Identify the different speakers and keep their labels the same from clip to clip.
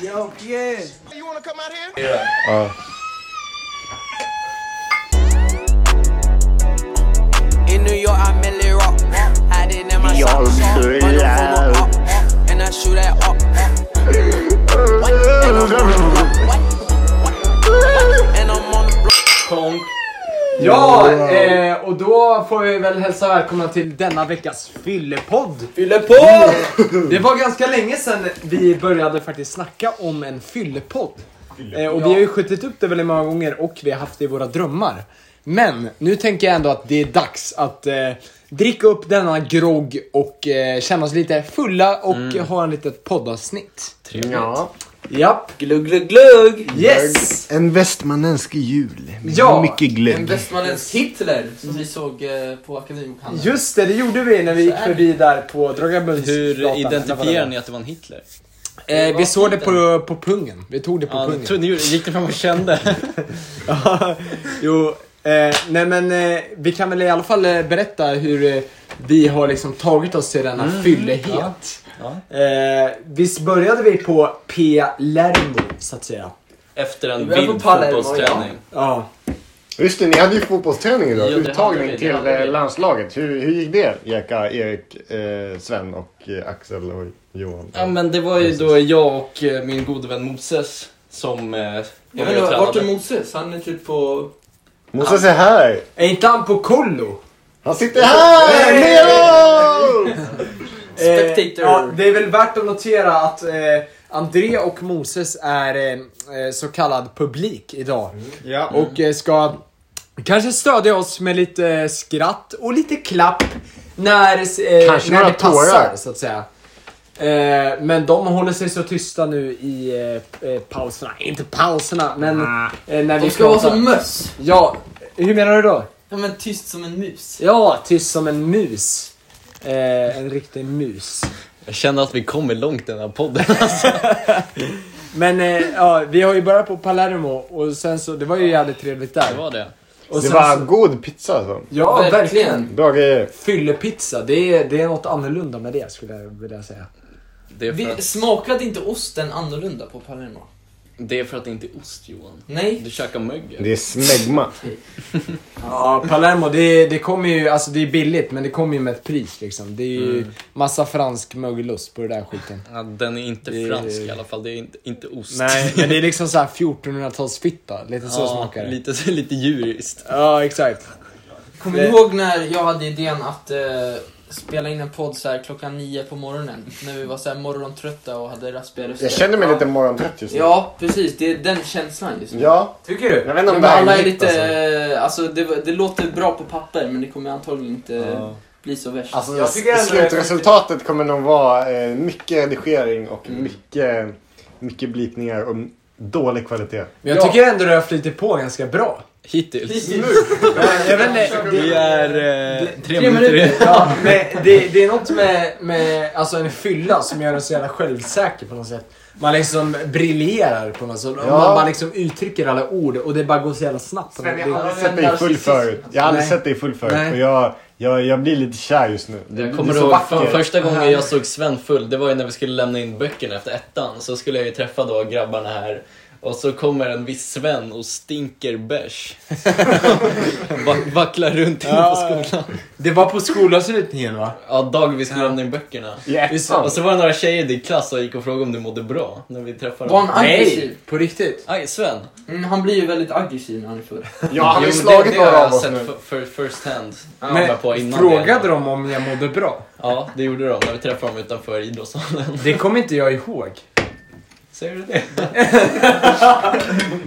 Speaker 1: Yo, Pierre!
Speaker 2: You wanna come out here?
Speaker 3: Uh.
Speaker 4: In New York, I merely rock. Hide it in my
Speaker 3: Y'all
Speaker 4: socks.
Speaker 3: so
Speaker 4: Run up from
Speaker 3: loud.
Speaker 4: a up, and I shoot that up. And I'm on the block.
Speaker 1: Ja, eh, och då får vi väl hälsa välkomna till denna veckas fyllepodd.
Speaker 5: Fyllepodd!
Speaker 1: Det var ganska länge sedan vi började faktiskt snacka om en fyllepodd. Eh, och vi har ju skjutit upp det väldigt många gånger och vi har haft det i våra drömmar. Men nu tänker jag ändå att det är dags att eh, dricka upp denna grogg och eh, känna oss lite fulla och ha en litet poddavsnitt.
Speaker 3: Ja.
Speaker 1: Japp,
Speaker 5: Glugg, glugg, glugg!
Speaker 1: yes!
Speaker 3: En västmanländsk jul.
Speaker 1: Ja.
Speaker 3: Mycket
Speaker 5: En
Speaker 3: glögg.
Speaker 5: västmanländsk Hitler som vi såg eh, på Akademikhallen.
Speaker 1: Just det, det gjorde vi när vi gick förbi där på Dragabundsgatan.
Speaker 6: Hur identifierar
Speaker 1: identifierade
Speaker 6: ni att det var en Hitler?
Speaker 1: Eh, vi såg det på, på pungen. Vi tog det på
Speaker 6: Ja,
Speaker 1: pungen.
Speaker 6: trodde ni gjorde- gick ni fram och kände?
Speaker 1: jo, eh, nej men eh, vi kan väl i alla fall eh, berätta hur eh, vi har liksom tagit oss till denna fyllehet. Eh, visst började vi på P. Lermo, så att säga.
Speaker 6: Efter en
Speaker 5: Vi var på
Speaker 6: vild
Speaker 5: Palermo,
Speaker 6: fotbollsträning.
Speaker 1: Ja,
Speaker 7: Just det, ni hade ju fotbollsträning idag.
Speaker 5: Ja, det hade vi,
Speaker 7: Uttagning
Speaker 5: det
Speaker 7: till
Speaker 5: hade vi.
Speaker 7: eh, landslaget. Hur, hur gick det? Jekka, Erik, eh, Sven och eh, Axel och Johan.
Speaker 6: Ja men det var ju då jag och eh, min gode vän Moses som eh, var
Speaker 5: Jag
Speaker 6: med
Speaker 5: vet
Speaker 6: och
Speaker 5: inte, vart är
Speaker 6: tränade.
Speaker 5: Moses? Han är typ på...
Speaker 7: Moses är här!
Speaker 1: är inte han på kollo?
Speaker 7: Han sitter här! Leo!
Speaker 5: Spectator.
Speaker 1: Eh, ja, det är väl värt att notera att eh, André och Moses är eh, eh, så kallad publik idag.
Speaker 7: Mm. Ja.
Speaker 1: Och eh, ska kanske stödja oss med lite eh, skratt och lite klapp när, eh, när
Speaker 7: Kanske några
Speaker 1: det passar
Speaker 7: tårar.
Speaker 1: så att säga. Eh, men de håller sig så tysta nu i eh, eh, pauserna. Inte pauserna, men eh, när vi
Speaker 5: De ska vara
Speaker 1: pratar.
Speaker 5: som möss!
Speaker 1: Ja, hur menar du då?
Speaker 5: Ja men tyst som en mus.
Speaker 1: Ja, tyst som en mus. Eh, en riktig mus.
Speaker 6: Jag känner att vi kommer långt i den här podden.
Speaker 1: Men eh, ja, vi har ju börjat på Palermo och sen så, det var ju jävligt trevligt
Speaker 6: Det
Speaker 1: där.
Speaker 6: var det.
Speaker 1: Och
Speaker 7: Det
Speaker 1: sen
Speaker 7: var
Speaker 1: så,
Speaker 7: god pizza alltså.
Speaker 1: ja, verkligen.
Speaker 7: Bra grejer.
Speaker 1: Fyllepizza, det är, det är något annorlunda med det skulle jag vilja säga.
Speaker 6: Det är, för
Speaker 5: Vi
Speaker 6: att,
Speaker 5: smakade inte osten annorlunda på Palermo?
Speaker 6: det är för att det inte är ost Johan.
Speaker 5: Nej.
Speaker 6: Du käkar mögel.
Speaker 7: Det är smegma.
Speaker 1: Ja, Palermo, det, det kommer ju, alltså det är billigt men det kommer ju med ett pris liksom. Det är ju massa fransk mögelost på det där skiten.
Speaker 6: Ja, den är inte
Speaker 1: Det är-
Speaker 6: fransk i alla fall, det är inte, inte ost.
Speaker 1: Nej, men det är liksom såhär 1400-talsfitta, lite så
Speaker 6: ja,
Speaker 1: smakar det.
Speaker 6: lite, lite djuriskt.
Speaker 1: Ja, exakt.
Speaker 5: Kommer du ihåg när jag hade idén att eh, spela in en podd så här klockan nio på morgonen? När vi var så här morgontrötta och hade raspiga röster.
Speaker 7: Jag känner mig lite morgontrött just nu.
Speaker 5: Ja, precis. Det är den känslan just nu.
Speaker 7: Ja.
Speaker 1: Tycker du?
Speaker 7: Jag vet inte
Speaker 5: Ja,
Speaker 7: om
Speaker 5: men
Speaker 7: det här
Speaker 5: alla är
Speaker 7: mitt,
Speaker 5: lite,
Speaker 7: alltså.
Speaker 5: alltså, det, det låter bra på papper men det kommer antagligen inte
Speaker 6: Ja.
Speaker 5: bli så värst.
Speaker 7: Alltså,
Speaker 1: Jag tycker ändå-
Speaker 7: slutresultatet kommer nog vara eh, mycket redigering och mycket, mycket blipningar och dålig kvalitet.
Speaker 1: Men jag tycker ändå du har flutit på ganska bra.
Speaker 6: Hittills.
Speaker 1: Jag vet inte,
Speaker 6: Det är eh, tre minuter
Speaker 5: minuter.
Speaker 6: in.
Speaker 1: Ja, men det, det är något med, med alltså en fylla som gör en så jävla självsäker på något sätt. Man liksom briljerar på något sätt. Och Man bara liksom uttrycker alla ord och det bara går så jävla snabbt.
Speaker 7: Sven, jag
Speaker 1: Det-
Speaker 7: har aldrig sett dig full förut. Jag har aldrig
Speaker 1: Nej.
Speaker 7: sett dig full
Speaker 1: Nej.
Speaker 7: förut. Och jag, jag, jag blir lite kär just nu. Du-
Speaker 6: Jag
Speaker 7: du
Speaker 6: kommer
Speaker 7: är så
Speaker 6: ihåg
Speaker 7: vacker.
Speaker 6: för, första gången jag såg Sven full, det var ju när vi skulle lämna in böckerna efter ettan. Så skulle jag ju träffa då grabbarna här. Och så kommer en viss Sven och stinker bärs. Va vacklar runt inne på
Speaker 1: Ja,
Speaker 6: skolan.
Speaker 1: Det var på skolavslutningen va?
Speaker 6: Ja, dag vi skulle lämna in böckerna.
Speaker 7: I ettan.
Speaker 6: Och så var det några tjejer i din klass som gick och frågade om du mådde bra när vi träffade
Speaker 5: Var
Speaker 6: dem.
Speaker 5: han aggressiv?
Speaker 1: På riktigt?
Speaker 6: Aj, Sven.
Speaker 5: Mm, han blir ju väldigt aggressiv när han är full.
Speaker 7: Ja, han har ju
Speaker 6: Jo,
Speaker 7: slagit
Speaker 6: det, det
Speaker 7: några
Speaker 6: har
Speaker 7: av
Speaker 6: jag
Speaker 7: oss
Speaker 6: sett
Speaker 7: nu.
Speaker 6: för, för, first hand.
Speaker 1: Men
Speaker 6: Ja, på innan
Speaker 1: frågade
Speaker 6: det.
Speaker 1: de om jag mådde bra?
Speaker 6: Ja, det gjorde de när vi träffade dem utanför idrottshallen.
Speaker 1: Det kommer inte jag ihåg.
Speaker 6: Säger du det?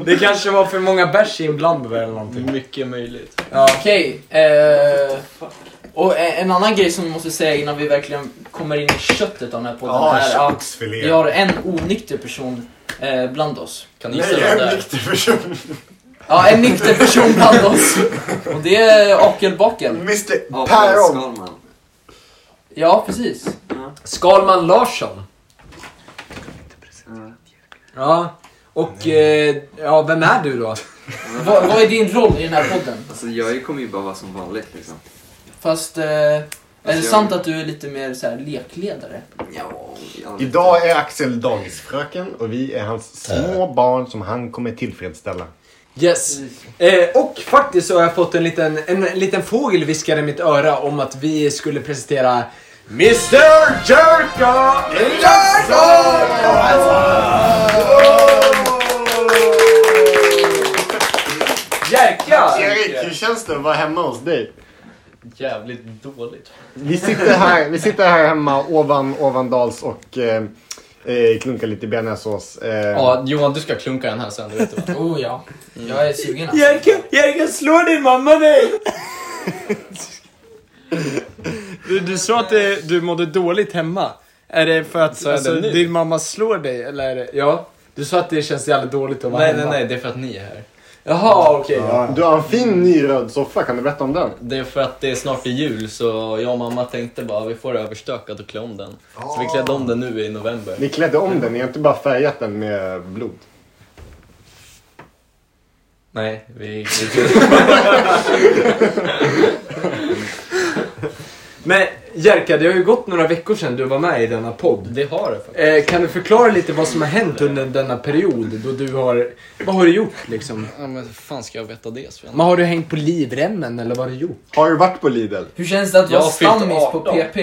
Speaker 1: Det kanske var för många bärs inblandade eller någonting.
Speaker 6: Mycket möjligt.
Speaker 1: Ja.
Speaker 5: Okej, eh, och eh, en annan grej som vi måste säga innan vi verkligen kommer in i köttet av den här podden
Speaker 7: Ja,
Speaker 5: är att
Speaker 7: köksfilé.
Speaker 5: vi har en onykter person eh, bland oss.
Speaker 6: Kan ni gissa
Speaker 7: Nej,
Speaker 6: vem det
Speaker 7: jag är en
Speaker 6: är?
Speaker 7: nykter person.
Speaker 5: Ja, en nykter person bland oss. Och det är Akelbakel.
Speaker 7: Mr Päron.
Speaker 5: Ja, precis.
Speaker 1: Skalman Larsson. Ja. Och, eh, ja, vem är du då?
Speaker 5: Vad, vad är din roll i den här podden?
Speaker 8: Alltså jag kommer ju bara vara som vanligt liksom.
Speaker 5: Fast eh, Är det
Speaker 2: jag-
Speaker 5: sant att du är lite mer så här lekledare?
Speaker 2: Ja, jag-
Speaker 7: Idag är Axel dagisfröken och vi är hans
Speaker 6: Äh.
Speaker 7: små barn som han kommer tillfredsställa.
Speaker 1: Yes. Eh, och faktiskt så har jag fått en liten, en, en liten fågel viskade i mitt öra om att vi skulle presentera Mr Jerka Jerka!
Speaker 7: Erik, hur känns det att vara hemma hos dig?
Speaker 6: Jävligt dåligt.
Speaker 7: Vi sitter här, vi sitter här hemma ovan Ovandals och eh, eh, klunkar lite bearnaisesås. Eh,
Speaker 6: Ja, Johan du ska klunka den här sen, du vet det va?
Speaker 5: Oh ja, jag är sugen alltså.
Speaker 1: Jerka, Jerka slår din mamma dig! du, du sa att det, du mådde dåligt hemma. Är det för att
Speaker 6: jag
Speaker 1: alltså,
Speaker 6: det nu?
Speaker 1: din mamma slår dig? Eller är det, ja, du sa att det känns jävligt dåligt att vara
Speaker 6: Nej, nej,
Speaker 1: hemma.
Speaker 6: nej, det är för att ni är här.
Speaker 1: Jaha, okej.
Speaker 7: ja. Du har en fin ny röd soffa, kan du berätta om den?
Speaker 6: Det är för att det är snart är jul så jag och mamma tänkte bara vi får det överstökat och klä om den. Så vi klädde om den nu i november.
Speaker 7: Ni klädde om den, ni har inte bara färgat den med blod.
Speaker 6: Nej, vi...
Speaker 1: Men Jerka, det har ju gått några veckor sedan du var med i denna podd.
Speaker 6: det har det faktiskt.
Speaker 1: Eh, kan du förklara lite vad som har hänt under denna period då du har... Vad har du gjort liksom?
Speaker 6: Ja, men hur fan ska jag veta det Sven?
Speaker 1: Men har du hängt på livremmen eller vad har du gjort?
Speaker 7: Har du varit på Lidl?
Speaker 5: Hur känns det att
Speaker 6: Jag
Speaker 5: vara
Speaker 6: har fyllt
Speaker 5: stammis på
Speaker 6: 18.
Speaker 5: PP?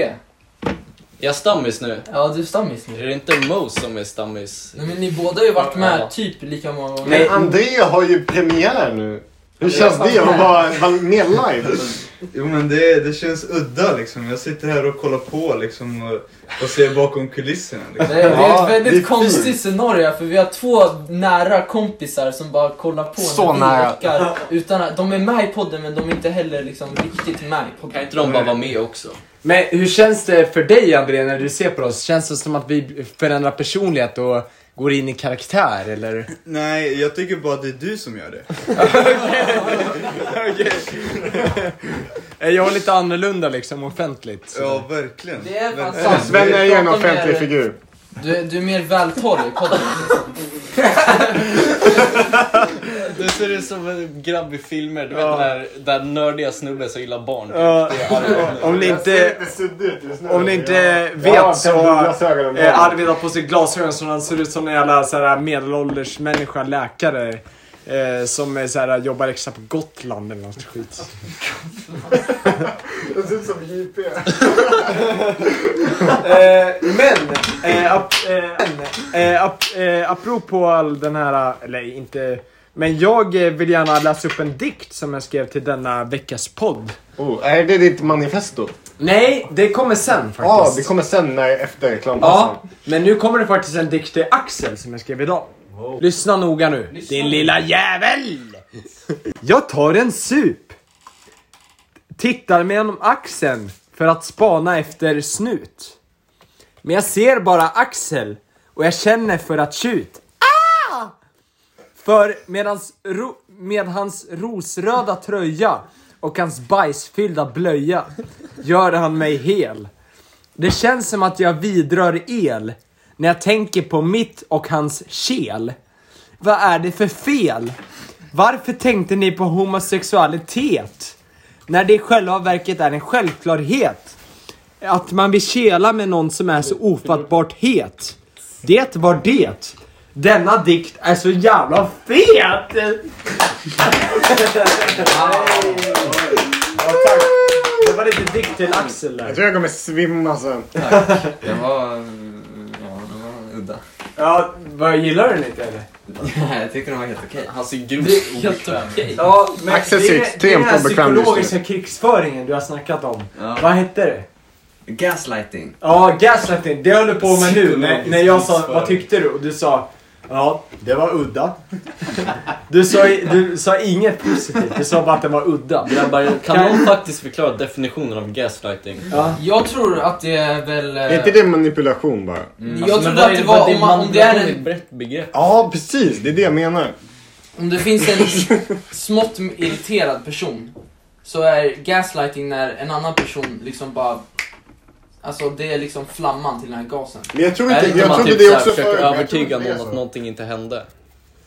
Speaker 6: Jag är stammis nu.
Speaker 5: Ja, du är stammis nu.
Speaker 6: Är det inte Mo som är stammis?
Speaker 5: Nej, men ni båda har ju varit
Speaker 6: Ja.
Speaker 5: med typ lika många gånger.
Speaker 7: Men André har ju premiär nu. Hur känns det att vara, vara med live?
Speaker 6: Alltså,
Speaker 8: Jo men det, det känns udda liksom. Jag sitter här och kollar på liksom och, och ser bakom kulisserna. Liksom.
Speaker 5: Det är
Speaker 7: Ja,
Speaker 5: ett väldigt
Speaker 7: det är fint.
Speaker 5: konstigt scenario för vi har två nära kompisar som bara kollar på
Speaker 7: Så
Speaker 5: vi
Speaker 7: nära.
Speaker 5: rockar, utan att, De är med i podden men de är inte heller liksom riktigt med
Speaker 6: Kan
Speaker 5: i podden.
Speaker 6: inte de bara vara med också?
Speaker 1: Men hur känns det för dig André när du ser på oss? Känns det som att vi förändrar personlighet och går in i karaktär eller?
Speaker 8: Nej, jag tycker bara att det är du som gör det.
Speaker 1: Eh, Jag är lite annorlunda liksom offentligt. så-
Speaker 8: Ja, verkligen.
Speaker 5: Det är fan
Speaker 8: Verkligen.
Speaker 5: sant.
Speaker 7: Sven är ju en
Speaker 5: Prata om
Speaker 7: offentlig
Speaker 5: er.
Speaker 1: Eh,
Speaker 7: figur.
Speaker 5: Du, du är mer vältalig i podden.
Speaker 6: Du ser ut som en grabb i filmer, du vet den där, där nördiga snubben som gillar barn.
Speaker 1: Ja, Eh, om ni inte... Om ni inte vet så... Eh, Arvid har på sig glasögon så han ser ut som en jävla så här, medelålders människa, läkare. Eh, som är, så här, jobbar extra på Gotland eller något skit.
Speaker 7: Det ser ut som JP.
Speaker 1: Eh, men, eh, ap, eh, eh, ap, eh, apropå all den här, eller inte, men jag eh, vill gärna läsa upp en dikt som jag skrev till denna veckas podd.
Speaker 7: Oh, är det ditt manifesto?
Speaker 1: Nej, det kommer sen faktiskt.
Speaker 7: Ja, det kommer sen när, efter reklampausen.
Speaker 1: Ja, men nu kommer det faktiskt en dikt till Axel som jag skrev idag. Lyssna noga nu, din lilla jävel! Jag tar en sup. Tittar mig genom axeln för att spana efter snut. Men jag ser bara Axel och jag känner för att tjut. Ah! För medans ro, med hans rosröda tröja och hans bajsfyllda blöja gör han mig hel. Det känns som att jag vidrör el när jag tänker på mitt och hans kel. Vad är det för fel? Varför tänkte ni på homosexualitet? När det i själva verket är en självklarhet. Att man vill kela med någon som är så ofattbart het. Det var det. Denna dikt är så jävla fet! Det var lite dikt till Axel där.
Speaker 7: Jag tror jag kommer svimma sen.
Speaker 2: Det var... mm, Ja, det var udda.
Speaker 1: Ja, vad gillar du den inte eller?
Speaker 2: Nej, jag tyckte den var helt okej.
Speaker 6: Han ser grovt obekväm ut.
Speaker 1: Ja, men
Speaker 7: Axel
Speaker 1: det är-
Speaker 7: ser extremt
Speaker 1: Det är den här
Speaker 7: obekväm just nu.
Speaker 1: psykologiska krigsföringen du har snackat om.
Speaker 2: Ja.
Speaker 1: Vad hette det?
Speaker 2: Gaslighting.
Speaker 1: Ja, gaslighting. Det håller på med nu. När, när jag sa
Speaker 6: krigsföring.
Speaker 1: vad tyckte du? Och du sa ja, det var udda. Du sa, du sa inget positivt. Du sa bara att det var udda.
Speaker 6: Grabbar, kan någon faktiskt förklara definitionen av gaslighting?
Speaker 5: Jag tror att det är väl... eh, mm.
Speaker 7: Är inte det manipulation bara?
Speaker 6: Alltså,
Speaker 5: Jag trodde att det var om, man, om det är en
Speaker 6: ett brett begrepp.
Speaker 7: Ja, precis. Det är det jag menar.
Speaker 5: Om det finns en smått irriterad person så är gaslighting när en annan person liksom bara... Alltså det är liksom flamman till den här gasen.
Speaker 7: Men jag tror
Speaker 6: Är det
Speaker 7: inte...
Speaker 6: inte
Speaker 7: Jag
Speaker 6: man
Speaker 7: trodde
Speaker 6: typ
Speaker 7: det
Speaker 6: såhär
Speaker 7: också
Speaker 6: försöker
Speaker 7: förut. Jag tror
Speaker 6: övertyga
Speaker 7: inte det
Speaker 6: någon
Speaker 7: är
Speaker 6: att
Speaker 7: så.
Speaker 6: någonting inte hände?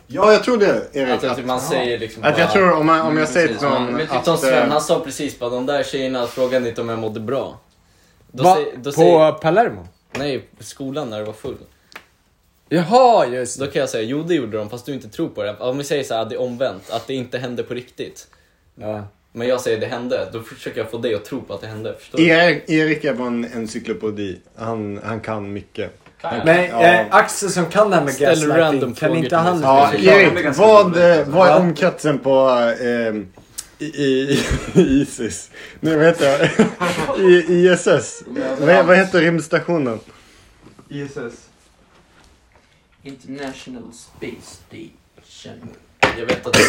Speaker 7: Ja, jag typ tror det, Erik.
Speaker 6: Att,
Speaker 7: Att,
Speaker 6: att man säger liksom
Speaker 7: att jag
Speaker 6: bara-
Speaker 7: tror om, man, om jag
Speaker 2: Mm,
Speaker 7: säger
Speaker 2: precis.
Speaker 7: till någon
Speaker 6: Men typ
Speaker 7: att...
Speaker 6: som Sven,
Speaker 7: eh,
Speaker 6: han sa precis bara de där tjejerna frågade inte om jag mådde bra. Då
Speaker 1: Va?
Speaker 6: säger- då
Speaker 1: på
Speaker 6: säger-
Speaker 1: Palermo?
Speaker 6: Nej, skolan när det var full.
Speaker 1: Jaha, just
Speaker 6: Då kan jag säga, jo det gjorde de fast du inte tror på det. Om vi säger så här, det är omvänt, att det inte hände på riktigt.
Speaker 1: ja.
Speaker 6: Men jag säger det hände, då försöker jag få dig att tro på att det hände. Förstår du?
Speaker 7: Erik, Erik är bara en encyklopedi. Han, han kan mycket.
Speaker 1: Men
Speaker 7: Ja.
Speaker 1: eh, Axel som kan det här med
Speaker 6: Ställ random
Speaker 1: gaslighting, kan
Speaker 6: frågor
Speaker 1: inte
Speaker 6: till
Speaker 1: han...
Speaker 6: mig.
Speaker 7: Ja,
Speaker 1: Ja,
Speaker 8: Erik,
Speaker 7: Erik, vad, eh, vad
Speaker 1: Ja.
Speaker 7: är omkretsen på eh, i, i, i Isis? Nej, vad heter jag? I, ISS? Vad, vad heter rymdstationen?
Speaker 8: ISS.
Speaker 5: International Space Station.
Speaker 6: Jag vet att det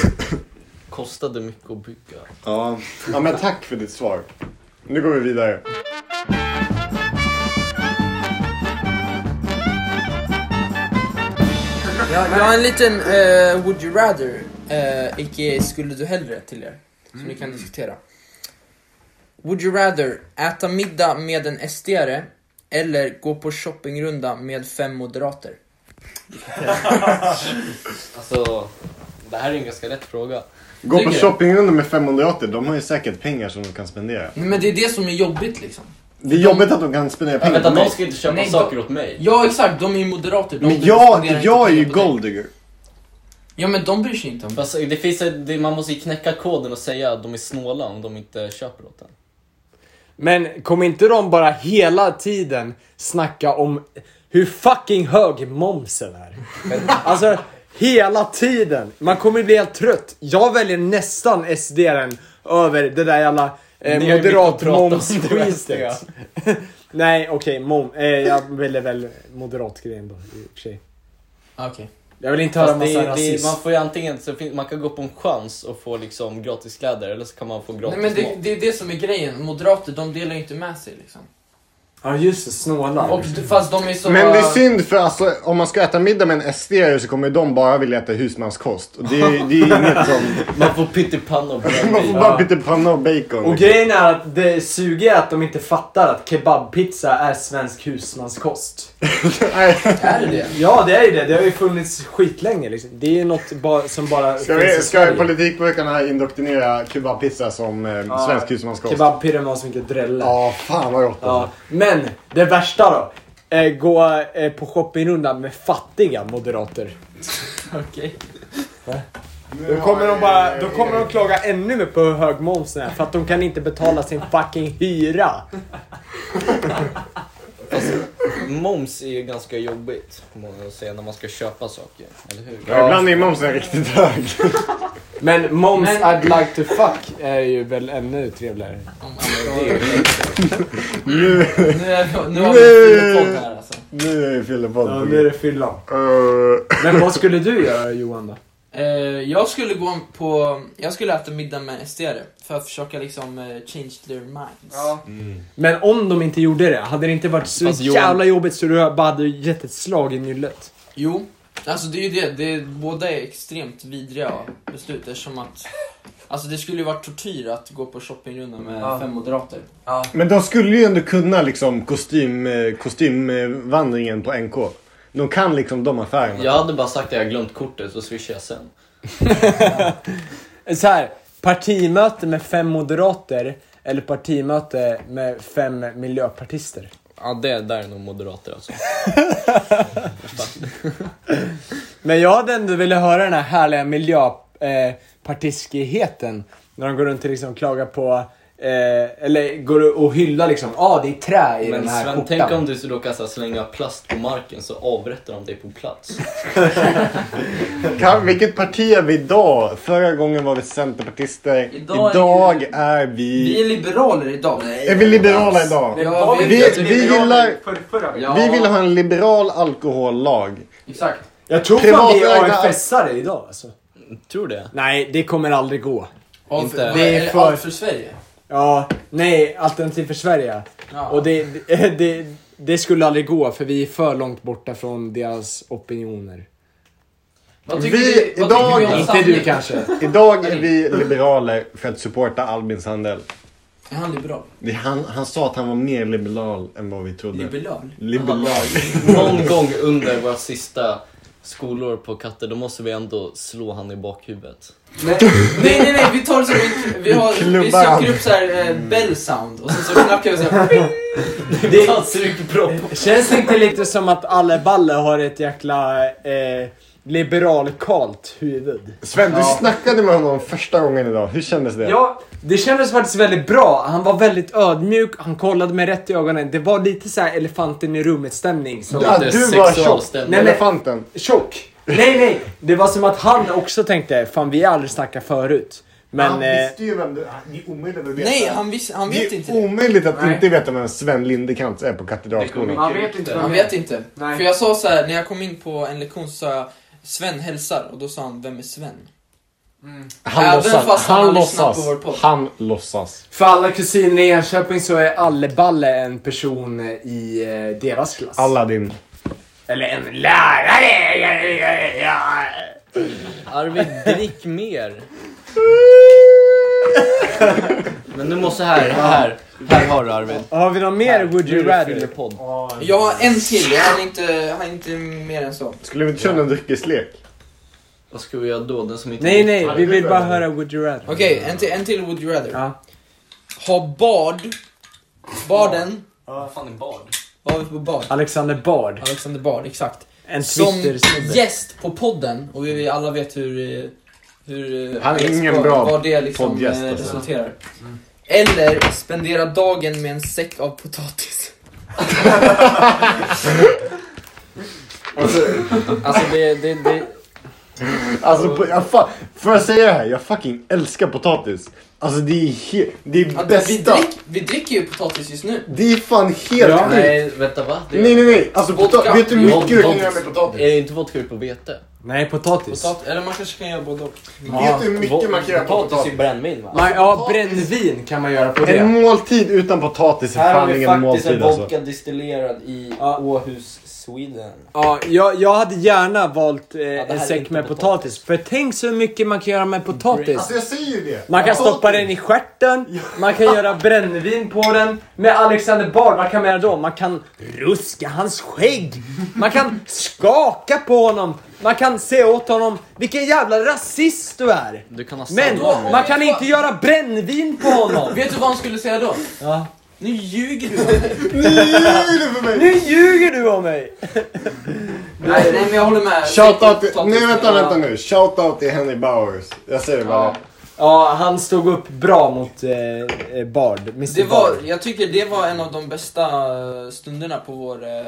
Speaker 6: kostade mycket att bygga.
Speaker 7: Ja. ja, men tack för ditt svar. Nu går vi vidare.
Speaker 5: Jag, jag har en liten eh, Would you rather, eh, aka Skulle du hellre till er. Som ni
Speaker 7: Mm.
Speaker 5: kan diskutera. Would you rather äta middag med en SDare eller gå på shoppingrunda med fem moderater?
Speaker 6: Alltså, det här är en ganska lätt fråga.
Speaker 7: Gå på
Speaker 5: Tycker du?
Speaker 7: shoppingrunda med 500 åter. De har ju säkert pengar som de kan spendera.
Speaker 5: Nej, men det är det som är jobbigt liksom.
Speaker 7: Det är jobbigt att de kan spendera pengar
Speaker 6: Vänta,
Speaker 7: på
Speaker 6: de
Speaker 7: mig.
Speaker 6: ska inte köpa
Speaker 5: Nej,
Speaker 6: saker
Speaker 5: de-
Speaker 6: åt mig.
Speaker 5: Ja exakt, de är ju moderater. De
Speaker 7: Men
Speaker 5: spenderar
Speaker 7: jag,
Speaker 5: inte
Speaker 7: jag är ju
Speaker 5: pengar på dig.
Speaker 7: golddigger.
Speaker 5: Ja men de bryr sig inte om
Speaker 6: Alltså, det finns ett, det, man måste ju knäcka koden och säga att de är snåla om de inte köper åt en.
Speaker 1: Men kommer inte de bara hela tiden snacka om hur fucking hög momsen är? Alltså, hela tiden. Man kommer ju bli helt trött. Jag väljer nästan sd över det där jävla eh,
Speaker 6: Ni har ju mycket att
Speaker 1: moderat
Speaker 6: prata om,
Speaker 1: moms
Speaker 6: det vet jag.
Speaker 1: skitet Nej, okej, mom. Eh, jag väljer väl moderat grejen då, i och för sig.
Speaker 5: Okej.
Speaker 1: Jag vill inte höra
Speaker 6: Fast det,
Speaker 1: massa
Speaker 6: är- det, är-
Speaker 1: rasism.
Speaker 6: man får ju antingen, så fin- man kan gå på en chans och få liksom gratis kläder eller så kan man få gratis
Speaker 5: Nej men det,
Speaker 6: mat.
Speaker 5: det är det som är grejen, moderater de delar ju inte med sig liksom.
Speaker 1: Ja, just det. Snåla.
Speaker 5: Och d- fast de är så...
Speaker 7: Men det är synd för alltså, om man ska äta middag med en sd så kommer ju de bara vilja äta husmanskost. Och det, är- det är ju inget som...
Speaker 6: Man får pyttipanna och
Speaker 7: Man får
Speaker 6: bröd.
Speaker 7: bara pyttipanna och bacon.
Speaker 1: Och grejen är att det suger att de inte fattar att kebabpizza är svensk husmanskost.
Speaker 7: liksom. Nej,
Speaker 5: Är det det?
Speaker 1: Ja, det är ju det. Det har ju funnits skitlänge liksom. Det är ju något ba- som bara
Speaker 7: Ska,
Speaker 1: finns i
Speaker 7: vi, ska
Speaker 1: Sverige.
Speaker 7: politikpojkarna indoktrinera kebabpizza som eh,
Speaker 1: Ja.
Speaker 7: svensk husmanskost?
Speaker 1: Kebabpirre med så mycket drälle.
Speaker 7: Ja, fan vad gott.
Speaker 1: Ja.
Speaker 7: Ja.
Speaker 1: Men det värsta då. Eh, gå eh, på shoppingrunda med fattiga moderater.
Speaker 5: Okej.
Speaker 1: Då kommer de bara, då kommer de klaga ännu mer på hur hög momsen är för att de kan inte betala sin fucking hyra.
Speaker 6: Moms är ju ganska jobbigt, får man väl säga, när man ska köpa saker. Eller hur?
Speaker 7: Ja, ibland är momsen riktigt hög.
Speaker 1: Men moms
Speaker 5: Men-
Speaker 1: I'd like to fuck är ju väl ännu trevligare.
Speaker 5: Nu, är- nu har vi en fyllepodd här alltså.
Speaker 7: Nu är det fyllepodd.
Speaker 1: Ja, nu är det fyllan.
Speaker 7: Eh,
Speaker 1: Men vad skulle du göra Johan då?
Speaker 5: Eh, jag skulle gå på... Jag skulle äta middag med en SDare för att försöka liksom eh, change their minds.
Speaker 1: Men om de inte gjorde det, hade det inte varit så
Speaker 6: Fast Johan-
Speaker 1: jävla jobbigt så du bara hade gett ett slag i nyllet?
Speaker 5: Jo, alltså det är ju det. det är, båda är extremt vidriga beslut eftersom att... Alltså det skulle ju varit tortyr att gå på shoppingrunda med
Speaker 2: Ja.
Speaker 5: fem moderater.
Speaker 7: Men de skulle ju ändå kunna liksom kostym, eh, kostymvandringen på NK. De kan liksom de affärerna.
Speaker 6: Jag hade bara sagt att jag glömt kortet så swishar jag sen.
Speaker 1: Så här, partimöte med fem moderater eller partimöte med fem miljöpartister?
Speaker 6: Ja, det där är nog moderater alltså.
Speaker 1: Men jag hade ändå velat höra den här härliga miljöpartiskigheten. När de går runt och liksom klagar på, eh, eller går och hyllar liksom, ja ah, det är trä i
Speaker 6: Men
Speaker 1: den här
Speaker 6: Sven,
Speaker 1: skjortan.
Speaker 6: tänk om du så råkar så här slänga plast på marken så avrättar de dig på plats.
Speaker 7: Kan, vilket parti är vi idag? Förra gången var vi centerpartister.
Speaker 5: Idag är
Speaker 7: Idag,
Speaker 5: vi-
Speaker 7: är
Speaker 5: Vi
Speaker 7: vi...
Speaker 5: är liberaler idag.
Speaker 7: Är vi liberala idag?
Speaker 5: Ja, vi,
Speaker 7: Vi, vi gillar...
Speaker 5: ja,
Speaker 7: Vi vill ha en liberal alkohollag.
Speaker 5: Exakt.
Speaker 1: Jag tror fan vi är
Speaker 7: Privatägda-
Speaker 1: AFS-are idag alltså.
Speaker 6: Tror det?
Speaker 1: Nej, det kommer aldrig gå.
Speaker 5: Av,
Speaker 6: Inte.
Speaker 1: Det är
Speaker 5: Eller
Speaker 1: för-
Speaker 5: allt för Sverige.
Speaker 1: Ja, nej, Alternativ för Sverige.
Speaker 5: Ja.
Speaker 1: Och det, det, det, det skulle aldrig gå för vi är för långt borta från deras opinioner.
Speaker 5: vad tycker
Speaker 7: vi-
Speaker 5: vi, vad
Speaker 7: idag-
Speaker 5: tycker vi om
Speaker 1: Inte
Speaker 5: sanning?
Speaker 1: du kanske?
Speaker 7: Idag är vi liberaler för att supporta Albin Sandell.
Speaker 5: Är han liberal?
Speaker 7: Det- Han, han sa att han var mer liberal än vad vi trodde.
Speaker 5: Liberal?
Speaker 7: liberal.
Speaker 6: Någon gång under våra sista skolår på Katte, då måste vi ändå slå han i bakhuvudet.
Speaker 5: Nej, nej, nej, nej, vi tar det som en... Vi, har, vi
Speaker 7: Klubbar han. Mm.
Speaker 5: söker upp såhär eh, bell sound och sen så knackar vi såhär... ping.
Speaker 1: Det-
Speaker 6: Fan, sugpropp.
Speaker 1: Känns det inte lite som att alla balle har ett jäkla eh, liberalkalt huvud?
Speaker 7: Sven, du snackade med honom första gången idag. Hur kändes det?
Speaker 1: Ja, det kändes faktiskt väldigt bra. Han var väldigt ödmjuk, han kollade mig rätt i ögonen. Det var lite så här elefanten i rummet stämning. Så.
Speaker 7: Ja,
Speaker 6: Lite
Speaker 7: du var
Speaker 6: sexualstämning.
Speaker 7: tjock.
Speaker 1: Nej, men-
Speaker 7: Elefanten.
Speaker 1: Tjock! Nej, nej! Det var som att han också tänkte, fan vi har aldrig snackat förut. Men...
Speaker 3: han
Speaker 1: eh,
Speaker 3: visste ju vem du...
Speaker 7: Ah,
Speaker 3: Det är omöjligt att veta.
Speaker 5: Nej, han, vis, han vet
Speaker 7: Det
Speaker 5: inte
Speaker 7: är
Speaker 5: det.
Speaker 7: omöjligt att
Speaker 1: Nej.
Speaker 7: inte veta vem Sven Lindekrantz är på
Speaker 6: Det
Speaker 7: Katedralskolan.
Speaker 6: kommer-
Speaker 1: han vet inte
Speaker 5: Han
Speaker 1: vem
Speaker 5: vet inte.
Speaker 1: Nej.
Speaker 5: För jag sa så här, när jag kom in på en lektion så sa jag Sven hälsar och då sa han, vem är Sven?
Speaker 7: Han
Speaker 5: Även
Speaker 7: låtsas.
Speaker 5: fast han
Speaker 7: Han
Speaker 5: har lyssnat
Speaker 7: låtsas.
Speaker 5: på vår podd.
Speaker 7: Han låtsas.
Speaker 1: För alla kusiner i Enköping så är Alleballe en person i eh, deras klass.
Speaker 7: Aladdin.
Speaker 1: Eller en lärare! Ja.
Speaker 6: Arvid, drick mer. Men du måste här, här. Här har du Arvid.
Speaker 1: Har vi någon mer Would
Speaker 6: Nu är
Speaker 1: you
Speaker 6: det
Speaker 1: rather?
Speaker 6: fyllepodd.
Speaker 5: Jag har en till, jag har inte, jag har inte mer än så.
Speaker 7: Skulle vi inte köra en dryckeslek?
Speaker 6: Vad ska vi göra då? Den som inte
Speaker 1: Nej, nej, vi
Speaker 7: du
Speaker 1: vill bara
Speaker 7: rather?
Speaker 1: höra Would you rather.
Speaker 5: Okej, en, till, en till Would You Rather.
Speaker 1: Ja.
Speaker 5: Ha bad. Baden.
Speaker 6: Vad fan är bad?
Speaker 5: Vad har vi på bad?
Speaker 1: Alexander Bard,
Speaker 5: Alexander Bard, exakt.
Speaker 1: en
Speaker 5: Som
Speaker 1: Twitter-snubbe.
Speaker 5: gäst på podden, och vi vi alla vet hur... eh, hur eh,
Speaker 7: Han är ingen
Speaker 5: vad-
Speaker 7: bra
Speaker 5: Vad det liksom
Speaker 7: poddgäst,
Speaker 5: eh,
Speaker 7: alltså.
Speaker 5: resulterar. Eller spendera dagen med en säck av potatis.
Speaker 6: Alltså det, det, det...
Speaker 7: Alltså, på, jag fa- får jag säga det här? Jag fucking älskar potatis. Alltså det är, he- det är
Speaker 5: Att vi,
Speaker 7: bästa.
Speaker 5: drick, vi dricker ju potatis just nu.
Speaker 7: Det är fan helt
Speaker 1: Ja.
Speaker 7: sjukt. Nej.
Speaker 6: Nej, vänta va? Det
Speaker 7: nej, nej, Alltså
Speaker 5: Vodka.
Speaker 7: pota- vet du hur mycket du kan göra med
Speaker 6: Är
Speaker 7: potatis?
Speaker 6: det inte vodka gjort på vete?
Speaker 1: Nej, potatis.
Speaker 5: Potat- eller man kanske kan göra både och.
Speaker 7: Vet du hur mycket man kan göra på
Speaker 6: Potatis är ju
Speaker 7: potatis?
Speaker 6: brännvin va?
Speaker 1: Man, ja, brännvin kan man göra på
Speaker 7: En
Speaker 1: det.
Speaker 7: måltid utan potatis är
Speaker 6: Här har
Speaker 7: Typ fan
Speaker 6: vi
Speaker 7: ingen
Speaker 6: faktiskt en
Speaker 7: måltid alltså.
Speaker 6: vodka distillerad i
Speaker 1: Ja.
Speaker 6: Åhus, Sweden.
Speaker 1: Ja, jag, jag hade gärna valt eh,
Speaker 6: här är
Speaker 1: en säck
Speaker 6: inte
Speaker 1: med
Speaker 6: potatis.
Speaker 1: potatis. För tänk så mycket man kan göra med potatis.
Speaker 7: Alltså jag säger ju det.
Speaker 1: Man kan
Speaker 7: Potatis.
Speaker 1: stoppa den i stjärten, man kan göra brännvin på den. Med Alexander Bard, vad kan man göra då? Man kan ruska hans skägg. Man kan skaka på honom. Man kan se åt honom, vilken jävla rasist du är.
Speaker 6: Du kan ha
Speaker 1: Men
Speaker 6: sallad.
Speaker 1: man kan inte göra brännvin på honom.
Speaker 5: Vet du vad han skulle säga då?
Speaker 1: Ja.
Speaker 5: Nu ljuger du.
Speaker 1: Nu ljuger du om mig.
Speaker 5: nej, nej, men jag håller med.
Speaker 7: Shoutout till,
Speaker 5: Potatis.
Speaker 7: nej vänta,
Speaker 5: Ja.
Speaker 7: vänta nu. Shoutout till Henry Bowers. Jag säger det bara.
Speaker 1: Ja, han stod upp bra mot eh, eh, Bard. Mr
Speaker 5: Det var,
Speaker 1: Bard.
Speaker 5: jag tycker det var en av de bästa eh, stunderna på vår eh,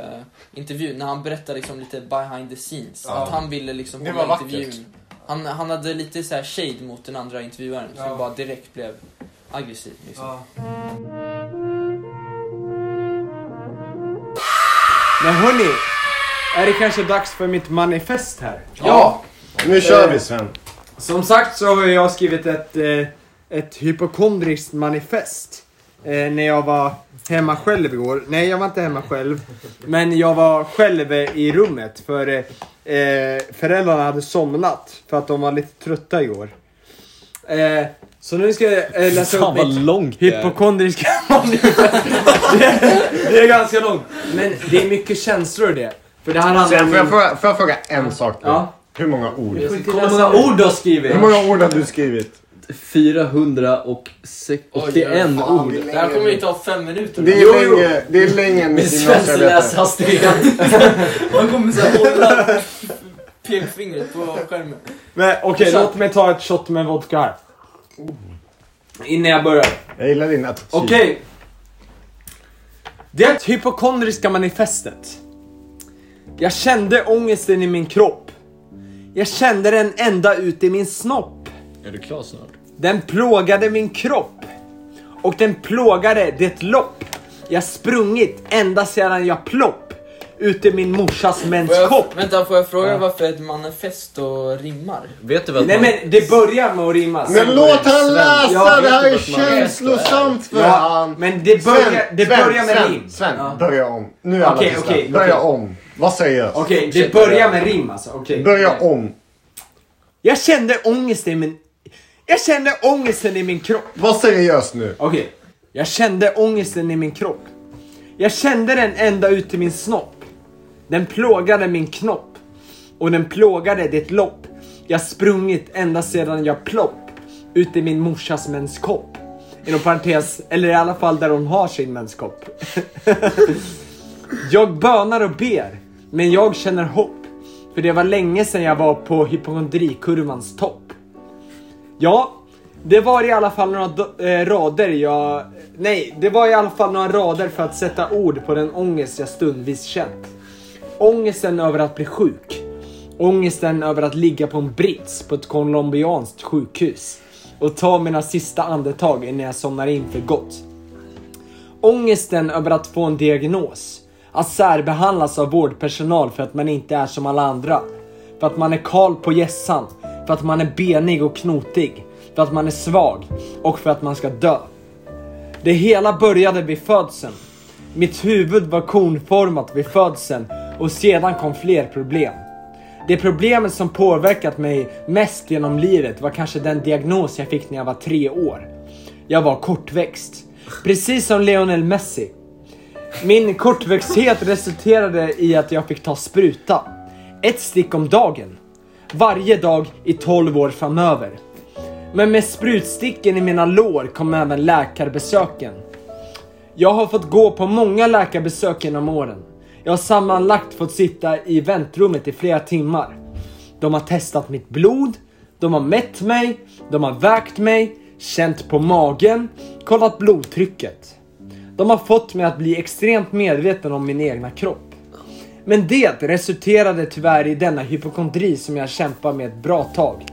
Speaker 5: intervju, när han berättade liksom lite behind the scenes. Att han ville liksom
Speaker 7: Det
Speaker 5: hålla
Speaker 7: var
Speaker 5: intervjun. Han, han hade lite så här shade mot den andra intervjuaren som bara direkt blev aggressiv. Liksom.
Speaker 1: Men hörni, är det kanske dags för mitt manifest här?
Speaker 5: Ja!
Speaker 7: Nu kör vi Sven.
Speaker 1: Som sagt så har jag skrivit ett, eh, ett hypokondriskt manifest. Eh, när jag var hemma själv igår. Nej, jag var inte hemma själv. Men jag var själv eh, i rummet för eh, eh, föräldrarna hade somnat för att de var lite trötta igår. Eh, så nu ska jag eh, läsa upp
Speaker 6: Fan vad
Speaker 1: mitt
Speaker 6: långt det är.
Speaker 1: hypokondriska manifest. Det är, det är ganska långt. Men det är mycket känslor i det. För det här handlar
Speaker 7: Sen
Speaker 1: om...
Speaker 7: får jag, fråga, får jag fråga en sak nu?
Speaker 1: Ja.
Speaker 7: Hur många ord?
Speaker 6: Kolla hur många ord du har skrivit!
Speaker 7: Hur många ord har du skrivit?
Speaker 6: 481
Speaker 7: Fan,
Speaker 6: ord.
Speaker 7: är
Speaker 5: Det här kommer ju
Speaker 7: längre.
Speaker 5: ta fem minuter.
Speaker 7: Det
Speaker 1: Jo,
Speaker 7: är
Speaker 1: jo.
Speaker 7: länge, det är länge än
Speaker 6: Med
Speaker 7: mitt
Speaker 6: Svens
Speaker 7: gymnasiearbete.
Speaker 6: läshastighet.
Speaker 5: Man kommer såhär hålla pekfingret på skärmen.
Speaker 1: Men okej,
Speaker 5: Så-
Speaker 1: låt mig ta ett shot med vodka här. Innan jag börjar.
Speaker 7: Jag gillar din attityd.
Speaker 1: Okej. Det hypokondriska manifestet. Jag kände ångesten i min kropp. Jag kände den ända ut i min snopp.
Speaker 6: Är du klar snart?
Speaker 1: Den plågade min kropp. Och den plågade det lopp jag sprungit ända sedan jag plopp ut i min morsas
Speaker 5: Får
Speaker 1: menskopp.
Speaker 5: jag, vänta, får jag fråga varför ett manifesto rimmar?
Speaker 6: Vet du vad
Speaker 1: Nej men det börjar med att rimma. sen
Speaker 7: Men låt
Speaker 1: börjar-
Speaker 7: han läsa!
Speaker 1: Ja,
Speaker 7: det här
Speaker 6: vet
Speaker 7: är
Speaker 6: du vad man
Speaker 7: känslosamt för
Speaker 1: Ja,
Speaker 7: han.
Speaker 1: men det börjar, det börjar med
Speaker 7: Sven,
Speaker 1: rim.
Speaker 7: Sven, börja om. Nu är alla
Speaker 1: Okej,
Speaker 7: tysta.
Speaker 1: okej,
Speaker 7: Börja
Speaker 1: okej.
Speaker 7: om. Vad säger jag?
Speaker 1: Okej, det börjar med rim alltså. Okej.
Speaker 7: Börja om.
Speaker 1: Jag kände ångesten i min... Jag kände ångesten i min kropp.
Speaker 7: Vad säger jag nu?
Speaker 1: Okej. Jag kände ångesten i min kropp. Jag kände den ända ut till min snopp. Den plågade min knopp. Och den plågade det lopp. Jag sprungit ända sedan jag plopp. Ut i min morsas menskopp. Inom parentes, eller i alla fall där hon har sin menskopp. jag bönar och ber, men jag känner hopp. För det var länge sedan jag var på hypokondrikurvans topp. Ja, det var i alla fall några do- eh, rader jag... Nej, det var i alla fall några rader för att sätta ord på den ångest jag stundvis känt. Ångesten över att bli sjuk. Ångesten över att ligga på en brits på ett colombianskt sjukhus och ta mina sista andetag innan jag somnar in för gott. Ångesten över att få en diagnos. Att särbehandlas av vårdpersonal för att man inte är som alla andra. För att man är kal på gässan. För att man är benig och knotig. För att man är svag. Och för att man ska dö. Det hela började vid födseln. Mitt huvud var konformat vid födseln och sedan kom fler problem. Det problemet som påverkat mig mest genom livet var kanske den diagnos jag fick när jag var tre år. Jag var kortväxt. Precis som Lionel Messi. Min kortväxthet resulterade i att jag fick ta spruta. Ett stick om dagen. Varje dag i 12 år framöver. Men med sprutsticken i mina lår kom även läkarbesöken. Jag har fått gå på många läkarbesök genom åren. Jag har sammanlagt fått sitta i väntrummet i flera timmar. De har testat mitt blod, de har mätt mig, de har vägt mig, känt på magen, kollat blodtrycket. De har fått mig att bli extremt medveten om min egna kropp. Men det resulterade tyvärr i denna hypokondri som jag kämpar med ett bra tag.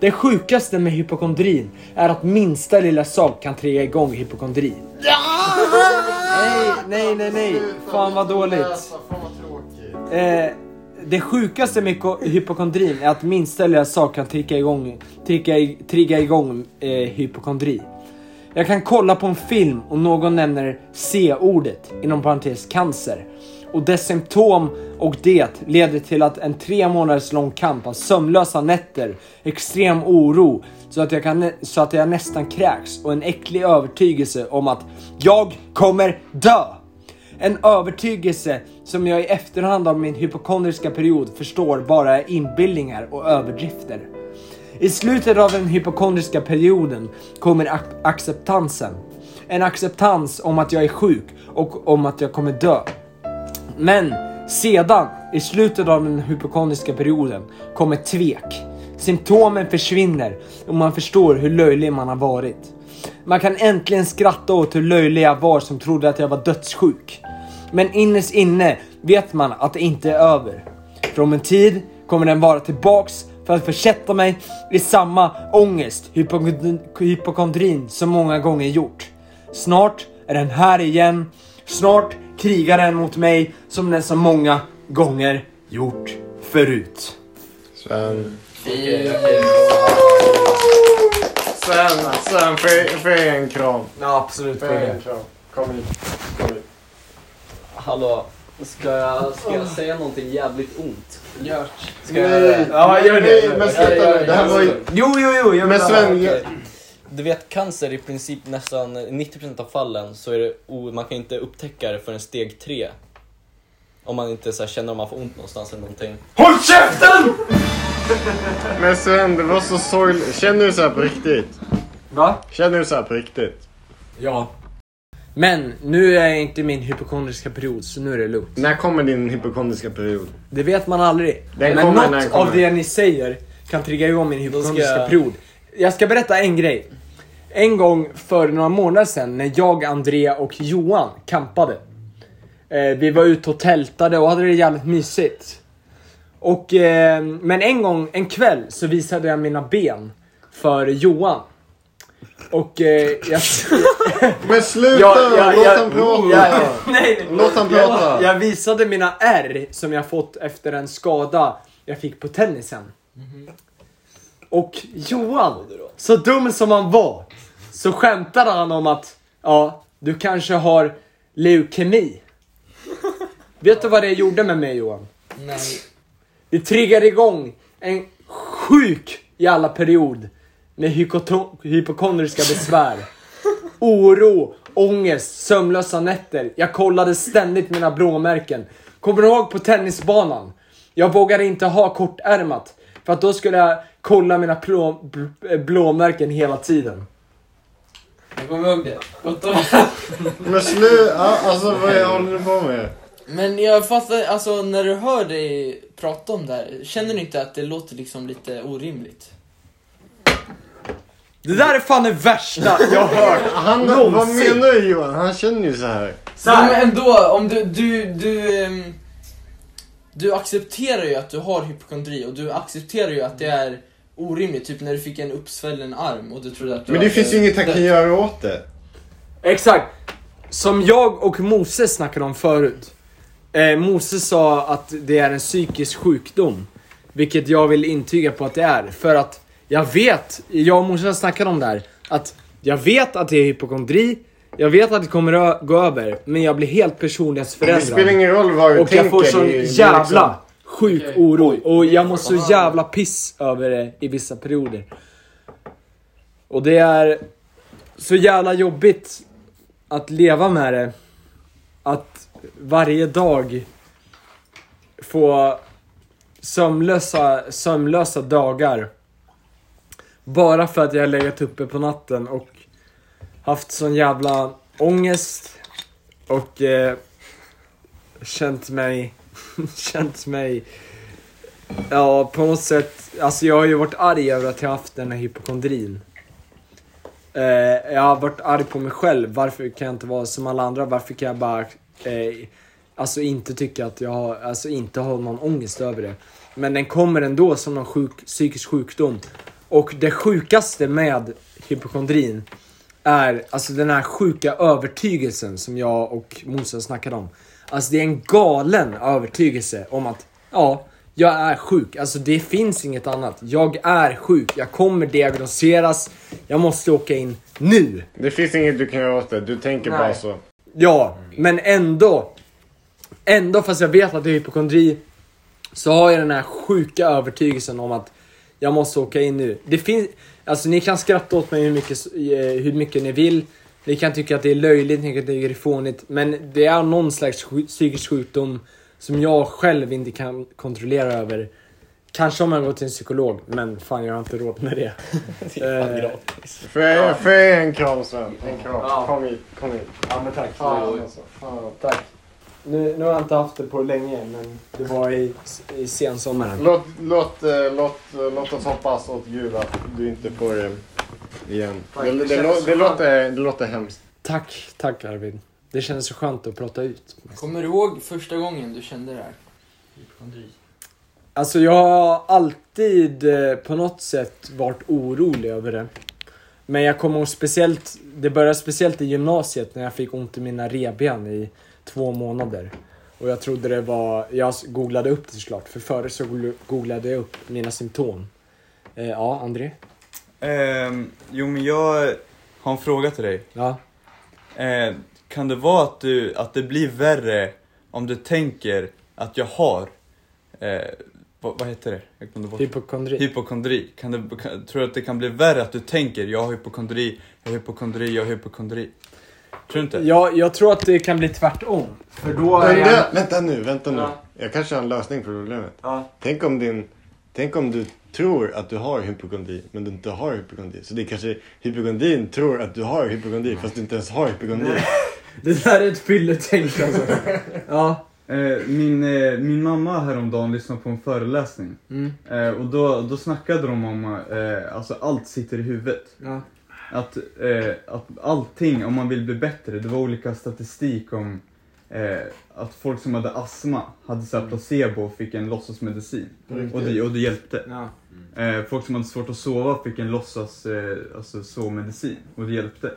Speaker 1: Det sjukaste med hypokondrin är att minsta lilla sak kan trigga igång hypokondri. Nej, nej, nej, nej. Fan vad dåligt.
Speaker 7: Fan vad tråkigt.
Speaker 1: Eh, det sjukaste med ko- hypokondrin är att minsta lilla sak kan trigga igång, trigga, i- trigga igång eh, hypokondri. Jag kan kolla på en film och någon nämner C-ordet, inom parentes cancer. Och dess symptom och det leder till att en tre månaders lång kamp av sömnlösa nätter, extrem oro, så att, jag kan, så att jag nästan kräks och en äcklig övertygelse om att jag kommer dö. En övertygelse som jag i efterhand av min hypokondriska period förstår bara är inbillningar och överdrifter. I slutet av den hypokondriska perioden kommer ac- acceptansen. En acceptans om att jag är sjuk och om att jag kommer dö. Men sedan, i slutet av den hypokondriska perioden, kommer tvek. Symptomen försvinner och man förstår hur löjlig man har varit. Man kan äntligen skratta åt hur löjlig jag var som trodde att jag var dödssjuk. Men innerst inne vet man att det inte är över. För om en tid kommer den vara tillbaks för att försätta mig i samma ångest, hypokondrin, hypokondrin som många gånger gjort. Snart är den här igen. Snart krigar den mot mig som den så många gånger gjort förut.
Speaker 7: Sven.
Speaker 5: Sen,
Speaker 7: Sven, får får jag en kram?
Speaker 1: Ja, absolut.
Speaker 7: Får jag en kram? Kom hit. Kom hit.
Speaker 6: Hallå, ska jag, ska jag säga någonting jävligt ont?
Speaker 5: gör.
Speaker 6: Ska jag,
Speaker 1: Ja, gör det.
Speaker 7: Nej, men sluta nu. Det här var ju...
Speaker 1: Jo, jo, jo. Jag
Speaker 7: Men Sven, jag-
Speaker 6: Du vet cancer i princip nästan 90% av fallen så är det o- man kan inte upptäcka det förrän steg tre. Om man inte så här, känner om man får ont någonstans eller någonting.
Speaker 1: HÅLL KÄFTEN!
Speaker 7: men Sven, det var så sorgligt. Känner du så här på riktigt?
Speaker 1: Va?
Speaker 7: Känner du så här på riktigt?
Speaker 1: Ja. Men nu är jag inte i min hypokondriska period så nu är det lugnt.
Speaker 7: När kommer din hypokondriska period?
Speaker 1: Det vet man aldrig.
Speaker 7: Den
Speaker 1: Men
Speaker 7: kommer när
Speaker 1: något
Speaker 7: den kommer.
Speaker 1: av det ni säger kan trigga igång min hypokondriska
Speaker 6: jag-
Speaker 1: period. Jag ska berätta en grej. En gång för några månader sedan när jag, Andrea och Johan kampade. Eh, vi var ute och tältade och hade det jävligt mysigt. Och, eh, men en gång, en kväll, så visade jag mina ben för Johan. Och eh, jag...
Speaker 7: Men sluta!
Speaker 1: Ja, ja,
Speaker 7: Låt
Speaker 1: ja.
Speaker 7: han prata!
Speaker 1: Ja, Nej, nej.
Speaker 7: Låt han
Speaker 1: Jag,
Speaker 7: prata.
Speaker 1: jag visade mina ärr som jag fått efter en skada jag fick på tennisen. Och Johan, så dum som han var, så skämtade han om att ja, du kanske har leukemi. Vet du vad det gjorde med mig Johan?
Speaker 5: Nej.
Speaker 1: Det triggade igång en sjuk jävla period med hykoto- hypokondriska besvär. Oro, ångest, sömnlösa nätter. Jag kollade ständigt mina blåmärken. Kommer du ihåg på tennisbanan? Jag vågade inte ha kortärmat för att då skulle jag kolla mina plå- bl- blåmärken hela tiden.
Speaker 5: Jag kommer ihåg det. Gott om-
Speaker 7: Men sluta, alltså vad håller du på med?
Speaker 5: Men jag fattar, alltså när du hör dig prata om det här, känner du inte att det låter liksom lite orimligt?
Speaker 1: Det där är fan det värsta jag har hört.
Speaker 7: Han, vad
Speaker 1: Någonsin.
Speaker 7: menar du Johan? Han känner ju så här.
Speaker 5: Så Men ändå, om du, du, du, ehm, du accepterar ju att du har hypokondri och du accepterar ju att det är orimligt. Typ när du fick en uppsvällen arm och du trodde att du
Speaker 7: Men det
Speaker 5: hade
Speaker 7: finns ju inget han kan
Speaker 5: dött.
Speaker 7: göra åt det.
Speaker 1: Exakt. Som jag och Mose snackade om förut. Eh, Mose sa att det är en psykisk sjukdom. Vilket jag vill intyga på att det är. För att jag vet, jag och Mose har snackat om det här. Att jag vet att det är hypokondri. Jag vet att det kommer ö- gå över. Men jag blir helt
Speaker 7: Det spelar
Speaker 1: personlighetsförändrad.
Speaker 7: ingen roll vad du
Speaker 1: Och
Speaker 7: tänker.
Speaker 1: jag får sån
Speaker 7: det är- liksom- det är
Speaker 1: jävla sjuk
Speaker 5: Okej.
Speaker 1: oro. Och jag mår så jävla piss över det i vissa perioder. Och det är så jävla jobbigt att leva med det. Att varje dag få sömnlösa, sömnlösa dagar. Bara för att jag har legat uppe på natten och haft sån jävla ångest. Och eh, känt mig, känt mig, ja på något sätt, alltså jag har ju varit arg över att jag haft den här hypokondrin. Eh, jag har varit arg på mig själv, varför kan jag inte vara som alla andra? Varför kan jag bara, eh, alltså inte tycka att jag har, alltså inte har någon ångest över det. Men den kommer ändå som någon sjuk, psykisk sjukdom. Och det sjukaste med hypokondrin är alltså den här sjuka övertygelsen som jag och Mose snackade om. Alltså det är en galen övertygelse om att ja, jag är sjuk. Alltså det finns inget annat. Jag är sjuk. Jag kommer diagnoseras. Jag måste åka in nu.
Speaker 7: Det finns inget du kan göra åt det. Du tänker
Speaker 5: Nej.
Speaker 7: bara så.
Speaker 1: Ja, men ändå. Ändå fast jag vet att det är hypokondri så har jag den här sjuka övertygelsen om att jag måste åka in nu. Det finns, alltså ni kan skratta åt mig hur mycket, eh, hur mycket ni vill. Ni kan tycka att det är löjligt, ni kan tycka att det är fånigt. Men det är någon slags sju- psykisk sjukdom som jag själv inte kan kontrollera över. Kanske om jag går till en psykolog, men fan jag har inte råd med det. Eh,
Speaker 7: Får jag, får jag ge en kram Sven? En kram. Kom hit, kom hit.
Speaker 1: ja, men tack.
Speaker 7: Fan, alltså. Fan.
Speaker 1: Tack. Nu, nu har jag inte haft det på länge, men det var i, i sensommaren.
Speaker 7: Låt, låt, eh, låt, eh, låt oss hoppas åt gud att du inte får det igen. Det, det, det, lå- det, låter, det låter hemskt.
Speaker 1: Tack, tack Arvid. Det känns så skönt att prata ut.
Speaker 5: Kommer du ihåg första gången du kände det här? Hypokondri.
Speaker 1: Alltså jag har alltid eh, på något sätt varit orolig över det. Men jag kommer ihåg speciellt, det började speciellt i gymnasiet när jag fick ont i mina revben i två månader. Och jag trodde det var, jag googlade upp det såklart, för förut så googl- googlade jag upp mina symptom. Eh, ja, André?
Speaker 2: Ehm, jo men jag har en fråga till dig.
Speaker 1: Ja.
Speaker 2: Ehm, kan det vara att, du, att det blir värre om du tänker att jag har, eh, vad, vad heter det? Jag glömde
Speaker 1: Typ
Speaker 2: bort.
Speaker 1: Hypokondri.
Speaker 2: Hypokondri. Kan det, kan, tror du att det kan bli värre att du tänker jag har hypokondri, jag har hypokondri, jag har hypokondri? Tror du inte?
Speaker 1: Ja, jag tror att det kan bli tvärtom. För då är
Speaker 7: Vänta,
Speaker 1: jag...
Speaker 7: vänta nu, vänta nu.
Speaker 1: Ja.
Speaker 7: Jag kanske har en lösning på problemet.
Speaker 1: Ja.
Speaker 7: Tänk, om din, tänk om du tror att du har hypokondri, men du inte har hypokondri. Så det är kanske hypokondrin tror att du har hypokondri, fast du inte ens har hypokondri.
Speaker 1: Det där är ett fylletänk alltså. Ja.
Speaker 8: Eh, min, eh, min mamma häromdagen lyssnade på en föreläsning.
Speaker 1: Mm.
Speaker 8: Eh, och då, då snackade de om att eh, alltså allt sitter i huvudet.
Speaker 1: Ja.
Speaker 8: Att, eh, att allting, om man vill bli bättre, det var olika statistik om eh, att folk som hade astma hade så här placebo och fick en låtsasmedicin. Och det, och det hjälpte.
Speaker 1: ja.
Speaker 8: Eh, folk som hade svårt att sova fick en låtsas eh, alltså, sovmedicin och det hjälpte.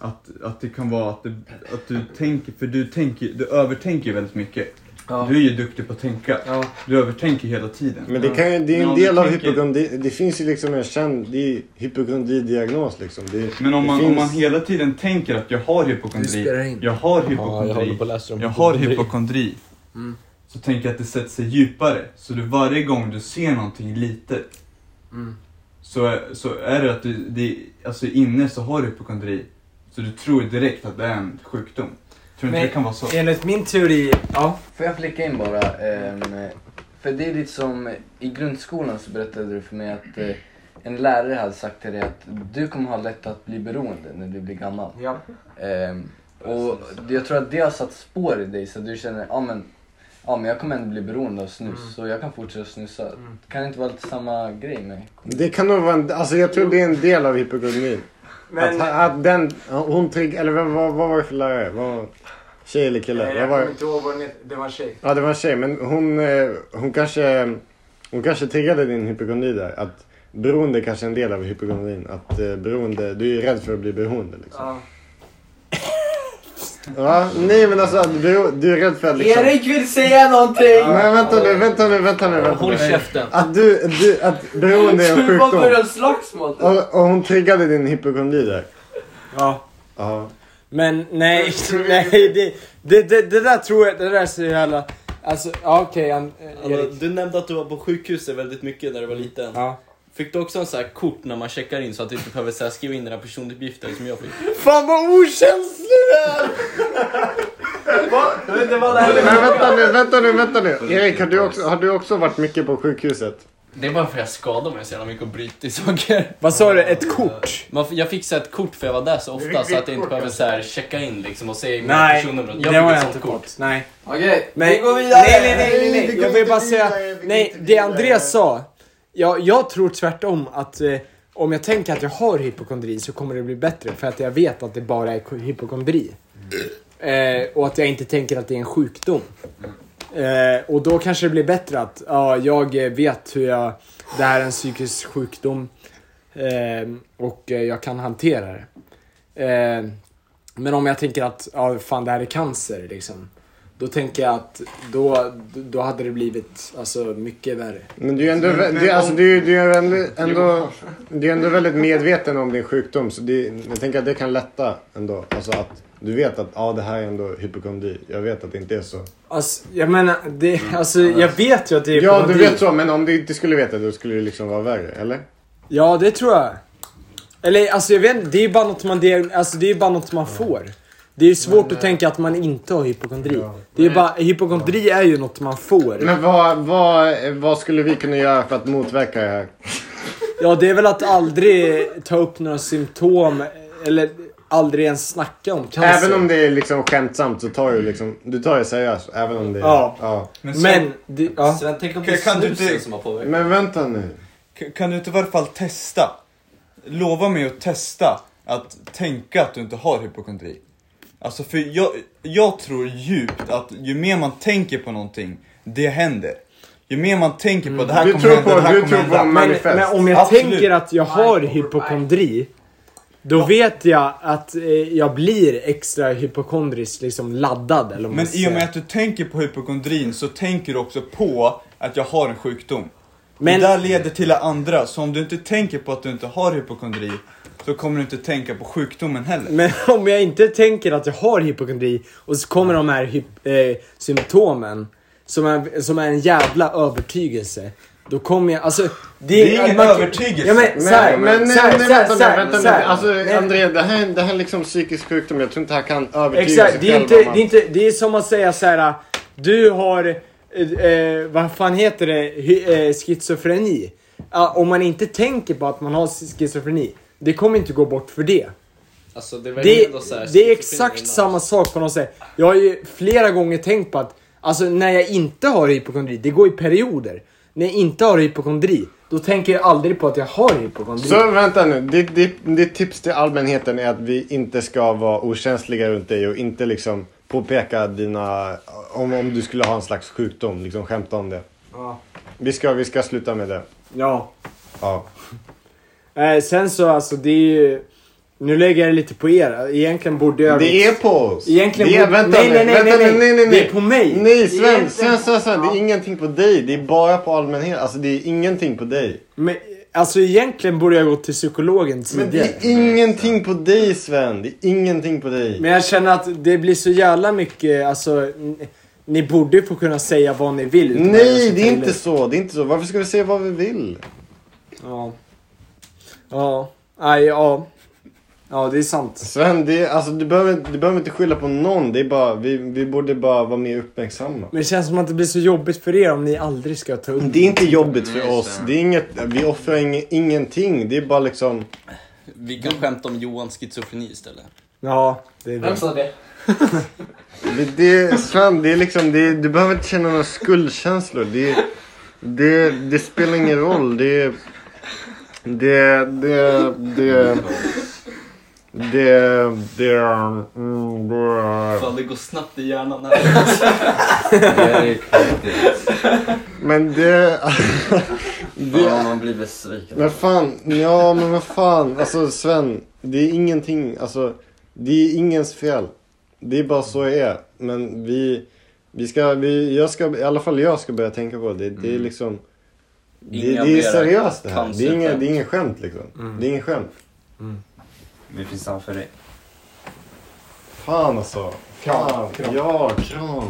Speaker 8: Att, att det kan vara att, det, att du tänker, för du, tänker, du övertänker ju väldigt mycket.
Speaker 1: Ja.
Speaker 8: Du är ju duktig på att tänka.
Speaker 1: Ja.
Speaker 8: Du övertänker hela tiden.
Speaker 7: Men det, kan, ju- det är
Speaker 8: Men
Speaker 7: en
Speaker 8: om du
Speaker 7: del av
Speaker 8: tänker-
Speaker 7: hypokondri. Det finns ju liksom en känd det är hypokondridiagnos liksom. Det,
Speaker 8: Men om
Speaker 7: det
Speaker 8: man,
Speaker 7: finns,
Speaker 8: om man hela tiden tänker att jag har hypokondri, jag har
Speaker 6: Ja, jag
Speaker 8: hypokondri,
Speaker 6: håller på att läsa om
Speaker 8: jag har
Speaker 6: hypokondri.
Speaker 8: hypokondri. Så tänker jag att det sätter sig djupare. Så du, varje gång du ser någonting litet
Speaker 1: Mm.
Speaker 8: så, är- så är det att du, det, alltså inne så har du hypokondri. Så du tror direkt att det är en sjukdom. Tror du
Speaker 1: Men-
Speaker 8: inte det kan vara så?
Speaker 1: Enligt min teori, ja.
Speaker 9: Får jag flika in bara? ehm, För det är lite som eh, i grundskolan så berättade du för mig att eh, en lärare hade sagt till dig att du kommer ha lätt att bli beroende när du blir gammal.
Speaker 5: Ja.
Speaker 9: Ehm, och jag tror att det har satt spår i dig så du känner, ja ah, men, ja men jag kommer ändå bli beroende av snus
Speaker 5: Mm.
Speaker 9: så jag kan fortsätta snusa. Kan det inte vara lite samma grej med?
Speaker 7: Det kan nog vara en, alltså jag tror det är en del av hypogonmin.
Speaker 1: Men-
Speaker 7: Att, att den, hon trigg, eller vad, vad, vad var det för lärare? Vad, tjej eller kille?
Speaker 1: Nej,
Speaker 7: Vad
Speaker 1: jag
Speaker 7: var,
Speaker 1: kommer inte ihåg vad den heter. Det var en tjej.
Speaker 7: ja det var en tjej men hon, eh, hon kanske, hon kanske triggade din hypogoni där. Att beroende kanske är en del av hypogonin. Att eh, beroende, du är ju rädd för att bli beroende liksom.
Speaker 1: Ja.
Speaker 7: Ja, nej men alltså att bero, du är rädd för att liksom...
Speaker 5: Erik vill säga någonting!
Speaker 7: Men vänta nu, vänta nu, vänta nu. Vänta
Speaker 6: Håll
Speaker 7: nu.
Speaker 6: käften.
Speaker 7: Att du, du, att beroende är en
Speaker 5: Du bara
Speaker 7: sjukdom.
Speaker 5: börjar slagsmål!
Speaker 7: Och, och hon triggade din hypokondri där.
Speaker 1: ja.
Speaker 7: Ja.
Speaker 1: Men nej, nej det, det, det, det där tror jag, det där är så jävla... Alltså, ja, okej an- eh,
Speaker 6: Alltså,
Speaker 1: Erik.
Speaker 6: du nämnde att du var på sjukhuset väldigt mycket när du var liten.
Speaker 1: Ja.
Speaker 6: Fick du också en sån här kort när man checkar in så att du inte behöver så här skriva in dina personuppgifter som jag fick?
Speaker 1: Fan vad okänslig du är!
Speaker 7: Men vänta nu, vänta nu, vänta nu. Erik, har du också, har du också varit mycket på sjukhuset?
Speaker 6: Det är bara för att jag skadade mig så jävla mycket och brutit i saker.
Speaker 1: Vad sa du? Ett kort?
Speaker 6: Man, f- jag fick så här ett kort för jag var där så ofta så att jag inte behöver så här checka in liksom och säga mina
Speaker 1: Nej,
Speaker 6: personnummer.
Speaker 1: det
Speaker 6: fick
Speaker 1: var
Speaker 6: ett
Speaker 1: jag
Speaker 6: sånt
Speaker 1: inte kort. Nej.
Speaker 5: Okej,
Speaker 1: Nej.
Speaker 5: vi går vidare!
Speaker 1: Nej, nej, nej, nej,
Speaker 7: Vi
Speaker 1: nej.
Speaker 7: går
Speaker 1: Jag vill
Speaker 7: inte
Speaker 1: bara säga,
Speaker 7: vidare, vi går
Speaker 1: nej,
Speaker 7: inte
Speaker 1: det
Speaker 7: vidare.
Speaker 1: Andreas sa. Jag, jag tror tvärtom att eh, om jag tänker att jag har hypokondri så kommer det bli bättre för att jag vet att det bara är ko- hypokondri. Eh, och att jag inte tänker att det är en sjukdom. Eh, och då kanske det blir bättre att ja, jag eh, vet hur jag, det här är en psykisk sjukdom eh, och eh, jag kan hantera det. Eh, men om jag tänker att ja, fan det här är cancer liksom. Då tänker jag att då, då hade det blivit alltså, mycket värre.
Speaker 7: Men du är ändå, vä- du, alltså, du, du är ändå, ändå, du är ändå väldigt medveten om din sjukdom. Så det, jag tänker att det kan lätta ändå. Alltså att du vet att ja, det här är ändå hypokondri. Jag vet att det inte är så.
Speaker 1: Alltså, jag menar, det, alltså, jag vet ju att det är
Speaker 7: Ja, du
Speaker 1: hypokondri.
Speaker 7: vet så. Men om du inte skulle veta då skulle det liksom vara värre, eller?
Speaker 1: Ja, det tror jag. Eller alltså jag vet inte, det är ju bara något man, diag- alltså, det är ju bara något man får. Det är ju svårt att tänka att man inte har hypokondri. Det är ju bara, hypokondri är ju något man får.
Speaker 7: Men vad, vad, vad skulle vi kunna göra för att motverka det här?
Speaker 1: Ja, det är väl att aldrig ta upp några symptom eller aldrig ens snacka om cancer.
Speaker 7: Även om det är liksom skämtsamt så tar du liksom, du tar det seriöst. Även om det är...
Speaker 1: Ja. Men, det, ja.
Speaker 6: Sven, tänk om
Speaker 2: Kan-
Speaker 6: det är
Speaker 2: kan du
Speaker 6: snusen
Speaker 2: inte-
Speaker 6: som har påverkat?
Speaker 7: Men vänta nu.
Speaker 2: K- Kan du inte i varje fall testa? Lova mig att testa att tänka att du inte har hypokondri. Alltså för jag, jag tror djupt att ju mer man tänker på någonting, det händer. Ju mer man tänker på det här
Speaker 7: Du
Speaker 2: kommer
Speaker 7: Mm. tror
Speaker 2: hända,
Speaker 7: på-
Speaker 2: det här
Speaker 7: du
Speaker 2: kommer
Speaker 7: tror på
Speaker 2: hända.
Speaker 7: man-
Speaker 1: Men,
Speaker 7: Manifest.
Speaker 1: men om jag
Speaker 2: Absolut.
Speaker 1: tänker att jag har hypokondri, då vet jag att eh, jag blir extra hypokondrisk liksom laddad. Eller vad man
Speaker 2: Men i och med
Speaker 1: säger.
Speaker 2: att du tänker på hypokondrin så tänker du också på att jag har en sjukdom.
Speaker 1: Men-
Speaker 2: Det där leder till det andra, så om du inte tänker på att du inte har hypokondri så kommer du inte tänka på sjukdomen heller.
Speaker 1: Men om jag inte tänker att jag har hypokondri och så kommer de här hyp- eh, symptomen som är, som är en jävla övertygelse. Då kommer jag, alltså.
Speaker 2: Det är ingen
Speaker 1: man-
Speaker 2: övertygelse.
Speaker 1: Ja men
Speaker 7: Men,
Speaker 1: såhär,
Speaker 7: men nej,
Speaker 1: såhär,
Speaker 7: nej,
Speaker 1: såhär,
Speaker 7: vänta
Speaker 1: såhär,
Speaker 7: nu, vänta
Speaker 1: såhär.
Speaker 7: nu. Alltså
Speaker 1: Nej,
Speaker 7: André, det här, är- det här är liksom psykisk sjukdom. Jag tror inte han kan övertyga
Speaker 1: Exakt,
Speaker 7: sig
Speaker 1: det är,
Speaker 7: själv
Speaker 1: inte,
Speaker 7: om att-
Speaker 1: det, är inte, det är som att säga så här. Du har, eh, eh, vad fan heter det, Hy, eh, schizofreni. Ja, om man inte tänker på att man har schizofreni, det kommer inte gå bort för det.
Speaker 6: Alltså, det, var ju
Speaker 1: Det,
Speaker 6: ändå så här-
Speaker 1: det är exakt samma sak på något sätt. Jag har ju flera gånger tänkt på att, alltså när jag inte har hypokondri, det går i perioder. När jag inte har hypokondri, då tänker jag aldrig på att jag har hypokondri.
Speaker 7: Så vänta nu. Ditt, ditt, ditt tips till allmänheten är att vi inte ska vara okänsliga runt dig och inte liksom påpeka dina... Om, om du skulle ha en slags sjukdom, liksom skämta om det.
Speaker 1: Ja.
Speaker 7: Vi ska, vi ska sluta med det.
Speaker 1: Ja.
Speaker 7: Ja.
Speaker 1: Eh, sen så alltså, det är ju, nu lägger jag det lite på er. Egentligen borde jag...
Speaker 7: Det är på oss.
Speaker 1: Egentligen
Speaker 7: det är,
Speaker 1: borde-
Speaker 7: vänta
Speaker 1: nej,
Speaker 7: nu,
Speaker 1: nej, nej,
Speaker 7: vänta
Speaker 1: nej,
Speaker 7: nu,
Speaker 1: nej.
Speaker 7: nej, nej, nej.
Speaker 1: Det är på mig.
Speaker 7: Nej,
Speaker 1: Det är
Speaker 7: Sven,
Speaker 1: inte-
Speaker 7: Sven, Sven, Sven. Det är ingenting på dig. Det är bara på allmänheten. Alltså det är ingenting på dig.
Speaker 1: Men, alltså egentligen borde jag gå till psykologen
Speaker 7: Men det
Speaker 1: tidigare.
Speaker 7: är ingenting på dig, Sven. Det är ingenting på dig.
Speaker 1: Men jag känner att det blir så jävla mycket, alltså n- ni borde få kunna säga vad ni vill. utan att jag
Speaker 7: Nej,
Speaker 1: ska ta
Speaker 7: det är
Speaker 1: illa
Speaker 7: inte
Speaker 1: upp.
Speaker 7: så. Det är inte så. Varför ska vi säga vad vi vill?
Speaker 1: Ja. Ja. Nej, ja. Ja, det är sant.
Speaker 7: Sven, det, är- alltså, du, behöver, du behöver inte skylla på någon. Det är bara, vi, vi borde bara vara mer uppmärksamma.
Speaker 1: Men det känns som att det blir så jobbigt för er om ni aldrig ska ta upp
Speaker 7: Det är inte jobbigt för oss. Det är inget, vi offrar ing, ingenting. Det är bara liksom...
Speaker 6: Vi kan skämta om Johans schizofreni istället.
Speaker 1: Ja, det är det.
Speaker 5: sa det?
Speaker 7: Det, det, Sven, det är liksom, det, du behöver inte känna några skuldkänslor. Det, det, det spelar ingen roll. Det, det, det, det, det, det, mm, brr.
Speaker 6: Fan, det går snabbt i hjärnan här.
Speaker 10: Erik, riktigt.
Speaker 7: Men det,
Speaker 10: Fan, man blir besviken.
Speaker 7: men fan, ja men vad fan. Alltså Sven, det är ingenting, alltså det är ingens fel. Det är bara så det är. Men vi, vi ska, vi, jag ska, i alla fall jag ska börja tänka på det. Det är liksom, Det,
Speaker 10: Inga
Speaker 7: det är
Speaker 10: mera
Speaker 7: seriöst det här. Det är, inga,
Speaker 10: cancerskämt.
Speaker 7: det är ingen skämt liksom. Det är ingen skämt.
Speaker 10: Vi finns framför dig.
Speaker 7: Fan alltså. Fan. Ja, kram.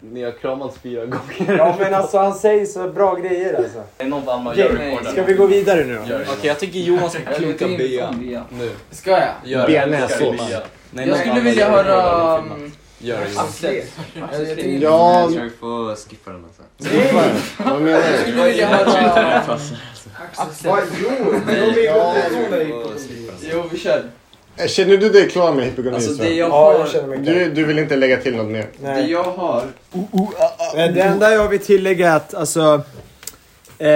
Speaker 6: Ni har kramats fyra gånger.
Speaker 1: Ja, men alltså han säger så bra grejer alltså.
Speaker 6: Är någon vann vad gör rekorden?
Speaker 1: Ska vi gå vidare nu då?
Speaker 6: Okej, jag tycker Johan ska klunka bea. Nu.
Speaker 5: Ska jag?
Speaker 6: Gör det.
Speaker 7: Bearnaisesås.
Speaker 6: Ska vi bea? Nej, någon
Speaker 5: Jag skulle
Speaker 6: annan
Speaker 5: vilja
Speaker 6: gör rekorden.
Speaker 5: höra...
Speaker 6: Filma.
Speaker 5: mm,
Speaker 6: Gör det Johan.
Speaker 5: Axel. Jag skulle
Speaker 7: Ja,
Speaker 10: Jag tror vi får skippa den alltså.
Speaker 7: fan. Vad menar du?
Speaker 5: vilja höra... Axel.
Speaker 10: Vi får skippa den.
Speaker 5: Jo, vi kör.
Speaker 7: Äh, Känner du dig klar med hypokondri
Speaker 6: Alltså
Speaker 7: Sven?
Speaker 6: det jag
Speaker 1: Ja, jag
Speaker 6: har...
Speaker 1: känner mig klar.
Speaker 7: du, du vill inte lägga till något mer?
Speaker 8: Det
Speaker 1: Nej.
Speaker 8: jag har,
Speaker 1: Men Det enda jag vill tillägga är att alltså... Eh,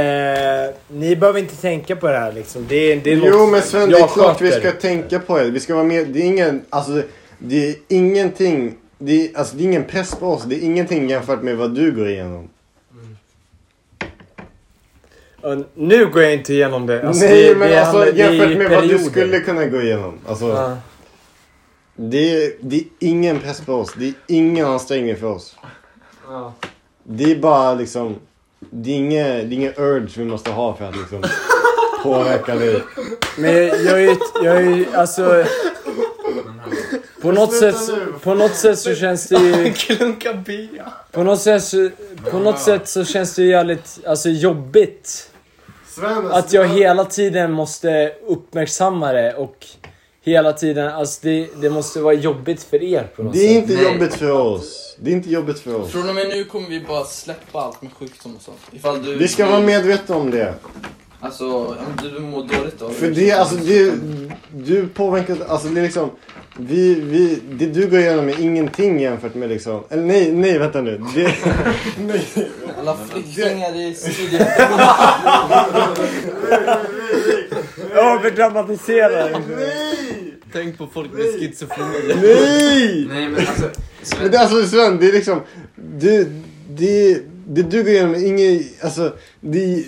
Speaker 1: ni behöver inte tänka på det här liksom. Det, är- det är
Speaker 7: Jo
Speaker 1: något
Speaker 7: men Sven, det
Speaker 1: jag
Speaker 7: är klart vi
Speaker 1: sköter.
Speaker 7: ska tänka på det. Vi ska vara med. Det är ingen, alltså det, det är ingenting. Det är, alltså, det är ingen press på oss. Det är ingenting jämfört med vad du går igenom.
Speaker 1: Och nu går jag inte igenom det. Alltså,
Speaker 7: Nej
Speaker 1: det,
Speaker 7: men
Speaker 1: det
Speaker 7: alltså
Speaker 1: handlar- det är
Speaker 7: jämfört med vad du
Speaker 1: perioder.
Speaker 7: skulle kunna gå igenom. Alltså,
Speaker 1: Ja.
Speaker 7: Det är, det är ingen press på oss. Det är ingen ansträngning för oss. Det är bara liksom... Det är ingen, det är ingen urge vi måste ha för att liksom påverka dig.
Speaker 1: Men jag, jag är ju... Jag är ju alltså... På något,
Speaker 7: Sluta
Speaker 1: sätt,
Speaker 7: nu.
Speaker 1: på något sätt så känns det ju...
Speaker 6: Klunka bea.
Speaker 1: På något sätt så, på något sätt så känns det ju jävligt alltså, jobbigt.
Speaker 7: Sven,
Speaker 1: Att jag hela tiden måste uppmärksamma det och hela tiden... Alltså det, det måste vara jobbigt för er på något
Speaker 7: Det är
Speaker 1: sätt.
Speaker 7: inte
Speaker 10: Nej.
Speaker 7: jobbigt för oss. Det är inte jobbigt för oss.
Speaker 5: Från och med nu kommer vi bara släppa allt med sjukdom och sånt. Ifall du...
Speaker 7: Vi ska vara medvetna om det.
Speaker 5: Alltså, om du mår dåligt av
Speaker 7: För det, alltså det... Du påverkar... Alltså det är liksom... Vi, vi, det du går igenom är ingenting jämfört med liksom... Eller nej, nej vänta nu. Det, nej.
Speaker 5: Alla flyktingar i Sydafrika.
Speaker 1: Överdramatiserar.
Speaker 6: Tänk på folk med schizofreni.
Speaker 7: Nej!
Speaker 10: Nej men alltså,
Speaker 7: Men det, alltså Sven, det är liksom... Du, det, det du går igenom är ingen... Alltså, det,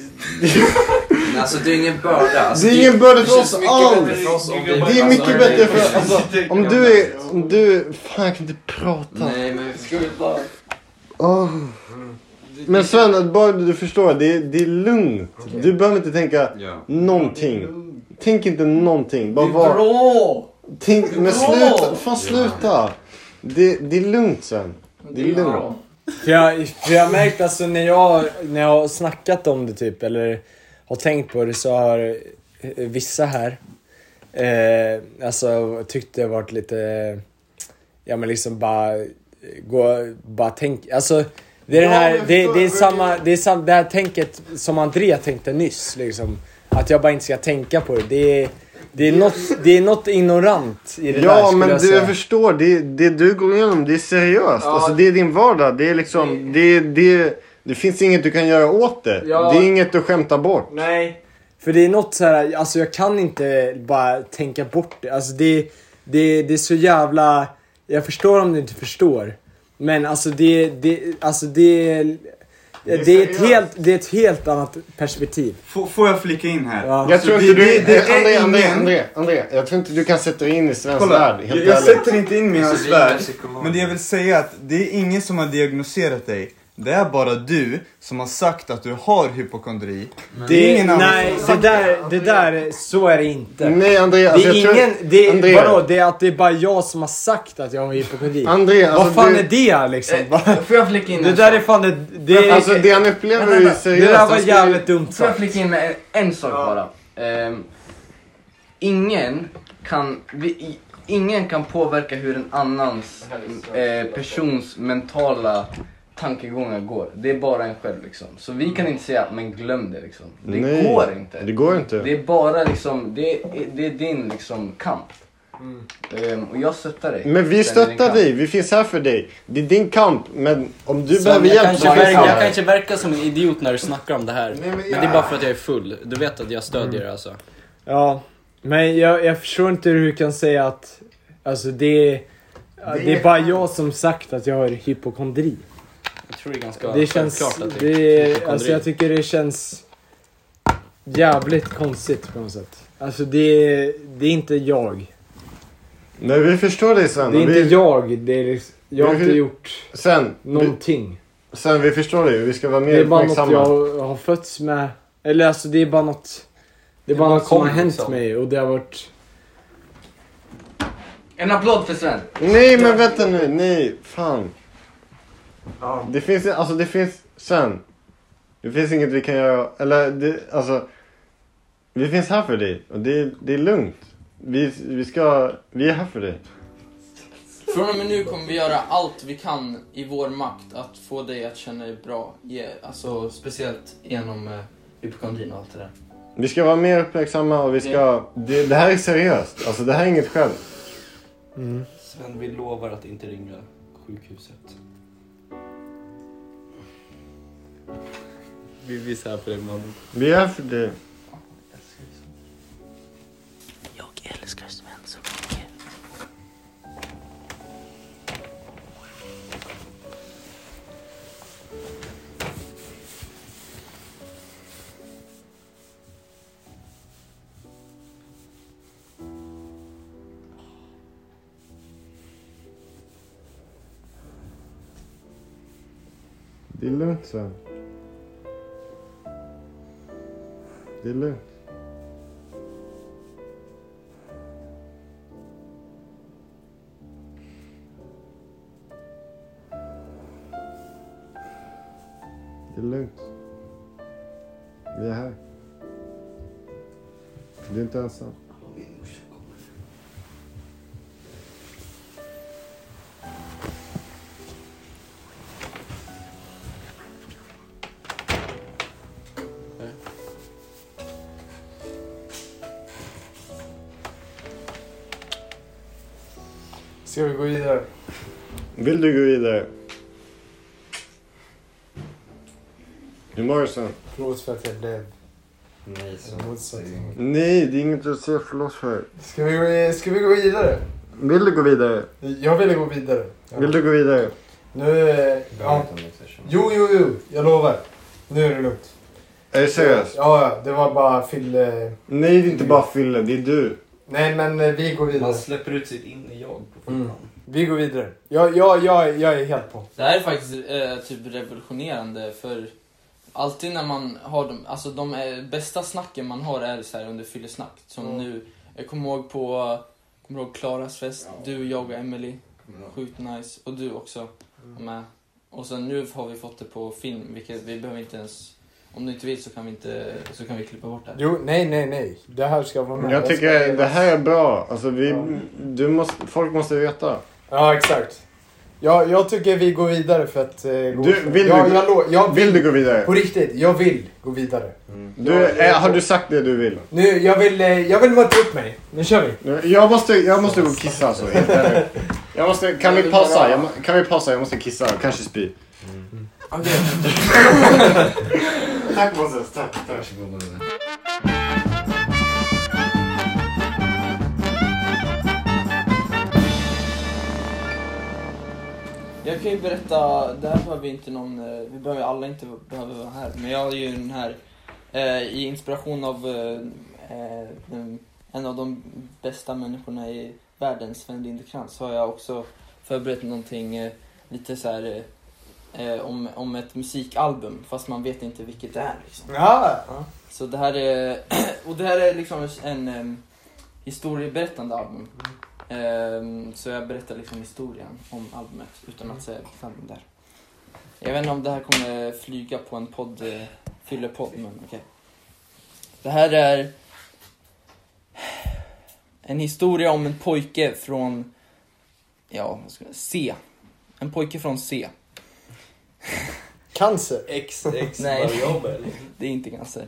Speaker 10: men alltså det är ingen börda. Alltså,
Speaker 7: det är ingen börda för
Speaker 10: känns
Speaker 7: oss
Speaker 10: mycket
Speaker 7: alls!
Speaker 10: bättre för oss om vi-
Speaker 7: Det är mycket
Speaker 10: alltså,
Speaker 7: bättre för... Alltså, om du är... Om du... Fan, jag kan inte prata.
Speaker 10: Nej men
Speaker 5: Ska vi bara...
Speaker 7: Åh. Men Sven, att bara du förstår, det är, det är lugnt. Du behöver inte tänka
Speaker 10: Ja.
Speaker 7: någonting. Tänk inte någonting. Bara var...
Speaker 5: Bra!
Speaker 7: Tänk, men
Speaker 5: bra.
Speaker 7: sluta! Fan sluta! Det, det är lugnt Sven. Det är lugnt.
Speaker 5: bra.
Speaker 1: För jag, för jag har märkt alltså när jag, när jag har snackat om det typ eller har tänkt på det så har eh, vissa här eh, alltså tyckt det varit lite ja men liksom bara gå, bara tänk, alltså det är den
Speaker 7: Ja,
Speaker 1: här,
Speaker 7: men
Speaker 1: det,
Speaker 7: för-
Speaker 1: det är samma, det är sam, det här tänket som Andrea tänkte nyss liksom. Att jag bara inte ska tänka på det. Det är, det är något, det är något ignorant i det där
Speaker 7: Ja
Speaker 1: skulle
Speaker 7: men
Speaker 1: jag
Speaker 7: du,
Speaker 1: säga.
Speaker 7: jag förstår, det, det du går igenom det är seriöst. Alltså det är din vardag. Det är liksom, det, det, det finns inget du kan göra åt det.
Speaker 1: Ja.
Speaker 7: Det är inget att skämta bort.
Speaker 1: Nej. För det är något så här, alltså jag kan inte bara tänka bort det. Alltså det, det, det är så jävla... Jag förstår om du inte förstår. Men alltså det, det, alltså det, det, är, ett helt, det är ett helt annat perspektiv.
Speaker 8: får, får jag flika in här?
Speaker 1: Ja.
Speaker 7: Jag tror
Speaker 8: Alltså, det-
Speaker 7: inte du...
Speaker 8: det- det är
Speaker 7: André,
Speaker 8: ingen-
Speaker 7: André, André, André. Jag tror inte du kan sätta dig in i svensk
Speaker 8: Kolla,
Speaker 7: värld, helt
Speaker 8: jag, jag
Speaker 7: ärligt.
Speaker 8: sätter inte in mig i hans
Speaker 10: Alltså, det är
Speaker 8: värld.
Speaker 10: ingen psykolog.
Speaker 8: Men det jag vill säga är att det är ingen som har diagnoserat dig. Det är bara du som har sagt att du har hypokondri. Det är ingen annan
Speaker 1: Nej,
Speaker 8: som
Speaker 1: det
Speaker 8: har sagt
Speaker 1: där, det där, så är det inte.
Speaker 7: Nej André,
Speaker 1: Det
Speaker 7: alltså
Speaker 1: är
Speaker 7: jag
Speaker 1: ingen,
Speaker 7: tror...
Speaker 1: det är,
Speaker 7: André,
Speaker 1: vadå? Det är att det är bara jag som har sagt att jag har hypokondri.
Speaker 7: André, alltså
Speaker 1: Vad fan
Speaker 7: du,
Speaker 1: är det liksom?
Speaker 8: Eh,
Speaker 9: Får jag flika in
Speaker 1: Det
Speaker 9: en
Speaker 1: där
Speaker 9: sak?
Speaker 1: är fan det... Det,
Speaker 7: Alltså det han upplever är ju
Speaker 1: det
Speaker 9: Alltså,
Speaker 7: seriöst.
Speaker 1: där
Speaker 7: Han
Speaker 1: var
Speaker 7: skulle-
Speaker 1: jävligt dumt
Speaker 9: Får jag
Speaker 1: sagt.
Speaker 9: flika in med en, en sak bara? Ehm, ingen kan, vi, i- ingen kan påverka hur en annans eh, persons mentala tankegångar går. Det är bara en själv liksom. Så vi kan inte säga, men glöm det liksom. Det
Speaker 7: Nej,
Speaker 9: går inte.
Speaker 7: det går inte.
Speaker 9: Det är bara liksom, det är, det är din liksom kamp. Ehm, och jag stöttar dig.
Speaker 7: Men
Speaker 9: Den är
Speaker 7: vi
Speaker 9: din
Speaker 7: stöttar
Speaker 9: kamp.
Speaker 7: dig, vi finns här för dig. Det är din kamp, men om du
Speaker 6: Så
Speaker 7: behöver
Speaker 6: jag,
Speaker 7: hjälp
Speaker 6: kanske
Speaker 7: så
Speaker 6: verkar,
Speaker 7: finns
Speaker 6: jag
Speaker 7: jag.
Speaker 6: kanske verkar som en idiot när du snackar om det här. men, det är bara för att jag är full. Du vet att jag stödjer mm. alltså.
Speaker 1: Ja, men jag, jag förstår inte hur du kan säga att... Alltså det är... Det, är bara jag som sagt att jag har hypokondri.
Speaker 6: Jag tror det är ganska
Speaker 1: det känns...
Speaker 6: självklart att
Speaker 1: det
Speaker 6: det
Speaker 1: är-
Speaker 6: hypokondri.
Speaker 1: alltså jag tycker det känns jävligt konstigt på något sätt. Alltså det är, det är inte jag.
Speaker 7: Nej, vi förstår dig sen.
Speaker 1: Det är inte
Speaker 7: vi...
Speaker 1: jag. Det är, liksom- jag har
Speaker 7: Vi-
Speaker 1: inte gjort
Speaker 7: Sen,
Speaker 1: någonting.
Speaker 7: vi... sen, vi förstår dig. Vi ska vara mer
Speaker 1: Det är bara något
Speaker 7: uppmärksamma.
Speaker 1: jag har fötts med. Eller alltså det är bara något... Det är bara något som har hänt mig och det har varit...
Speaker 9: En applåd för Sven.
Speaker 7: Nej, men vänta nu. Nej, fan. Det finns, alltså det finns, sen. Det finns inget vi kan göra, eller det, alltså. Vi finns här för dig och det, det är lugnt. Vi, vi ska, vi är här för dig.
Speaker 5: Från och med nu kommer vi göra allt vi kan i vår makt att få dig att känna dig bra. Yeah. Alltså speciellt genom eh, hypokondrin och allt det där.
Speaker 7: Vi ska vara mer uppmärksamma och vi ska, det, det här är seriöst. Alltså det här är inget skämt.
Speaker 1: mm.
Speaker 6: Sven, vi lovar att inte ringa sjukhuset. Vi vi är här för dig mannen.
Speaker 7: Vi är här för dig.
Speaker 4: Jag älskar Sven så mycket.
Speaker 7: Det är lugnt Sven. Det är lugnt. Det är lugnt. Vi är här. Du är inte ensam.
Speaker 1: Ska vi gå vidare?
Speaker 7: Vill du gå vidare? Hur mår du Sven?
Speaker 1: Förlåt för att jag blev...
Speaker 10: Nej, så.
Speaker 7: Nej, det är inget att se förlåt för.
Speaker 1: Ska vi, ska vi gå vidare?
Speaker 7: Vill du gå vidare?
Speaker 1: Jag ville gå vidare.
Speaker 7: Vill du gå vidare?
Speaker 1: Nu... eh, Ja. Jo, jo, jo. Jag lovar. Nu är det lugnt.
Speaker 7: Är det seriöst?
Speaker 1: Ja, ja. Det var bara fylle...
Speaker 7: Nej, det är inte bara Fille, det är du.
Speaker 1: Nej, men eh, vi går vidare.
Speaker 6: Man släpper ut sitt inre jag på förhand.
Speaker 1: Mm. Vi går vidare. Jag, jag, jag, jag är helt på.
Speaker 5: Det här är faktiskt eh, typ revolutionerande för alltid när man har de, alltså de eh, bästa snacken man har är så här under fyllesnack. Som nu, jag kommer ihåg på, kommer ihåg Klaras fest, du, jag och Emily. Sjukt nice. Och du också var med. Och sen nu har vi fått det på film, vilket vi behöver inte ens, om du inte vill så kan vi inte, så kan vi klippa bort det här.
Speaker 1: Jo, nej, nej, nej. Det här ska vara med.
Speaker 7: Jag tycker det här är bra. Alltså, vi, du måste, folk måste veta.
Speaker 1: Ja, exakt. Jag, jag tycker vi går vidare för att... Eh, gå
Speaker 7: Du, vill du
Speaker 1: jag,
Speaker 7: gå-
Speaker 1: jag, lo- jag
Speaker 7: Vill du gå vidare?
Speaker 1: På riktigt, jag vill gå vidare.
Speaker 7: Du, eh, har du sagt det du vill?
Speaker 1: Nu, jag vill, eh, jag vill möta upp mig. Nu kör vi.
Speaker 7: Nu, Jag måste, jag måste gå och kissa alltså. helt ärligt. Jag måste, kan vi pausa? Jag, må- kan vi pausa? Jag måste kissa och kanske spy.
Speaker 5: Okej.
Speaker 7: Tack Moses, tack. tack.
Speaker 5: Jag kan ju berätta, det här behöver vi inte någon, eh, vi behöver alla inte behöver vara här. Men jag är ju den här, eh, i inspiration av eh, eh, den, en av de bästa människorna i världen, Sven Lindekrantz, så har jag också förberett någonting eh, lite så här eh, eh, om, om ett musikalbum, fast man vet inte vilket det är. Liksom.
Speaker 1: Ja.
Speaker 5: Så det här är, och det här är liksom en em, historieberättande album. Em, så jag berättar liksom historien om albumet utan att säga vem det är. Jag vet inte om det här kommer flyga på en podd, eh, fyllepodd, men okej. Det här är En historia om en pojke från, ja, vad ska jag, C. En pojke från C.
Speaker 1: Cancer?
Speaker 6: XX
Speaker 5: Nej.
Speaker 6: variabel.
Speaker 5: Det är inte cancer.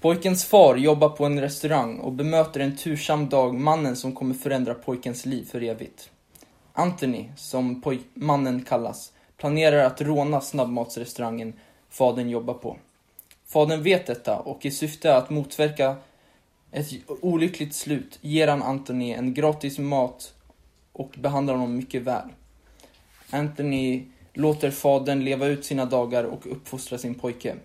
Speaker 5: Pojkens far jobbar på en restaurang och bemöter en tursam dag mannen som kommer förändra pojkens liv för evigt. Anthony, som poj- mannen kallas, planerar att råna snabbmatsrestaurangen fadern jobbar på. Fadern vet detta och i syfte att motverka ett olyckligt slut ger han Anthony en gratis mat och behandlar honom mycket väl. Anthony låter fadern leva ut sina dagar och uppfostra sin pojke.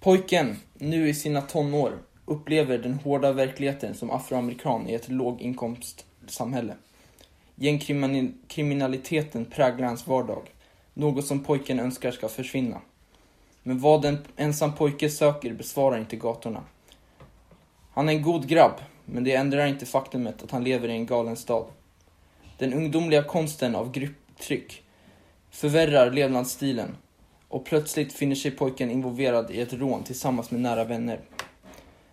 Speaker 5: Pojken, nu i sina tonår, upplever den hårda verkligheten som afroamerikan i ett låginkomstsamhälle. Gängkriminaliteten präglar hans vardag, något som pojken önskar ska försvinna. Men vad en ensam pojke söker besvarar inte gatorna. Han är en god grabb, men det ändrar inte faktumet att han lever i en galen stad. Den ungdomliga konsten av grupptryck förvärrar levnadsstilen och plötsligt finner sig pojken involverad i ett rån tillsammans med nära vänner.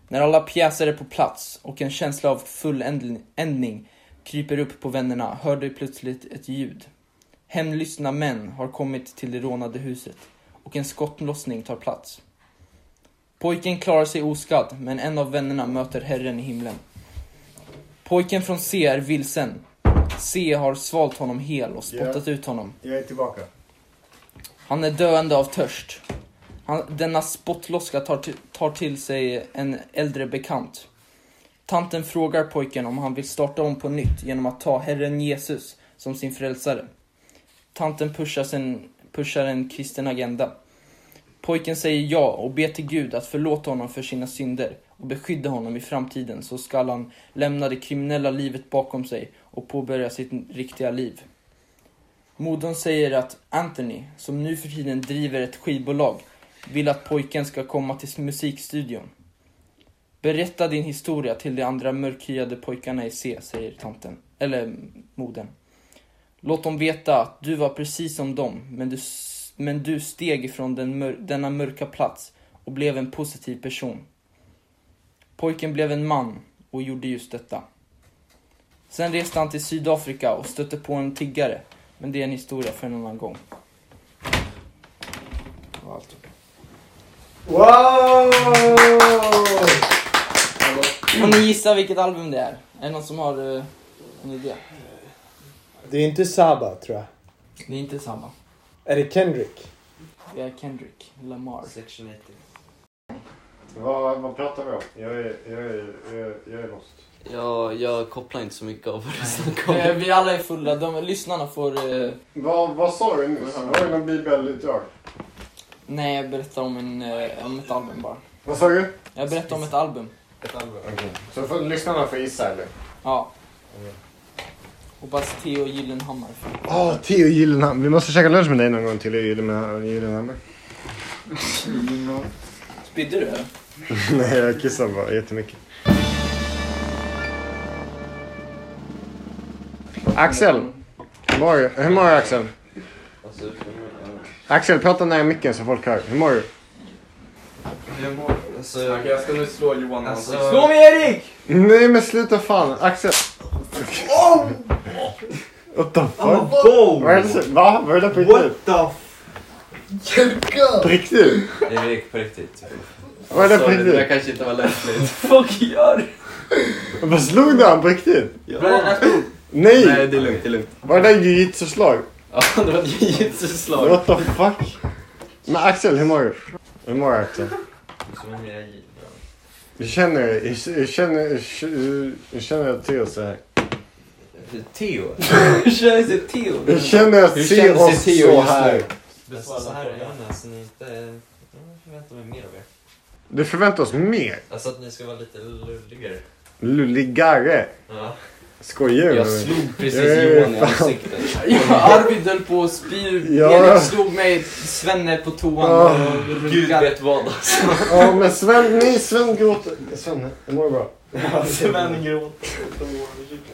Speaker 5: När alla pjäser är på plats och en känsla av fulländning kryper upp på vännerna hör de plötsligt ett ljud. Hemlystna män har kommit till det rånade huset och en skottlossning tar plats. Pojken klarar sig oskadd, men en av vännerna möter Herren i himlen. Pojken från C är vilsen. C har svalt honom hel och spottat ut honom.
Speaker 7: Jag är tillbaka.
Speaker 5: Han är döende av törst. Han, denna spottloska tar, ti- tar till sig en äldre bekant. Tanten frågar pojken om han vill starta om på nytt genom att ta Herren Jesus som sin frälsare. Tanten pushar, sin, pushar en kristen agenda. Pojken säger ja och ber till Gud att förlåta honom för sina synder och beskydda honom i framtiden så skall han lämna det kriminella livet bakom sig och påbörja sitt riktiga liv. Modern säger att Anthony, som nu för tiden driver ett skivbolag, vill att pojken ska komma till musikstudion. Berätta din historia till de andra mörkhyade pojkarna i C, säger tanten, eller modern. Låt dem veta att du var precis som dem, men du, s- men du steg ifrån den mör, denna mörka plats och blev en positiv person. Pojken blev en man och gjorde just detta. Sen reste han till Sydafrika och stötte på en tiggare, men det är en historia för en annan gång. alltså.
Speaker 1: Wow!
Speaker 5: Får ni gissa vilket album det är? Är det någon som har eh, en idé?
Speaker 1: Det är inte Saba, tror jag.
Speaker 5: Det är inte samma.
Speaker 1: Är det Kendrick?
Speaker 5: Det är Kendrick Lamar.
Speaker 10: Section 80.
Speaker 7: Vad, vad pratar vi om? Jag är, jag är, jag är, jag är lost.
Speaker 6: Ja, jag kopplar inte så mycket av vad du snackar
Speaker 5: Eh,
Speaker 6: om.
Speaker 5: vi alla är fulla, de, lyssnarna får... eh,
Speaker 7: Vad, vad sa du nyss? Var det någon bibelutdrag?
Speaker 5: nej, jag berättar om, en, eh, om ett album bara.
Speaker 7: Vad sa du?
Speaker 5: Jag berättar om ett album.
Speaker 7: Så får, lyssnarna får gissa eller?
Speaker 5: Ja. Hoppas Theo Gyllenhammar får-
Speaker 7: Åh, Theo Gyllenhammar. Vi måste käka lunch med dig någon gång, Theo Gyllenha- Gyllenhammar.
Speaker 5: Spydde du eller?
Speaker 7: Nej, jag kissar bara jättemycket. Axel! Hur mår du? Hur mår du Axel?
Speaker 6: Alltså,
Speaker 7: Axel, prata nära micken så folk hör. Hur mår du?
Speaker 10: Alltså, jag ska nu slå Johan alltså,
Speaker 5: Slå mig Erik!
Speaker 7: Nej men sluta fan. Axel. What the fuck? Vad är det så- Va? Var det där på riktigt?
Speaker 2: What the f...
Speaker 7: På riktigt?
Speaker 10: Erik, på riktigt.
Speaker 7: Var det där på
Speaker 10: Sorry, det där
Speaker 7: riktigt?
Speaker 10: kanske inte var lämpligt.
Speaker 5: Fuck gör du?
Speaker 7: Vad slog du han på riktigt?
Speaker 10: Nej,
Speaker 7: Nej!
Speaker 10: det är lugnt, det är lugnt.
Speaker 7: Var det där jujutsu-slag?
Speaker 6: Ja, det var ett jujutsu-slag.
Speaker 7: What the fuck? Men Axel, hur mår du? Hur mår du Axel? Jag känner, jag känner, jag känner, jag känner att Theo så här.
Speaker 10: Theo?
Speaker 5: Hur känns det Theo?
Speaker 7: Jag känner att
Speaker 10: Hur
Speaker 7: se
Speaker 10: känns det
Speaker 7: oss
Speaker 10: Theo
Speaker 7: så
Speaker 10: just
Speaker 7: här.
Speaker 10: nu? Alltså, så här är jag alltså, ni inte... Jag förväntar mig mer av er.
Speaker 7: Du förväntar oss mer.
Speaker 10: Alltså att ni ska vara lite lulligare.
Speaker 7: Lulligare.
Speaker 10: Ja.
Speaker 7: Skojar du med
Speaker 6: Jag
Speaker 7: mig?
Speaker 6: slog precis
Speaker 7: Jag-
Speaker 6: Johan i ansiktet.
Speaker 5: Ja, Arvid höll på att spy ut.
Speaker 7: Ja.
Speaker 5: Erik slog mig, Svenne på toan
Speaker 7: Åh.
Speaker 5: och
Speaker 6: Gud
Speaker 5: runkade.
Speaker 6: vet vad alltså.
Speaker 7: Ja men Sven, nej Sven gråter. Sven, hur mår du bra?
Speaker 10: Sven gråter.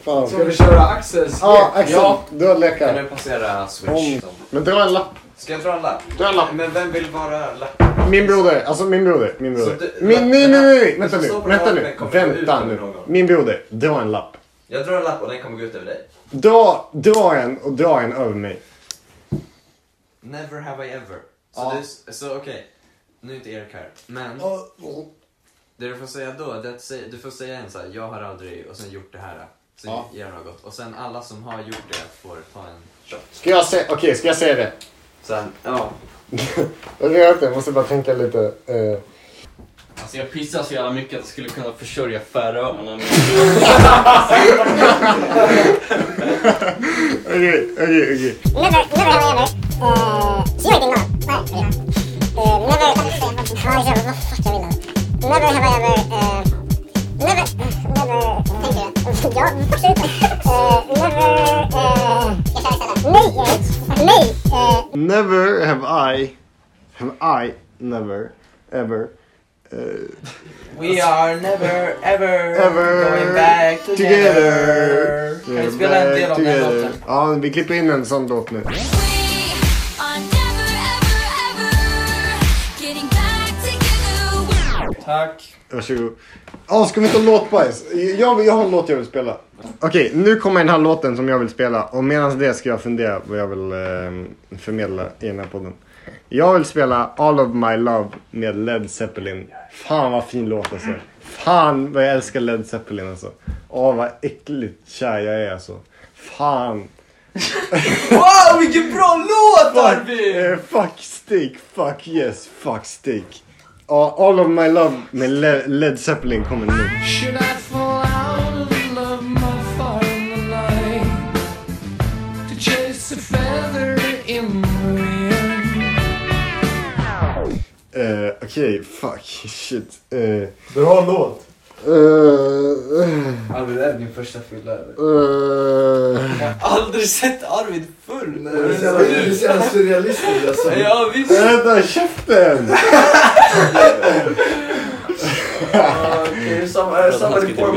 Speaker 7: Fan.
Speaker 1: Ska vi köra Axels
Speaker 7: Ja, Axel. Du har
Speaker 10: Kan du
Speaker 7: lekar.
Speaker 10: passera switch?
Speaker 7: Om... Men dra en lapp.
Speaker 10: Ska jag dra en lapp?
Speaker 7: Dra en lapp.
Speaker 10: Men vem vill vara lapp?
Speaker 7: Min broder, alltså min broder, min broder.
Speaker 10: Så du-
Speaker 7: Min, nej, nej, nej, nej, vänta
Speaker 10: Så
Speaker 7: nu,
Speaker 10: står på
Speaker 7: vänta
Speaker 10: raden,
Speaker 7: nu,
Speaker 10: kommer det ut
Speaker 7: vänta
Speaker 10: över
Speaker 7: nu.
Speaker 10: någon?
Speaker 7: Min broder, dra en lapp.
Speaker 10: Jag drar en lapp och den kommer gå ut över dig.
Speaker 7: Dra, dra en och dra en över mig.
Speaker 10: Never have I ever. Så,
Speaker 7: Ja.
Speaker 10: du, så okej. Nu är inte Erik här. Men det du får säga då, det är att säga, du får säga en så här, jag har aldrig och sen gjort det här. Så
Speaker 7: Ja.
Speaker 10: gör något. Och sen alla som har gjort det får ta en shot.
Speaker 7: Ska jag säga, okej, ska jag säga det?
Speaker 10: Sen, ja.
Speaker 7: Jag vet inte, jag måste bara tänka lite. eh.
Speaker 6: Alltså jag pissar så jävla mycket att jag skulle kunna försörja Färöarna.
Speaker 7: Okej, okej, okej.
Speaker 11: Never, never have I ever uh, zero thing now. What? Uh, never. How is it? What fuck jag vill då? Never have I ever. Uh, never. Never. Uh, ja, absolut. Uh, never. Uh, nej, Erik. Nej. Uh,
Speaker 7: Never have I, have I, never, ever,
Speaker 5: We are never ever,
Speaker 7: Ever
Speaker 5: going back
Speaker 7: together.
Speaker 5: together. Kan vi spela en del av den
Speaker 7: Together.
Speaker 5: låten?
Speaker 7: Ja, vi klipper in en sån låt nu.
Speaker 5: Tack.
Speaker 7: Varsågod. Ja, ska vi ta låtbajs? Jag, jag har en låt jag vill spela. Okej, nu kommer den här låten som jag vill spela och medan det ska jag fundera vad jag vill eh, förmedla i den här podden. Jag vill spela All of my love med Led Zeppelin. Fan vad fin låt alltså. Fan vad jag älskar Led Zeppelin alltså. Åh vad äckligt kär jag är alltså. Fan.
Speaker 5: Wow, vilken bra låt Arvid!
Speaker 7: Eh, fuck steak, fuck yes, fuck steak. Ja, All of my love med Le- Led Zeppelin kommer nu. Eh, Okej, fuck, shit. Eh,
Speaker 2: Du har en låt.
Speaker 7: eh,
Speaker 9: Arvid, det är din första fylla eller?
Speaker 7: eh.
Speaker 5: Aldrig sett Arvid full.
Speaker 2: Du är så jävla surrealistisk alltså.
Speaker 5: Ja, visst.
Speaker 7: Vänta, käften!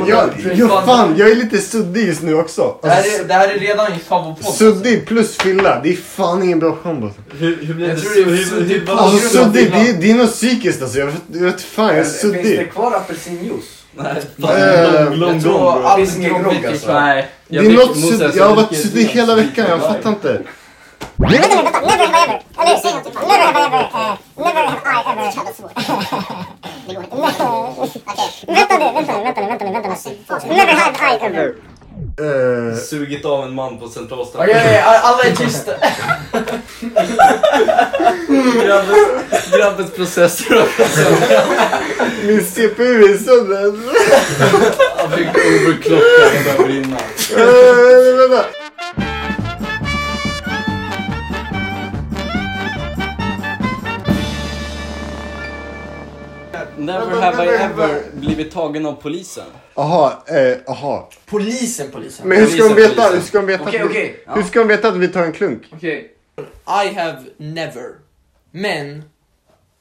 Speaker 7: Jag, jag, fan, jag är lite suddig just nu också.
Speaker 5: Det här är,
Speaker 7: Alltså,
Speaker 5: det här är redan i favoritpodd.
Speaker 7: suddig plus fylla, det är fan ingen bra kombo.
Speaker 6: Hur, hur blir
Speaker 5: Jag tror det är suddig på
Speaker 7: Alltså
Speaker 5: grund av
Speaker 7: suddig,
Speaker 5: fylla.
Speaker 7: det, är- det är något psykiskt alltså. Jag vet, jag vet fan, jag är suddig.
Speaker 9: kvar apelsinjuice?
Speaker 7: Eh,
Speaker 5: Jag tror
Speaker 9: Finns
Speaker 5: aldrig
Speaker 9: ingen
Speaker 5: någon
Speaker 9: grogg,
Speaker 5: dricker
Speaker 9: alltså.
Speaker 5: kvar.
Speaker 6: Nej.
Speaker 7: Det är något suddig, jag har varit suddig hela veckan, jag fattar inte.
Speaker 11: Never have I never have I ever. Eller säg någonting. Never have I ever. eh, never have I ever. Det går inte. Nej. Vänta nu, vänta nu, vänta nu, vänta nu, vänta nu. Never have I ever.
Speaker 7: Eh,
Speaker 6: Sugit av en man på centralstationen.
Speaker 5: Okej, okej, alla är tysta.
Speaker 6: Grabbens, grabbens processor har
Speaker 7: min CPU är sönder.
Speaker 6: fick overclocka och började brinna.
Speaker 7: Eh, vänta.
Speaker 6: Never have I ever blivit tagen av polisen.
Speaker 7: Aha, eh, aha.
Speaker 5: Polisen, polisen.
Speaker 7: Men hur ska de
Speaker 6: Polisen,
Speaker 7: veta, hur ska de veta,
Speaker 9: Okej,
Speaker 7: att, vi,
Speaker 9: okej.
Speaker 7: hur ska de veta att vi tar en klunk?
Speaker 5: Okej. I have never. Men,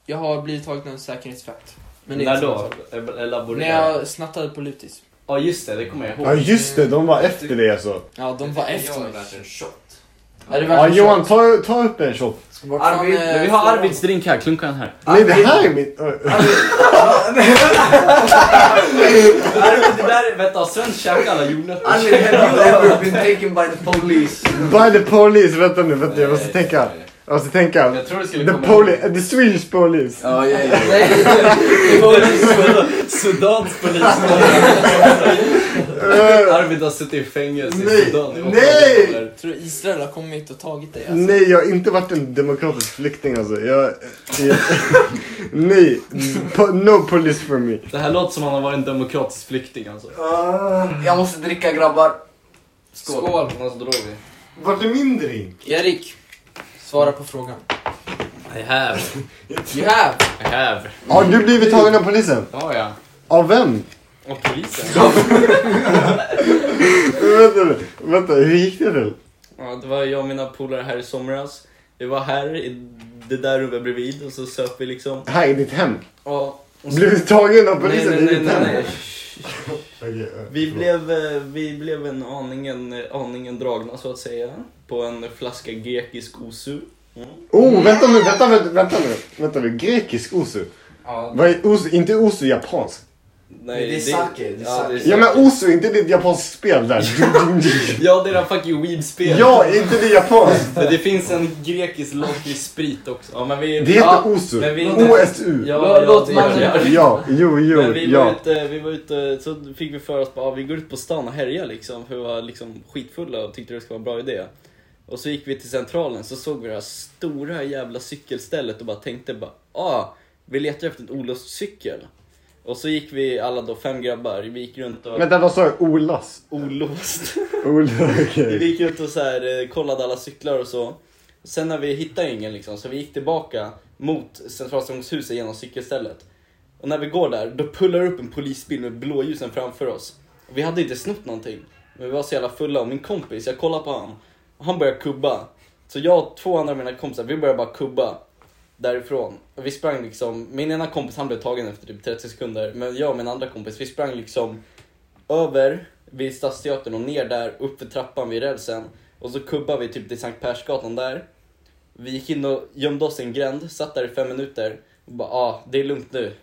Speaker 5: jag har blivit tagen av en säkerhetsvakt. Men det är
Speaker 6: När
Speaker 5: inte
Speaker 6: då?
Speaker 5: samma sak. När
Speaker 6: Elaborera.
Speaker 5: jag snattade på Lutis.
Speaker 6: Ja just det, det kommer jag ihåg.
Speaker 7: Ja just det, de var efter det alltså.
Speaker 5: Ja, de var efter
Speaker 10: Jag är
Speaker 5: mig.
Speaker 10: värt en shot.
Speaker 5: Är det värt
Speaker 7: Ja
Speaker 5: en
Speaker 7: Johan, ta, ta upp en shot.
Speaker 5: shot? Vart fan,
Speaker 9: Arvid,
Speaker 5: eh,
Speaker 6: Men vi har Ah, Arvids drink här, klunka den här.
Speaker 7: Nej det här är min... eh,
Speaker 6: Det där, vänta, Sven käkar alla jordnötter.
Speaker 9: Arvid, have you ever been taken by the police?
Speaker 7: By the police, vänta nu, vänta jag måste tänka. Jag måste tänka.
Speaker 6: Jag tror det skulle
Speaker 7: The
Speaker 6: komma...
Speaker 7: police, the Swedish police.
Speaker 9: Ja, ja, ja.
Speaker 5: Nej, det var
Speaker 6: Sudans polis.
Speaker 7: Eh,
Speaker 6: Arvid har suttit i fängelse
Speaker 7: Nej,
Speaker 6: i Sudan. i åtta
Speaker 7: nej!
Speaker 6: dagar.
Speaker 5: Jag tror Israel har kommit och tagit dig alltså.
Speaker 7: Nej, jag har inte varit en demokratisk flykting alltså. Jag, jag, nej, po, no police for me.
Speaker 6: Det här låter som han har varit en demokratisk flykting alltså.
Speaker 7: Ah,
Speaker 9: Jag måste dricka grabbar.
Speaker 6: Skål. Skål. Annars drar vi.
Speaker 7: Vart är min drink?
Speaker 5: Erik, svara på frågan.
Speaker 6: I have.
Speaker 5: You have!
Speaker 6: I have.
Speaker 7: Har du blivit tagen av polisen?
Speaker 6: Ja, ja.
Speaker 7: Av vem?
Speaker 6: Och polisen.
Speaker 7: Vänta, nu, vänta, hur gick det till?
Speaker 6: Ja, det var jag och mina polare här i somras. Vi var här i det där rummet bredvid och så söp vi liksom.
Speaker 7: Här i ditt hem.
Speaker 6: Ja, och så...
Speaker 7: Blivit tagen av polisen
Speaker 6: nej,
Speaker 7: i
Speaker 6: nej,
Speaker 7: ditt
Speaker 6: nej,
Speaker 7: hem?
Speaker 6: nej, Vi blev, eh, vi blev en aningen, eh, aningen dragna så att säga på en flaska grekisk osu. Mm.
Speaker 7: Oh, vänta nu, vänta, vänta, vänta nu. Vänta nu, grekisk osu.
Speaker 6: Ja.
Speaker 7: Vad är osu? Inte osu japansk?
Speaker 6: Nej,
Speaker 7: Det är
Speaker 6: sake. Det
Speaker 7: Ja,
Speaker 6: är sake.
Speaker 7: men osu, inte det japanskt spel där.
Speaker 12: Ja, det är den fucking weeb-spel.
Speaker 7: ja, inte det japanskt.
Speaker 12: Men det finns en grekisk lakritssprit också.
Speaker 6: Ja, men vi,
Speaker 7: Det heter osu.
Speaker 6: men vi-
Speaker 7: OSU.
Speaker 6: Ja, ja, det gör det.
Speaker 7: Ja, jo, jo,
Speaker 6: Men vi var,
Speaker 7: ja.
Speaker 6: ute, vi var ute, så fick vi för oss att vi går ut på stan och härjar liksom, för vi var liksom skitfulla och tyckte det skulle vara en bra idé. Och så gick vi till centralen, så såg vi det här stora jävla cykelstället och bara tänkte bara, ah, vi letar efter en olustcykel. Och så gick vi alla då, fem grabbar, vi gick runt och...
Speaker 7: Vänta, vad sa jag? Olas?
Speaker 6: Olost.
Speaker 7: Olas, okej.
Speaker 6: Vi gick ut och så här, eh, kollade alla cyklar och så. Sen när vi hittade ingen liksom, så vi gick tillbaka mot Centralstationshuset genom cykelstället. Och när vi går där, då pullar upp en polisbil med blåljusen framför oss. Och vi hade inte snott någonting. Men vi var så jävla fulla och min kompis, jag kollade på honom. Och han började kubba. Så jag och två andra av mina kompisar, vi började bara kubba. Därifrån. Och vi sprang liksom, min ena kompis han blev tagen efter typ 30 sekunder. Men jag och min andra kompis, vi sprang liksom över vid Stadsteatern och ner där, upp för trappan vid rälsen. Och så kubbade vi typ till Sankt Persgatan där. Vi gick in och gömde oss i en gränd, satt där i fem minuter och bara ah, det är lugnt nu.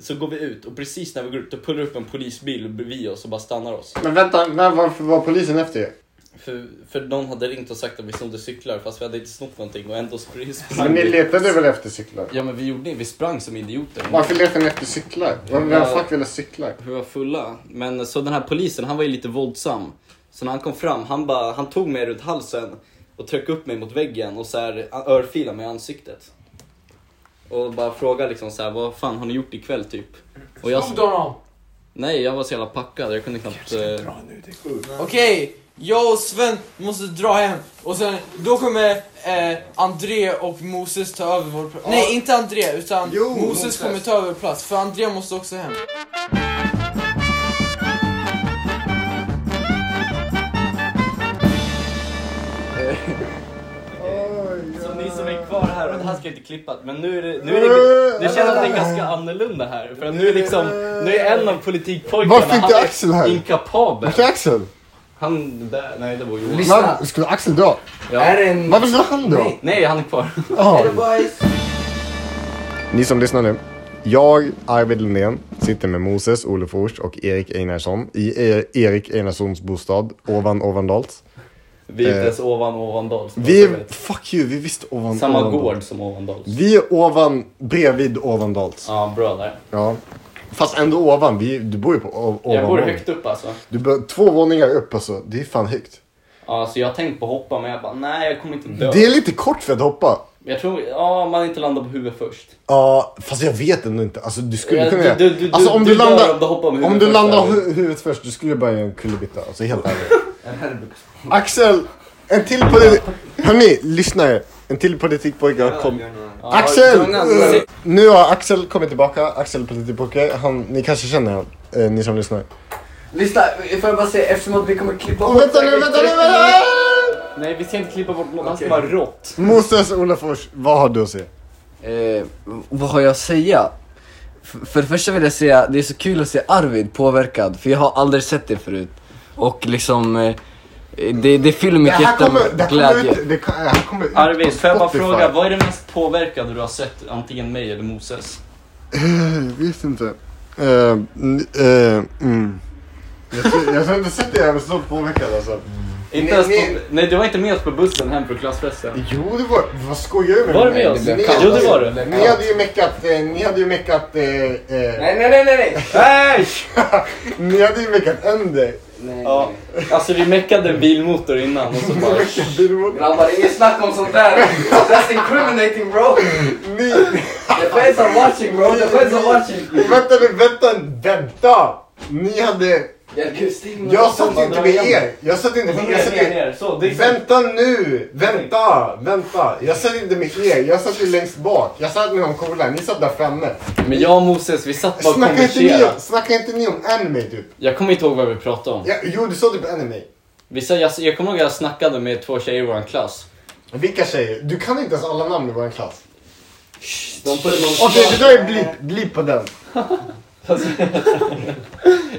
Speaker 6: Så går vi ut och precis när vi går ut då pullar upp en polisbil bredvid oss och bara stannar oss.
Speaker 7: Men vänta, men varför var polisen efter er?
Speaker 6: För, för någon hade ringt och sagt att vi snodde cyklar fast vi hade inte snott någonting och ändå spr- sprang
Speaker 7: Men ni
Speaker 6: vi.
Speaker 7: letade väl efter cyklar?
Speaker 6: Ja men vi gjorde det, vi sprang som idioter.
Speaker 7: Varför letar ni efter cyklar? Vem, vem fuck vill ha cyklar?
Speaker 6: Vi var fulla. Men så den här polisen, han var ju lite våldsam. Så när han kom fram, han, bara, han tog mig runt halsen och tryckte upp mig mot väggen och så här, örfilade mig i ansiktet. Och bara frågade liksom så här, vad fan har ni gjort ikväll typ? Och jag,
Speaker 5: Snodde honom?
Speaker 6: nej, jag var så jävla packad. Jag kunde knappt... eh,
Speaker 5: Okej, jag och Sven måste dra hem och sen då kommer eh, André och Moses ta över vår plats. Nej, inte André utan Moses,
Speaker 13: Moses.
Speaker 5: kommer ta över plats för André måste också hem.
Speaker 6: Så ni som är kvar här, och det här ska jag inte klippa, men nu är det, nu är
Speaker 7: Eh.
Speaker 6: det, det känns att det är ganska annorlunda här. För att nu är liksom, nu är en av politikpojkarna,
Speaker 7: Varför inte
Speaker 6: han är
Speaker 7: Axel här?
Speaker 6: inkapabel.
Speaker 7: Varför är Axel?
Speaker 6: Han där, nej det var Johan.
Speaker 7: Var, skulle Axel dra?
Speaker 6: Ja.
Speaker 7: Varför skulle han dra?
Speaker 6: Nej, nej, han är kvar.
Speaker 7: Ja. Är det Ni som lyssnar nu. Jag, Arvid Lundén, sitter med Moses Olofors och Erik Einarsson i E- Erik Einarssons bostad ovan Ovandals.
Speaker 6: Vi är inte
Speaker 7: Eh,
Speaker 6: ens ovan Ovandals.
Speaker 7: Vi är, fuck you, vi är visst ovan
Speaker 6: Samma
Speaker 7: Ovandals.
Speaker 6: gård som Ovandals.
Speaker 7: Vi är ovan, bredvid Ovandals.
Speaker 6: Ja, bra där.
Speaker 7: Ja. Fast ändå ovan, vi, du bor ju på o- ovan.
Speaker 6: Jag bor högt upp alltså.
Speaker 7: Du bor två våningar upp alltså, det är fan högt.
Speaker 6: Ja, så jag har tänkt på att hoppa men jag bara, nej jag kommer inte dö.
Speaker 7: Det är lite kort för att hoppa.
Speaker 6: Jag tror, ja man inte landar på huvudet först.
Speaker 7: Ja, fast jag vet ändå inte. Alltså du skulle
Speaker 6: Ja,
Speaker 7: kunna
Speaker 6: du-
Speaker 7: göra...
Speaker 6: du- du-
Speaker 7: alltså
Speaker 6: du-
Speaker 7: om du,
Speaker 6: du dör
Speaker 7: landar,
Speaker 6: om du hoppar med
Speaker 7: om
Speaker 6: huvudet
Speaker 7: du
Speaker 6: först,
Speaker 7: landar
Speaker 6: Arvid.
Speaker 7: hu- huvudet först, du skulle bara göra en kullerbytta. Alltså helt ärligt. Axel! En till på det... Hörni, lyssna här. En till politikpojke har kommit. Axel!
Speaker 6: alltså.
Speaker 5: Jonas.
Speaker 7: Nu har Axel kommit tillbaka. Axel politikpojke. Han, ni kanske känner honom, eh, ni som lyssnar.
Speaker 13: Lyssna, får jag bara säga eftersom att vi kommer klippa
Speaker 7: bort Vänta nu,
Speaker 13: säkert
Speaker 7: vänta nu,
Speaker 13: 30
Speaker 7: vänta!
Speaker 6: Nej vi ska inte klippa bort något, han ska vara rått.
Speaker 7: Moses Olofors, vad har du att säga?
Speaker 13: Eh, vad har jag att säga? F- för det första vill jag säga, det är så kul att se Arvid påverkad, för jag har aldrig sett det förut. Och liksom, eh, det, det fyller
Speaker 7: Det
Speaker 13: mig
Speaker 7: här
Speaker 13: hjärta
Speaker 7: kommer, det
Speaker 13: med
Speaker 7: här kommer
Speaker 13: glädje.
Speaker 7: ut, det kan- det här kommer ut på
Speaker 6: Arvid, får jag bara
Speaker 7: Spotify.
Speaker 6: fråga, vad är det mest påverkade du har sett? Antingen mig eller Moses?
Speaker 7: Eh, Jag vet inte. Eh, n- eh, mm. Jag tror- jag har inte sett det här med så påverkad alltså.
Speaker 6: Inte
Speaker 7: Nej,
Speaker 6: ens
Speaker 7: nej.
Speaker 6: på, nej, du var inte med oss på bussen hem från klassfesten.
Speaker 7: Jo, det var... Vad skojar du med
Speaker 6: Var du
Speaker 7: mig?
Speaker 6: med oss?
Speaker 7: Ni-
Speaker 6: Jo, det var du.
Speaker 7: Ni hade ju meckat... eh, Ni hade ju meckat... eh, eh,
Speaker 13: Nej, nej, nej, nej, nej!
Speaker 7: Ni hade ju meckat Ender.
Speaker 6: Ja, alltså vi meckade en bilmotor innan och så bara...
Speaker 13: Grabbar, inget snack om sånt där. That's incriminating bro.
Speaker 7: Ni...
Speaker 13: The fans are watching bro, the fans are watching.
Speaker 7: Vänta nu, vänta, vänta! Ni hade... Jag satt ju inte med er. Jag satt inte med
Speaker 6: Ner,
Speaker 7: jag satt
Speaker 6: ner, ner. Så, det är-
Speaker 7: ju- Vänta nu! Vänta! Vänta! Jag satt inte med er. Jag satt ju längst bak. Jag satt med de coola. Ni satt där framme.
Speaker 6: Men jag och Moses, vi satt bara och
Speaker 7: Snacka inte, ni om,
Speaker 6: konverserade.
Speaker 7: snacka inte ni om anime typ?
Speaker 6: Jag kommer inte ihåg vad vi pratade om.
Speaker 7: Ja, jo, du sa typ anime.
Speaker 6: Vi sa, jag, jag kommer ihåg att jag snackade med två tjejer i vår klass.
Speaker 7: Vilka tjejer? Du kan inte ens alla namn i vår klass.
Speaker 6: De på, de,
Speaker 7: Okej, det där är blip. Blip på den.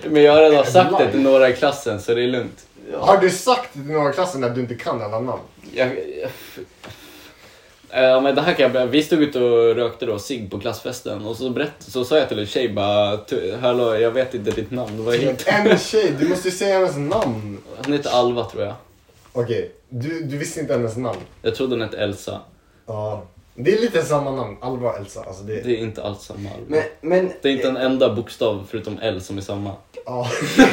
Speaker 6: Men jag har redan sagt det till några i klassen så det är lugnt.
Speaker 7: Har du sagt till några i klassen att du inte kan alla namn?
Speaker 6: Jag, jag, Ja, men det här kan jag berätta. Vi stod ute och rökte då cigg på klassfesten och så, berätt, så sa jag till en tjej bara "Tu- Hallå, jag vet inte ditt namn. Vad heter
Speaker 7: En tjej, du måste ju säga hennes namn.
Speaker 6: Hon heter Alva tror jag.
Speaker 7: Okej, du, du visste inte hennes namn.
Speaker 6: Jag trodde hon hette Elsa.
Speaker 7: Ja. Det är lite samma namn, Alva och Elsa. Alltså det...
Speaker 6: Det är inte alls samma Alva.
Speaker 7: Men- men-
Speaker 6: det är inte en enda bokstav förutom L som är samma.
Speaker 7: Ja.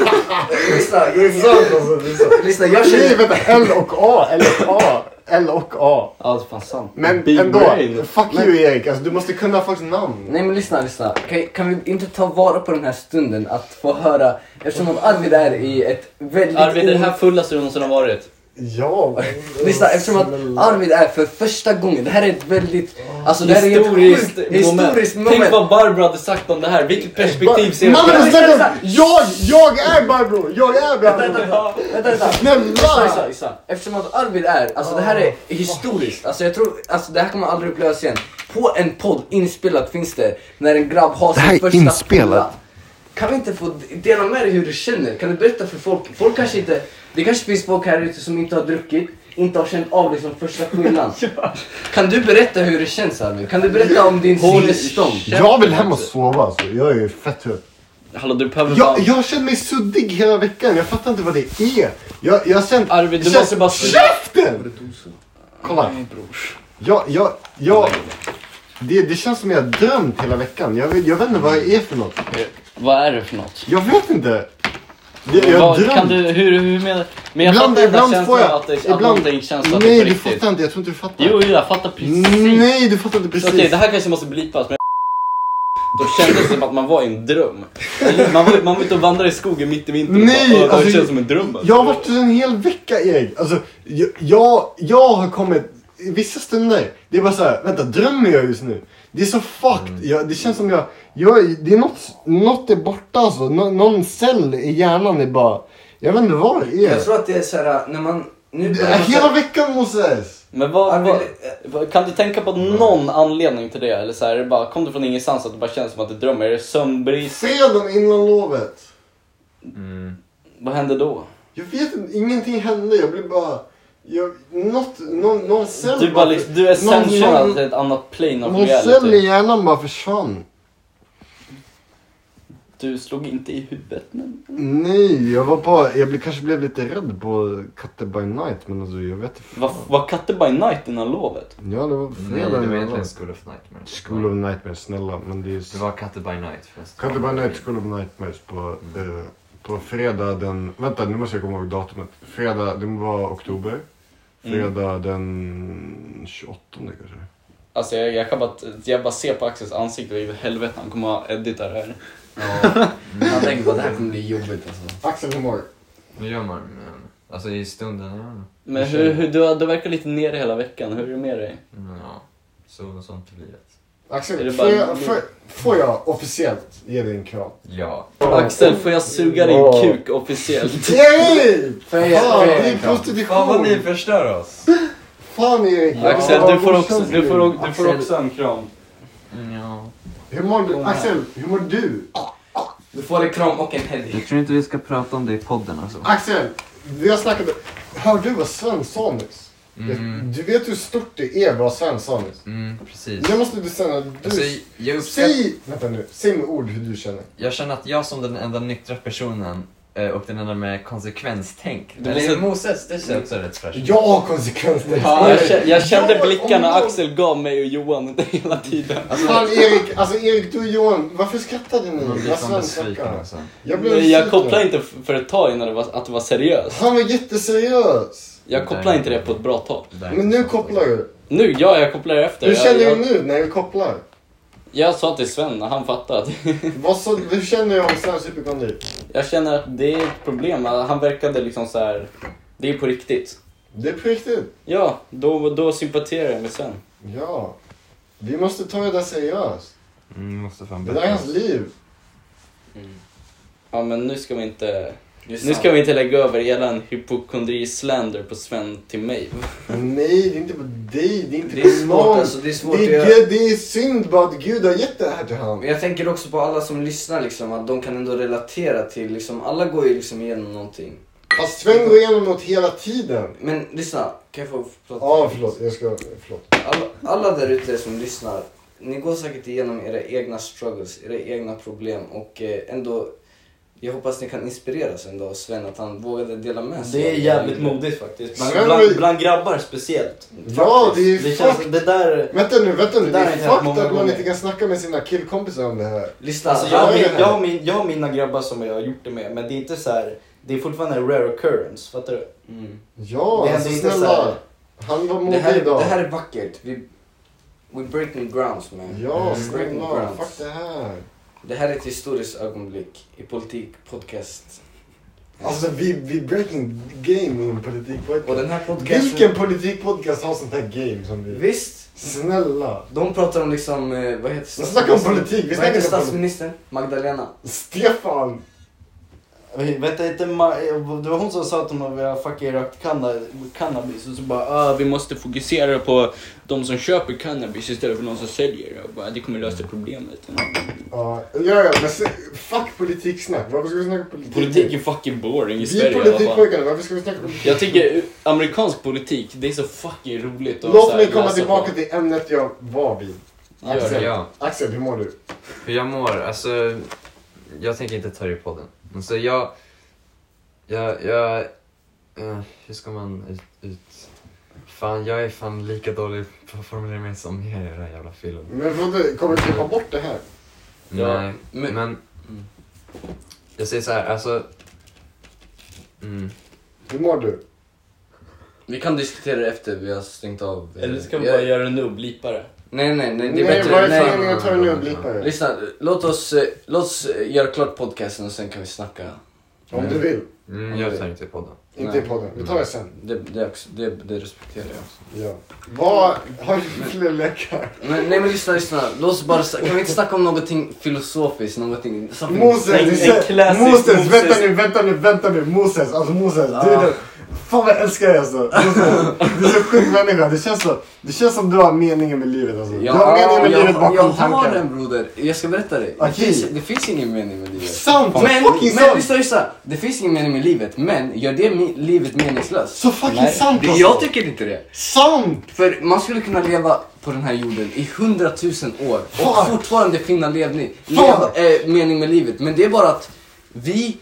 Speaker 14: Lyssna, jag,
Speaker 7: Det är sant alltså. Det är sant.
Speaker 14: Lyssna, jag känner-
Speaker 7: Nej, vänta. L och A, L och A, L och A.
Speaker 6: Ja, det är fan sant.
Speaker 7: Men
Speaker 6: Big
Speaker 7: ändå,
Speaker 6: brain.
Speaker 7: fuck you Erik. Alltså, du måste kunna folks namn.
Speaker 9: Nej men lyssna, lyssna. Kan, kan vi inte ta vara på den här stunden att få höra, eftersom att Arvid är i ett väldigt...
Speaker 6: Arvid, är det här
Speaker 9: o-
Speaker 6: fullaste du någonsin har varit?
Speaker 7: Ja.
Speaker 9: Lyssna, eftersom att Arvid är för första gången, det här är ett väldigt... Alltså det här är ett
Speaker 6: historiskt,
Speaker 9: sjukt
Speaker 6: moment.
Speaker 9: historiskt moment.
Speaker 6: Tänk vad Barbro hade sagt om det här. Vilket
Speaker 7: Eh,
Speaker 6: perspektiv ser du
Speaker 7: Man
Speaker 6: på
Speaker 7: vill
Speaker 6: det?
Speaker 7: snacka om... Jag, jag är Barbro! Jag är Barbro!
Speaker 9: Vänta, vänta. Lyssna, lyssna,
Speaker 7: Snälla!
Speaker 9: lyssna. Eftersom att Arvid är, alltså det här
Speaker 7: Ah,
Speaker 9: är historiskt. Alltså jag tror, alltså det här kommer aldrig upplevas igen. På en podd inspelat finns det när en grabb har
Speaker 7: Det här är
Speaker 9: sin första
Speaker 7: inspelat.
Speaker 9: fulla. Kan vi inte få dela med dig hur du känner? Kan du berätta för folk? Folk kanske inte, det kanske finns folk här ute som inte har druckit, inte har känt av liksom första skillnaden. Kan du berätta hur det känns Arvid? Kan du berätta om din
Speaker 7: Håll
Speaker 9: sinnesstånd?
Speaker 7: Jag vill hem och sova alltså. Jag är fett trött.
Speaker 6: Hallå, du behöver
Speaker 7: Jag, jag känner mig suddig hela veckan. Jag fattar inte vad det är. Jag, jag har känt...
Speaker 6: Arvid, du
Speaker 7: känt-
Speaker 6: måste bara-
Speaker 7: Käften! Kolla. Jag, jag, jag... Det, det känns som jag har drömt hela veckan. Jag, vet- jag vet inte vad jag är för något.
Speaker 6: Vad är det för något?
Speaker 7: Jag vet inte. Det, jag har
Speaker 6: Vad- kan
Speaker 7: drömt.
Speaker 6: du, hur, hur menar Men jag
Speaker 7: ibland
Speaker 6: fattar den
Speaker 7: ibland
Speaker 6: där
Speaker 7: får
Speaker 6: känslan
Speaker 7: jag...
Speaker 6: att, det, att någonting känns att det
Speaker 7: nej,
Speaker 6: är på
Speaker 7: du
Speaker 6: riktigt.
Speaker 7: fattar inte. Jag tror inte du fattar.
Speaker 6: Jo, jo, jag fattar precis.
Speaker 7: Nej, du fattar inte precis.
Speaker 6: Okej, det här kanske måste blipas men då kändes det som att man var i en dröm. Man var, man var ute och vandrade i skogen mitt i vintern och
Speaker 7: Nej! alltså,
Speaker 6: bara, "Åh, det här känns som en dröm. alltså.
Speaker 7: Jag har varit en hel vecka Erik. Alltså, jag, jag, jag har kommit, i vissa stunder, det är bara så här, vänta drömmer jag just nu? Det är så fucked.
Speaker 6: Mm.
Speaker 7: Jag, det känns som jag, jag det är något, något är borta alltså. Nå, någon cell i hjärnan är bara, jag vet inte vad det är.
Speaker 9: Jag tror att det är såhär, när man... Nu
Speaker 7: Det är hela veckan Moses!
Speaker 6: Men vad, vad, vad, kan du tänka på någon anledning till det? Eller så här, är det bara, kom du från ingenstans att det bara känns som att du drömmer? Är det sömnbrist?
Speaker 7: Fredagen innan lovet. Mm,
Speaker 6: Vad händer då?
Speaker 7: Jag vet inte, ingenting hände. Jag blev bara, jag, något, någon, någon cell
Speaker 6: Du, bara, liksom- du är sensual till ett annat plane of
Speaker 7: någon cell i
Speaker 6: reality.
Speaker 7: hjärnan bara försvann.
Speaker 6: Du slog inte i huvudet nu.
Speaker 7: Nej, jag var bara, jag blev, kanske blev lite rädd på Cutter by Night men alltså jag vet inte.
Speaker 6: Var, var katter by night innan lovet?
Speaker 7: Ja, det var fredag.
Speaker 6: det var
Speaker 7: innan
Speaker 6: egentligen
Speaker 7: då.
Speaker 6: School of Nightmares.
Speaker 7: School of Nightmares, snälla. Men det, är... det
Speaker 10: var Cutter by Night förresten.
Speaker 7: Cutter by Night, School of Nightmares på, eh, på fredag den, vänta nu måste jag komma ihåg datumet. Fredag, det var oktober. Fredag den 28 kanske.
Speaker 6: Alltså jag, jag kan bara, jag bara ser på Axels ansikte och i helvete han kommer att edita det här.
Speaker 9: Jag tänker på att det här kommer bli jobbigt alltså.
Speaker 7: Axel, hur mår du?
Speaker 10: Nu gör man men, Alltså i stunden, ja.
Speaker 6: Men hur, hur, du, du verkar lite nere hela veckan, hur är det med dig?
Speaker 10: Ja, så, sånt blir alltså. det.
Speaker 6: Är
Speaker 7: Axel,
Speaker 6: det
Speaker 7: får
Speaker 6: bara-
Speaker 7: jag, får, får jag officiellt ge dig en kram?
Speaker 10: Ja.
Speaker 6: Axel, får jag suga din
Speaker 7: Wow.
Speaker 6: kuk officiellt?
Speaker 7: Yay!
Speaker 10: Får jag-
Speaker 7: Fan,
Speaker 10: får jag-
Speaker 7: det är prostitution!
Speaker 10: Fan vad ni förstör oss.
Speaker 7: Fan Erik!
Speaker 6: Axel,
Speaker 7: Ja,
Speaker 6: du får
Speaker 7: vad
Speaker 6: också,
Speaker 7: känns
Speaker 6: du
Speaker 7: det?
Speaker 6: får, o- du får
Speaker 7: Axel,
Speaker 6: också en kram.
Speaker 10: Ja.
Speaker 7: Hur mår du? Axel, hur mår du?
Speaker 9: Du får en kram och en helg.
Speaker 10: Jag tror inte vi ska prata om det i podden alltså.
Speaker 7: Axel, vi har snackat Hörde du vad Sven sa nyss?
Speaker 10: Mm.
Speaker 7: Du vet hur stort det är vad Sven sa nyss?
Speaker 10: Mm, precis.
Speaker 7: Nu måste du säga... Du,
Speaker 10: Alltså, jag uppskatt-
Speaker 7: Säg... Vänta nu. Säg med ord hur du känner.
Speaker 10: Jag känner att jag som den enda nyktra personen eh, och den enda med konsekvenstänk.
Speaker 6: Du
Speaker 10: Eller
Speaker 6: måste-
Speaker 10: Moses, det känns rätt fräscht.
Speaker 7: Jag har konsekvenser. Alltså,
Speaker 6: Ja, jag, kä- jag kände
Speaker 7: Ja,
Speaker 6: blickarna
Speaker 7: om någon-
Speaker 6: Axel gav mig och Johan under hela tiden.
Speaker 7: Fan Erik, alltså Erik du och Johan, varför skrattade ni?
Speaker 10: Man blir
Speaker 7: Vad
Speaker 10: fan
Speaker 7: Sven
Speaker 10: besviken,
Speaker 7: snackar.
Speaker 10: alltså.
Speaker 7: Jag blev
Speaker 6: Nej, jag
Speaker 7: besviken.
Speaker 6: kopplade inte f- för ett tag innan det var, att det var seriöst.
Speaker 7: Han var jätteseriös.
Speaker 6: Jag kopplade inte det på ett bra tag.
Speaker 7: Men nu kopplar du.
Speaker 6: Nu, ja, jag kopplar efter.
Speaker 7: Hur
Speaker 6: Jag-
Speaker 7: känner du
Speaker 6: jag,
Speaker 7: nu när vi kopplar?
Speaker 6: jag sa till Sven när han fattade. att-
Speaker 7: Vad så, hur känner du om Svens hypokondri?
Speaker 6: Jag känner att det är ett problem. Han verkade liksom så här. det är på riktigt.
Speaker 7: Det är på riktigt.
Speaker 6: Ja, då, då sympatiserar jag med Sven.
Speaker 7: Ja. Vi måste ta det där seriöst.
Speaker 10: Mm, måste fan
Speaker 7: Det där är hans liv.
Speaker 6: Ja, men nu ska vi inte... Nu
Speaker 7: sant.
Speaker 6: ska vi inte lägga över hela en hypokondri-slander på Sven till mig.
Speaker 7: Nej, det är inte på dig, det är inte
Speaker 15: Det
Speaker 7: på
Speaker 15: är svårt,
Speaker 7: någon.
Speaker 15: alltså, det är svårt
Speaker 7: det,
Speaker 15: att
Speaker 7: är,
Speaker 15: göra.
Speaker 7: det är synd bara att Gud har gett det här till honom.
Speaker 15: Men jag tänker också på alla som lyssnar liksom, att de kan ändå relatera till, liksom, alla går ju liksom igenom någonting.
Speaker 7: Fast Sven går igenom något hela tiden.
Speaker 15: Men lyssna, kan jag få prata?
Speaker 7: Ja, förlåt. Jag ska... Förlåt.
Speaker 15: Alla, alla där ute som lyssnar, ni går säkert igenom era egna struggles, era egna problem och eh, ändå, jag hoppas ni kan inspireras ändå av Sven att han vågade dela med sig.
Speaker 6: Det är
Speaker 15: av
Speaker 6: jävligt
Speaker 15: livet.
Speaker 6: modigt faktiskt.
Speaker 15: Sven
Speaker 6: Bland,
Speaker 15: var ju-
Speaker 6: bland, bland grabbar speciellt.
Speaker 7: Ja, det är ju
Speaker 6: det känns,
Speaker 7: fucked.
Speaker 6: det där,
Speaker 7: Vänta nu, vänta nu. Det,
Speaker 6: där har
Speaker 7: är
Speaker 6: inte hänt
Speaker 7: fucked
Speaker 6: många
Speaker 7: att man
Speaker 6: gånger.
Speaker 7: inte kan snacka med sina killkompisar om det här.
Speaker 6: Lyssna, alltså, jag, har min, jag, har min, jag har mina grabbar som jag har gjort det med, men det är inte så här. Det är fortfarande en rare occurrence, fattar du?
Speaker 7: Ja,
Speaker 6: händer
Speaker 7: alltså
Speaker 6: inte
Speaker 7: snälla.
Speaker 6: så här-
Speaker 7: Han var
Speaker 15: Det
Speaker 7: modig
Speaker 15: här,
Speaker 7: idag.
Speaker 15: det här är vackert. Vi, we breaking grounds man.
Speaker 7: Ja,
Speaker 15: Mm. Breaking
Speaker 7: snälla.
Speaker 15: grounds.
Speaker 7: Fuck det här.
Speaker 15: Det här är ett historiskt ögonblick i politik podcast.
Speaker 7: Alltså vi, vi breaking game i en politikpodcast.
Speaker 15: Och den här podcasten-
Speaker 7: Vilken politikpodcast har sånt här game som vi?
Speaker 15: Visst?
Speaker 7: Snälla.
Speaker 15: De pratar om liksom, eh, vad heter
Speaker 7: Vi snackar om politik, vi
Speaker 15: Vad heter
Speaker 7: snackar om
Speaker 15: statsministern? Magdalena.
Speaker 7: Stefan!
Speaker 6: Vänta, inte Ma- det var hon som sa att de har fucking rökt canna- cannabis och så bara ah, vi måste fokusera på de som köper cannabis istället för de som säljer det. Och bara, det kommer lösa problemet.
Speaker 7: Ja, ja, ja, men se- fuck politiksnack. Varför ska vi snacka politik?
Speaker 6: Politik är fucking boring i
Speaker 7: Vi
Speaker 6: Sverige
Speaker 7: är
Speaker 6: i alla fall.
Speaker 7: politikpojkarna, varför ska vi snacka politik?
Speaker 6: Jag tycker amerikansk politik, det är så fucking roligt att så
Speaker 7: Låt
Speaker 6: här
Speaker 7: mig komma
Speaker 6: läsa
Speaker 7: tillbaka
Speaker 6: på.
Speaker 7: till ämnet jag var vid.
Speaker 10: Gör det,
Speaker 7: Axel,
Speaker 10: ja.
Speaker 7: Axel hur mår du?
Speaker 10: Hur jag mår? Alltså, jag tänker inte ta det i podden. Alltså jag... Jag... jag eh, hur ska man ut, ut... Fan, jag är fan lika dålig på att formulera mig som er i den här jävla filmen.
Speaker 7: Men vadå, kommer du klippa bort det här?
Speaker 10: Nej, men...
Speaker 6: Mm.
Speaker 10: Jag säger så här, alltså... Mm.
Speaker 7: Hur mår du?
Speaker 15: Vi kan diskutera det efter vi har stängt av. eh,
Speaker 6: Eller ska vi
Speaker 15: jag-
Speaker 6: bara göra det nu och blipa det?
Speaker 15: Nej, nej, nej. Det
Speaker 7: Nej,
Speaker 15: är bättre.
Speaker 7: vad är föreningen att ta det nu och blippa det?
Speaker 15: Lyssna, låt oss, eh, låt oss eh, göra klart podcasten och sen kan vi snacka.
Speaker 7: Om du vill.
Speaker 10: Mm, jag tar inte i podden.
Speaker 7: Inte i podden. Vi tar det sen.
Speaker 15: Det, det, också, det, det respekterar jag.
Speaker 7: Ja. Vad har du fler läckar?
Speaker 15: Men, nej men lyssna, lyssna. Låt oss bara, sna- kan vi inte snacka om någonting filosofiskt? Någonting... something-
Speaker 7: Moses,
Speaker 15: en- en
Speaker 7: du ser,
Speaker 15: klassisk
Speaker 7: Moses, vänta nu, vänta nu, vänta nu. Moses, alltså Moses. Du
Speaker 15: Ah.
Speaker 7: är den, fan vad jag älskar dig alltså. Moses, du är så sjuk människa. Det känns, så, det känns som du har meningen med livet alltså. Du
Speaker 15: Ja,
Speaker 7: har meningen med
Speaker 15: jag,
Speaker 7: livet
Speaker 15: jag
Speaker 7: bakom
Speaker 15: har den
Speaker 7: tanken. Ah,
Speaker 15: broder. Jag ska berätta dig.
Speaker 7: Okej.
Speaker 15: Det, finns, det finns ingen mening med livet.
Speaker 7: Sant,
Speaker 15: Men,
Speaker 7: fucking
Speaker 15: men
Speaker 7: sant.
Speaker 15: lyssna, lyssna. Det finns ingen mening med livet. Men gör det mi- livet meningslöst?
Speaker 7: Så fucking sant,
Speaker 15: det-
Speaker 7: alltså.
Speaker 15: Jag tycker inte det.
Speaker 7: Sant!
Speaker 15: För man skulle kunna leva på den här jorden i hundratusen år och
Speaker 7: Fan.
Speaker 15: fortfarande finna levning,
Speaker 7: Fan.
Speaker 15: leva, eh, mening med livet. Men det är bara att vi,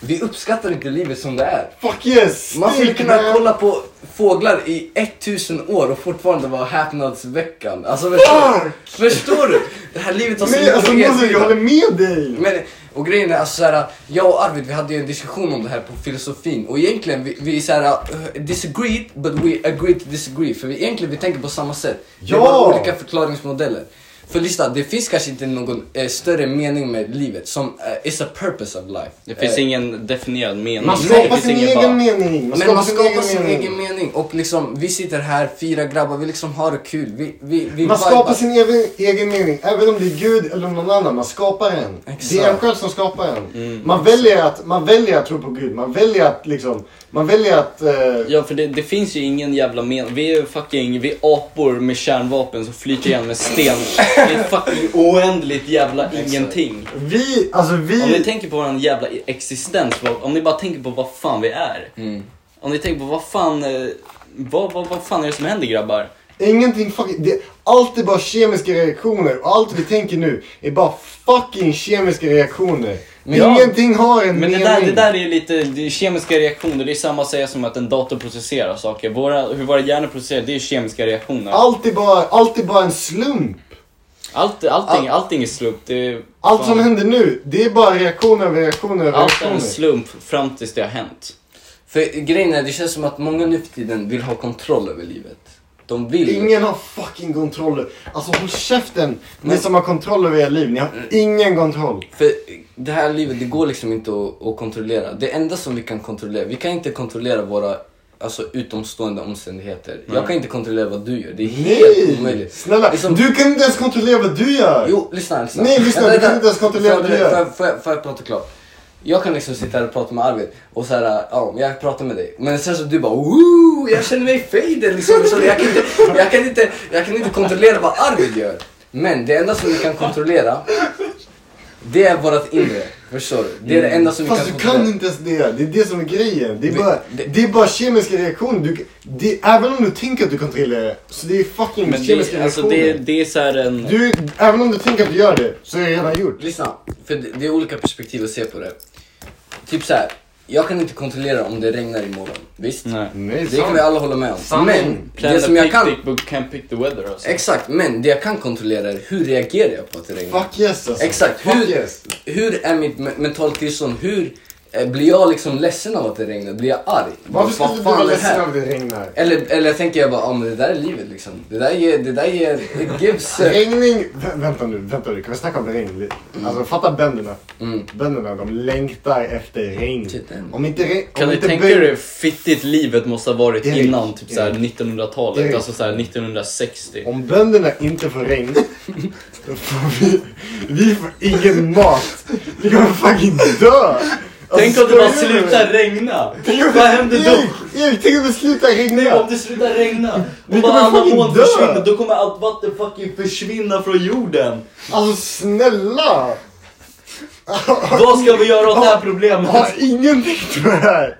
Speaker 15: vi uppskattar inte livet som det är.
Speaker 7: Fuck yes!
Speaker 15: Man skulle
Speaker 7: Stick,
Speaker 15: kunna
Speaker 7: man.
Speaker 15: kolla på fåglar i 1000 år och fortfarande vara häpnadsveckan. Alltså
Speaker 7: Fuck!
Speaker 15: förstår, förstår du? Det här livet har så
Speaker 7: Nej,
Speaker 15: mycket
Speaker 7: alltså
Speaker 15: att
Speaker 7: Moses, jag
Speaker 15: erbjuda.
Speaker 7: håller med dig.
Speaker 15: Men, och grejen är alltså såhär, jag och Arvid vi hade ju en diskussion om det här på filosofin och egentligen vi, vi såhär uh, disagreed but we agreed to disagree för vi, egentligen vi tänker på samma sätt. Det är
Speaker 7: Ja!
Speaker 15: bara olika förklaringsmodeller. För lyssna, det finns kanske inte någon eh, större mening med livet som eh, is a purpose of life.
Speaker 6: Det finns
Speaker 15: Eh,
Speaker 6: ingen definierad mening.
Speaker 15: Man
Speaker 6: Det
Speaker 15: skapar
Speaker 6: finns
Speaker 7: sin
Speaker 6: ingen
Speaker 7: egen
Speaker 6: bara-
Speaker 7: mening. Man
Speaker 15: men man skapar
Speaker 7: egen
Speaker 15: sin
Speaker 7: mening.
Speaker 15: egen mening och liksom vi sitter här, fyra grabbar, vi liksom har det kul. Vi, vi, vi
Speaker 7: Man
Speaker 15: vibar.
Speaker 7: skapar sin egen, egen mening, även om det är Gud eller någon annan. Man skapar en. Det är en
Speaker 15: Exakt.
Speaker 7: själv som skapar en. Man, väljer att, man väljer att tro på Gud, man väljer att liksom, man väljer att... eh,
Speaker 6: Ja för det, det finns ju ingen jävla men Vi är ju fucking, vi är apor med kärnvapen som flyter igen med sten. Det är fucking oändligt jävla ingenting.
Speaker 7: Vi, alltså vi...
Speaker 6: Om ni tänker på våran jävla existens, vad- om ni bara tänker på vad fan vi är.
Speaker 7: Mm.
Speaker 6: Om ni tänker på vad fan, eh, vad, vad, vad fan är det som händer grabbar?
Speaker 7: Ingenting fucking... Det, allt är bara kemiska reaktioner och allt vi tänker nu är bara fucking kemiska reaktioner.
Speaker 6: Ja.
Speaker 7: Ingenting har en
Speaker 6: Men det
Speaker 7: mening.
Speaker 6: där, det där är ju lite det är kemiska reaktioner, det är samma att säga som att en dator processerar saker. Våra, hur våra hjärnor processerar, det är kemiska reaktioner.
Speaker 7: Allt är bara, allt är bara en slump.
Speaker 6: Allt, allting, allting är slump. Det är,
Speaker 7: Allt som
Speaker 6: fan-
Speaker 7: händer nu, det är bara reaktioner över reaktioner över
Speaker 6: Allt är en
Speaker 7: reaktioner.
Speaker 6: slump fram tills det har hänt.
Speaker 15: För grejen är, det känns som att många nu för tiden vill ha kontroll över livet. De vill.
Speaker 7: Ingen har fucking kontroll. Alltså håll käften ni som har kontroll över era liv. Ni har
Speaker 15: Mm.
Speaker 7: ingen kontroll.
Speaker 15: För det här livet, det går liksom inte att, att kontrollera. Det enda som vi kan kontrollera, vi kan inte kontrollera våra alltså, utomstående omständigheter. Jag kan inte kontrollera vad du gör, det är helt
Speaker 7: Nej!
Speaker 15: omöjligt.
Speaker 7: Snälla,
Speaker 15: Liksom-
Speaker 7: du kan inte ens kontrollera vad du gör.
Speaker 15: Jo, lyssna, lyssna.
Speaker 7: Nej, lyssna,
Speaker 15: Vänta,
Speaker 7: du kan
Speaker 15: vänta.
Speaker 7: inte ens kontrollera
Speaker 15: Får jag-
Speaker 7: vad du gör.
Speaker 15: får jag- Får jag- får jag prata klart? Jag kan liksom sitta här och prata med Arvid och så här, ja, jag pratar med dig. Men sen så du bara, woo, jag känner mig faded liksom. Så jag, kan inte, jag, kan inte, jag kan inte kontrollera vad Arvid gör. Men det enda som vi kan kontrollera, det är vårat inre. Förstår du? Det är det enda som vi kan
Speaker 7: Fast du kan inte ens det. Det är det som är grejen. Det är, bara, det, är bara kemiska reaktioner. Du, det, även om du tänker att du kontrollerar det, så det är fucking
Speaker 6: Men det,
Speaker 7: kemiska
Speaker 6: alltså det,
Speaker 7: reaktioner.
Speaker 6: det är så här en...
Speaker 7: Du, även om du tänker att du gör det, så är det redan gjort.
Speaker 15: Lyssna, för det, det är olika perspektiv att se på det. Typ så här, jag kan inte kontrollera om det regnar imorgon. Visst?
Speaker 6: Nej.
Speaker 15: det kan vi alla hålla med om. Men det som jag kan...
Speaker 6: Can't pick the weather alltså.
Speaker 15: Exakt, men det jag kan kontrollera är hur reagerar jag på att det regnar?
Speaker 7: Fuck yes alltså.
Speaker 15: Exakt, hur, hur är mitt me- mentala tillstånd? Hur eh, blir jag liksom ledsen av att det regnar? Blir jag arg?
Speaker 7: Varför
Speaker 15: Vad
Speaker 7: skulle du inte
Speaker 15: fan
Speaker 7: vara
Speaker 15: är det
Speaker 7: ledsen
Speaker 15: här?
Speaker 7: av det regnar?
Speaker 15: Eller, eller tänker jag bara, ja ah, men det där är livet liksom. Det där ger, det där ger, it gives... eh,
Speaker 7: Regning, vä- vänta nu, vänta nu, kan vi snacka om regn? lite?
Speaker 6: Mm.
Speaker 7: Alltså fatta bönderna. Bönderna, de längtar efter regn. Om inte regn...
Speaker 6: Kan
Speaker 7: om
Speaker 6: du
Speaker 7: inte
Speaker 6: tänka
Speaker 7: bön-
Speaker 6: dig hur fittigt livet måste ha varit
Speaker 7: Erik,
Speaker 6: innan typ såhär
Speaker 7: Erik.
Speaker 6: 1900-talet,
Speaker 7: Erik.
Speaker 6: alltså såhär 1960?
Speaker 7: Om bönderna inte får regn, då får vi... Vi får ingen mat. Vi kommer fucking dö! Alltså,
Speaker 6: Tänk om det bara
Speaker 7: skojar du med mig?
Speaker 6: slutar regna!
Speaker 7: Tänk om-
Speaker 6: Vad händer då?
Speaker 7: Erik, Erik, tänk om det slutar regna!
Speaker 6: Nej, om det slutar regna
Speaker 7: Vi
Speaker 6: och bara
Speaker 7: kommer
Speaker 6: alla
Speaker 7: fucking
Speaker 6: moln
Speaker 7: dö.
Speaker 6: försvinner, då kommer allt vatten fucking försvinna från jorden!
Speaker 7: Alltså snälla!
Speaker 6: Vad ska vi göra åt det här problemet?
Speaker 7: Jag har ingen tänkt på det här.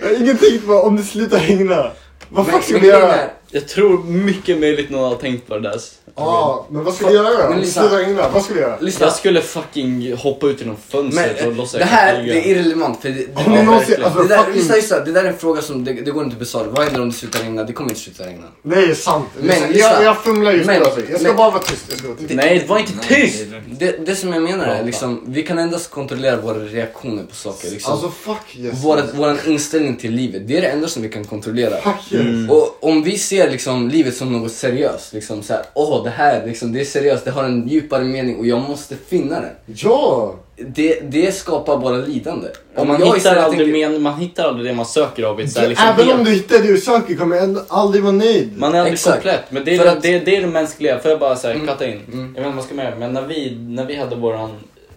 Speaker 7: Jag har ingen tänkt på om det slutar regna. Vad fuck ska vi göra?
Speaker 6: Jag tror mycket möjligt någon har tänkt på det där.
Speaker 7: Ja, men vad ska vi göra då? Om det slutar regna, vad ska vi göra?
Speaker 6: Jag skulle fucking hoppa ut genom fönstret
Speaker 15: Men
Speaker 6: och låtsas
Speaker 15: det här
Speaker 6: flyga.
Speaker 15: det är irrelevant för det, det,
Speaker 6: Om någon ser- alltså,
Speaker 15: det, där,
Speaker 6: fucking-
Speaker 15: lyssna, lyssna, det där är en fråga som det, det går inte att besvara. Vad händer om det slutar regna? Det kommer inte sluta regna.
Speaker 7: Nej, det är sant.
Speaker 15: Men
Speaker 7: Men,
Speaker 15: lyssna.
Speaker 7: jag, jag fumlar just nu
Speaker 15: Men-
Speaker 7: alltså. Jag ska
Speaker 15: men-
Speaker 7: bara vara tyst. Jag ska vara tyst.
Speaker 6: Nej, var inte tyst!
Speaker 15: Det, det som jag menar
Speaker 7: Prata.
Speaker 15: är liksom, vi kan endast kontrollera våra reaktioner på saker. Liksom.
Speaker 7: Alltså fuck yes.
Speaker 15: Vår, våran inställning till livet, det är det enda som vi kan kontrollera.
Speaker 7: yes.
Speaker 6: Mm.
Speaker 15: Och om vi ser liksom livet som något seriöst, liksom så här, åh det här liksom, det är seriöst, det har en djupare mening och jag måste finna den.
Speaker 7: Ja!
Speaker 15: Det, det skapar bara lidande.
Speaker 6: Om man,
Speaker 15: jag
Speaker 6: hittar
Speaker 15: istället
Speaker 6: aldrig
Speaker 15: tänker-
Speaker 6: men, man hittar aldrig det man söker av i ett så här, liksom,
Speaker 7: Även
Speaker 6: helt-
Speaker 7: om du hittar det du söker kommer jag ändå aldrig vara nöjd.
Speaker 6: Man är aldrig komplett. Men det är,
Speaker 7: För att- Mm.
Speaker 6: det, det är det mänskliga. Får jag bara säga, katta in? Jag
Speaker 15: Mm.
Speaker 6: vet inte vad man ska med det, men när vi, när vi hade våran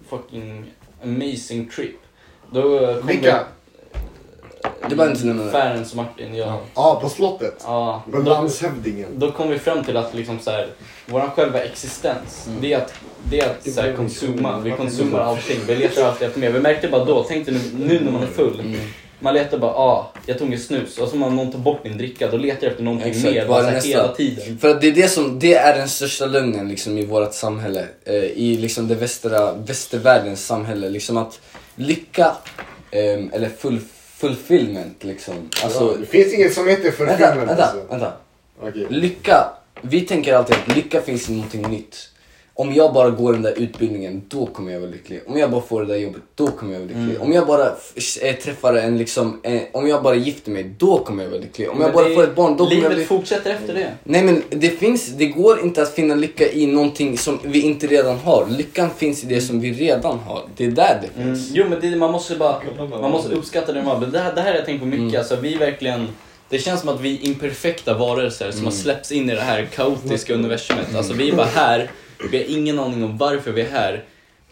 Speaker 6: fucking amazing trip. Då kom
Speaker 7: Vilka?
Speaker 6: Vi,
Speaker 7: Det var inte nämna det.
Speaker 6: Färens, Martin, jag.
Speaker 7: Ja, på slottet.
Speaker 6: Ja.
Speaker 15: Mm.
Speaker 7: Med landshövdingen.
Speaker 6: Då kom vi fram till att liksom så här, vår själva existens,
Speaker 15: Mm.
Speaker 6: det är att, det är att så här, konsuma. Vi konsumar allting. Vi letar alltid efter mer. Vi märkte bara då, tänk dig nu, nu när man är full.
Speaker 15: Mm.
Speaker 6: Man letar bara, ah, jag tog en snus. Och så när någon tar bort din dricka, då letar jag efter någonting mer.
Speaker 15: vad
Speaker 6: Bara
Speaker 15: är
Speaker 6: så här,
Speaker 15: nästa?
Speaker 6: hela tiden.
Speaker 15: För att det är det som, det är den största lögnen liksom i vårt samhälle. Eh, I liksom det västra, västervärldens samhälle. Liksom att lycka, ehm, eller full, fulfillment liksom. Alltså,
Speaker 7: Ja, det finns inget som heter
Speaker 15: vänta,
Speaker 7: förfilmen
Speaker 15: vänta,
Speaker 7: alltså.
Speaker 15: vänta.
Speaker 7: Okej.
Speaker 15: Lycka, vi tänker alltid att lycka finns i någonting nytt. Om jag bara går den där utbildningen, då kommer jag vara lycklig. Om jag bara får det där jobbet, då kommer jag vara lycklig.
Speaker 6: Mm.
Speaker 15: Om jag bara f- eh, träffar en liksom, eh, om jag bara gifter mig, då kommer jag vara lycklig. Om jag
Speaker 6: Men
Speaker 15: bara
Speaker 6: det-
Speaker 15: får ett barn, då kommer jag
Speaker 6: Livet
Speaker 15: bli
Speaker 6: fortsätter efter det.
Speaker 15: Nej men det finns, det går inte att finna lycka i någonting som vi inte redan har. Lyckan finns i det som vi redan har. Det är där det
Speaker 6: Mm.
Speaker 15: finns.
Speaker 6: Jo men det, man måste bara man måste uppskatta det man har. Men Det här, det här har jag tänkt på mycket.
Speaker 15: Mm.
Speaker 6: Alltså, vi är verkligen, det känns som att vi är imperfekta varelser som har
Speaker 15: Mm.
Speaker 6: släppts in i det här kaotiska universumet. Alltså, vi är bara här, vi har ingen aning om varför vi är här.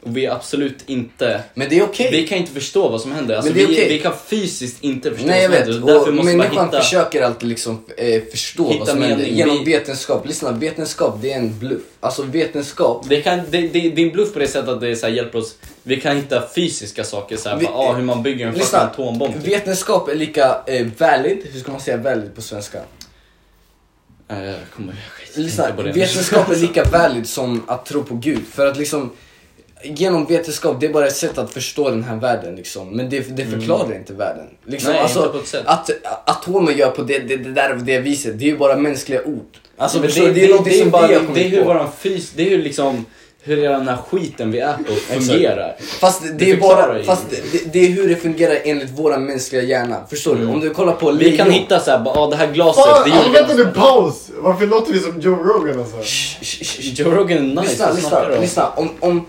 Speaker 6: Och vi är absolut inte...
Speaker 15: Men det är okej.
Speaker 6: Vi kan inte förstå vad som händer. Alltså,
Speaker 15: Men det är
Speaker 6: vi,
Speaker 15: okej.
Speaker 6: vi kan fysiskt inte förstå
Speaker 15: Nej jag
Speaker 6: vad
Speaker 15: vet,
Speaker 6: som händer. Därför
Speaker 15: och
Speaker 6: måste man
Speaker 15: människan
Speaker 6: hitta...
Speaker 15: försöker alltid liksom eh, förstå
Speaker 6: Hitta
Speaker 15: vad som händer
Speaker 6: mening.
Speaker 15: genom
Speaker 6: Vi-
Speaker 15: vetenskap. Lyssna, vetenskap det är en bluff. Alltså vetenskap.
Speaker 6: Det, kan, det, det, det är en bluff på det sättet att det så här hjälper oss. Vi kan hitta fysiska saker, så här,
Speaker 15: Vi-
Speaker 6: bara, ah, hur man bygger en fucking
Speaker 15: Lyssna,
Speaker 6: atombomb. typ.
Speaker 15: vetenskap är lika eh, valid, hur ska man säga valid på svenska?
Speaker 6: Nej, Jag kommer skit
Speaker 15: Lyssna,
Speaker 6: inte på det.
Speaker 15: vetenskap är lika valid som att tro på Gud. För att liksom, genom vetenskap, det är bara ett sätt att förstå den här världen liksom. Men det, det förklarar inte världen. Liksom,
Speaker 6: Mm. Nej,
Speaker 15: alltså,
Speaker 6: inte på ett sätt.
Speaker 15: Att a- atomer gör på det, det, det där och det viset, det är ju bara mänskliga ord. Alltså,
Speaker 6: Ja, men
Speaker 15: förstår du? det, är någonting
Speaker 6: det är
Speaker 15: som
Speaker 6: bara-
Speaker 15: vi har kommit
Speaker 6: Det är hur
Speaker 15: på.
Speaker 6: våran fys, det är hur liksom hur hela den här skiten vi är på fungerar.
Speaker 15: Fast det,
Speaker 6: Det
Speaker 15: det är
Speaker 6: förklarar
Speaker 15: bara,
Speaker 6: ju
Speaker 15: fast det, det- det är hur det fungerar enligt våra mänskliga hjärna. Förstår du? Om du kollar på
Speaker 6: Mm. Vi kan
Speaker 15: lejon-
Speaker 6: hitta såhär, bara, ah, det här glaset,
Speaker 7: Fan,
Speaker 6: det
Speaker 7: alltså,
Speaker 6: gjorde
Speaker 7: vänta nu, paus! Varför låter vi som Joe Rogan alltså?
Speaker 6: Joe Rogan är nice,
Speaker 15: lyssna,
Speaker 6: vad snackar du
Speaker 15: lyssna,
Speaker 6: om?
Speaker 15: lyssna. Om, om,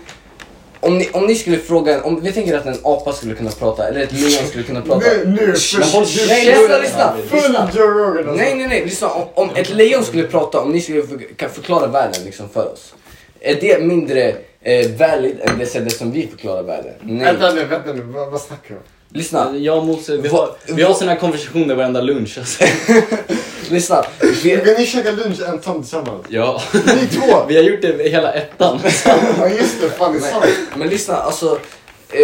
Speaker 15: om, ni, om ni skulle fråga, om vi tänker att en apa skulle kunna prata, eller ett lejon skulle kunna prata.
Speaker 7: Nu, nu,
Speaker 15: men håll
Speaker 7: nu-
Speaker 15: Nej, lyssna, lyssna.
Speaker 7: Full
Speaker 15: lyssna.
Speaker 7: Joe Rogan alltså.
Speaker 15: Nej, nej, nej, lyssna. Om, om ett lejon skulle prata, om ni skulle för, kan förklara världen liksom för oss. Är det mindre eh, valid än det sättet som vi förklarar världen. Nej.
Speaker 7: Vänta nu, vänta nu. Vad, vad snackar du om?
Speaker 15: Lyssna.
Speaker 6: Jag och Mose, vi har, vi har såna här konversationer varenda lunch alltså.
Speaker 15: Lyssna.
Speaker 7: Vi... Brukar ni käka lunch ensam tillsammans?
Speaker 6: Ja.
Speaker 7: Ni två?
Speaker 6: Vi har gjort det i hela ettan.
Speaker 7: Ja just det, fan det är sant.
Speaker 15: Men lyssna, alltså. Eh,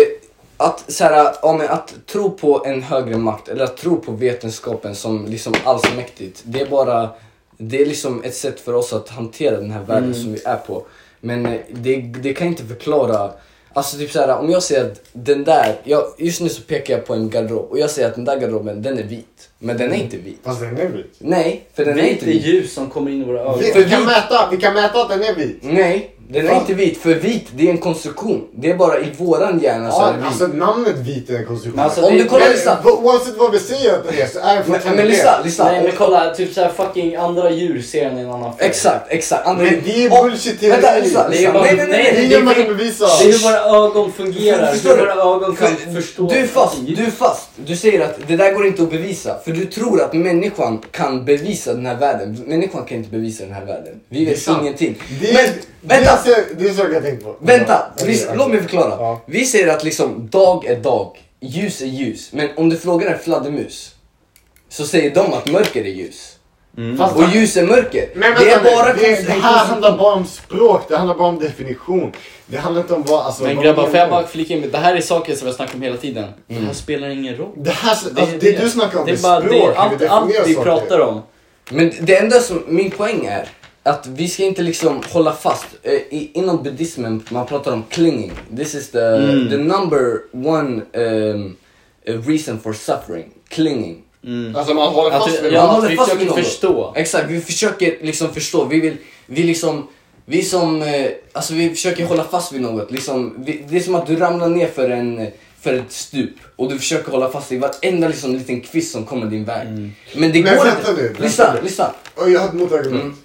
Speaker 15: att, så här, ja, men att tro på en högre makt eller att tro på vetenskapen som liksom allsmäktigt. Det är bara det är liksom ett sätt för oss att hantera den här världen
Speaker 16: Mm.
Speaker 15: som vi är på. Men eh, det, det kan inte förklara. Alltså typ så här, om jag säger att den där, jag, just nu så pekar jag på en garderob och jag säger att den där garderoben den är vit. Men den är inte vit.
Speaker 7: Fast den är vit.
Speaker 15: Nej, för den är
Speaker 6: Vit
Speaker 15: inte
Speaker 6: är
Speaker 15: vit.
Speaker 6: ljus som kommer in i våra ögon.
Speaker 7: Vi, vi, kan mäta, vi kan mäta att den är
Speaker 15: Mm,
Speaker 7: vit.
Speaker 15: Nej, den är inte vit. För vit, det är en konstruktion. Det är bara i våran hjärna så är
Speaker 7: Ja,
Speaker 15: det
Speaker 7: alltså
Speaker 15: vit.
Speaker 7: namnet vit är en konstruktion.
Speaker 15: Men alltså, Om det- du kollar listan.
Speaker 7: Men Oavsett vad vi säger att den är så är det fortfarande det.
Speaker 6: Nej men kolla, typ såhär fucking andra djur ser en i en annan form.
Speaker 15: Exakt, exakt. Andra-
Speaker 7: Men det är
Speaker 15: Åh,
Speaker 7: bullshit teori.
Speaker 15: Vänta, lyssna,
Speaker 6: Det är
Speaker 15: lyssna.
Speaker 6: bara-
Speaker 15: Nej, nej, nej.
Speaker 6: nej,
Speaker 7: Det är
Speaker 6: det
Speaker 7: ingen man kan bevisa.
Speaker 6: Det är hur våra ögon fungerar,
Speaker 15: Förstår
Speaker 6: hur
Speaker 15: du?
Speaker 6: våra ögon kan förstå.
Speaker 15: Du är fast, du är fast. Du säger att det där går inte att bevisa. För du tror att människan kan bevisa den här världen. Människan kan inte bevisa den här världen. Vi
Speaker 7: Det är
Speaker 15: vet
Speaker 7: sant.
Speaker 15: ingenting.
Speaker 7: Det är,
Speaker 15: Men
Speaker 7: det
Speaker 15: vänta!
Speaker 7: är, så- det är så jag tänkte på.
Speaker 15: Vänta,
Speaker 7: Ja,
Speaker 15: vi,
Speaker 7: okej, okej.
Speaker 15: låt mig förklara.
Speaker 7: Ja.
Speaker 15: Vi säger att liksom dag är dag, ljus är ljus. Men om du frågar en fladdermus så säger de att mörker är ljus.
Speaker 7: Fast-
Speaker 15: Och ljus är mörker.
Speaker 7: Men
Speaker 15: det är bara
Speaker 7: det,
Speaker 15: kons-
Speaker 7: det här handlar bara om språk, det handlar bara om definition. Det handlar inte om vad... Alltså,
Speaker 6: Men
Speaker 7: vad
Speaker 6: grabbar,
Speaker 7: menar
Speaker 6: får jag
Speaker 7: du?
Speaker 6: bara flika in? Det här är saker som jag snackar om hela tiden. Det
Speaker 15: Mm.
Speaker 6: här spelar ingen roll.
Speaker 7: Det här, alltså, det, du snackar om,
Speaker 6: det
Speaker 7: det
Speaker 6: är bara det,
Speaker 7: språk, hur
Speaker 6: allt,
Speaker 7: vi
Speaker 6: allt
Speaker 7: definierar
Speaker 6: vi
Speaker 7: saker.
Speaker 6: pratar om.
Speaker 15: Men det enda som, min poäng är att vi ska inte liksom hålla fast. Eh, i, inom buddhismen man pratar om clinging. This is the,
Speaker 6: Mm.
Speaker 15: the number one um, eh, reason for suffering. Clinging.
Speaker 7: Alltså man håller
Speaker 6: Att
Speaker 7: fast
Speaker 6: vi-
Speaker 7: vid
Speaker 6: ja,
Speaker 15: Man
Speaker 7: något.
Speaker 15: håller
Speaker 6: vi
Speaker 15: fast
Speaker 6: försöker
Speaker 15: vid något.
Speaker 6: förstå.
Speaker 15: Exakt, vi försöker liksom förstå. Vi vill, vi liksom, vi som, eh, alltså vi försöker hålla fast vid något. Liksom, vi, det är som att du ramlar ner för en för ett stup och du försöker hålla fast i varenda liksom, liten kvist som kommer din väg. Men det
Speaker 7: Mm. Men
Speaker 15: går
Speaker 7: vänta
Speaker 15: inte.
Speaker 7: nu, vänta
Speaker 15: lyssna,
Speaker 7: nu.
Speaker 15: lyssna.
Speaker 7: Och jag har ett motargument.
Speaker 15: Mm.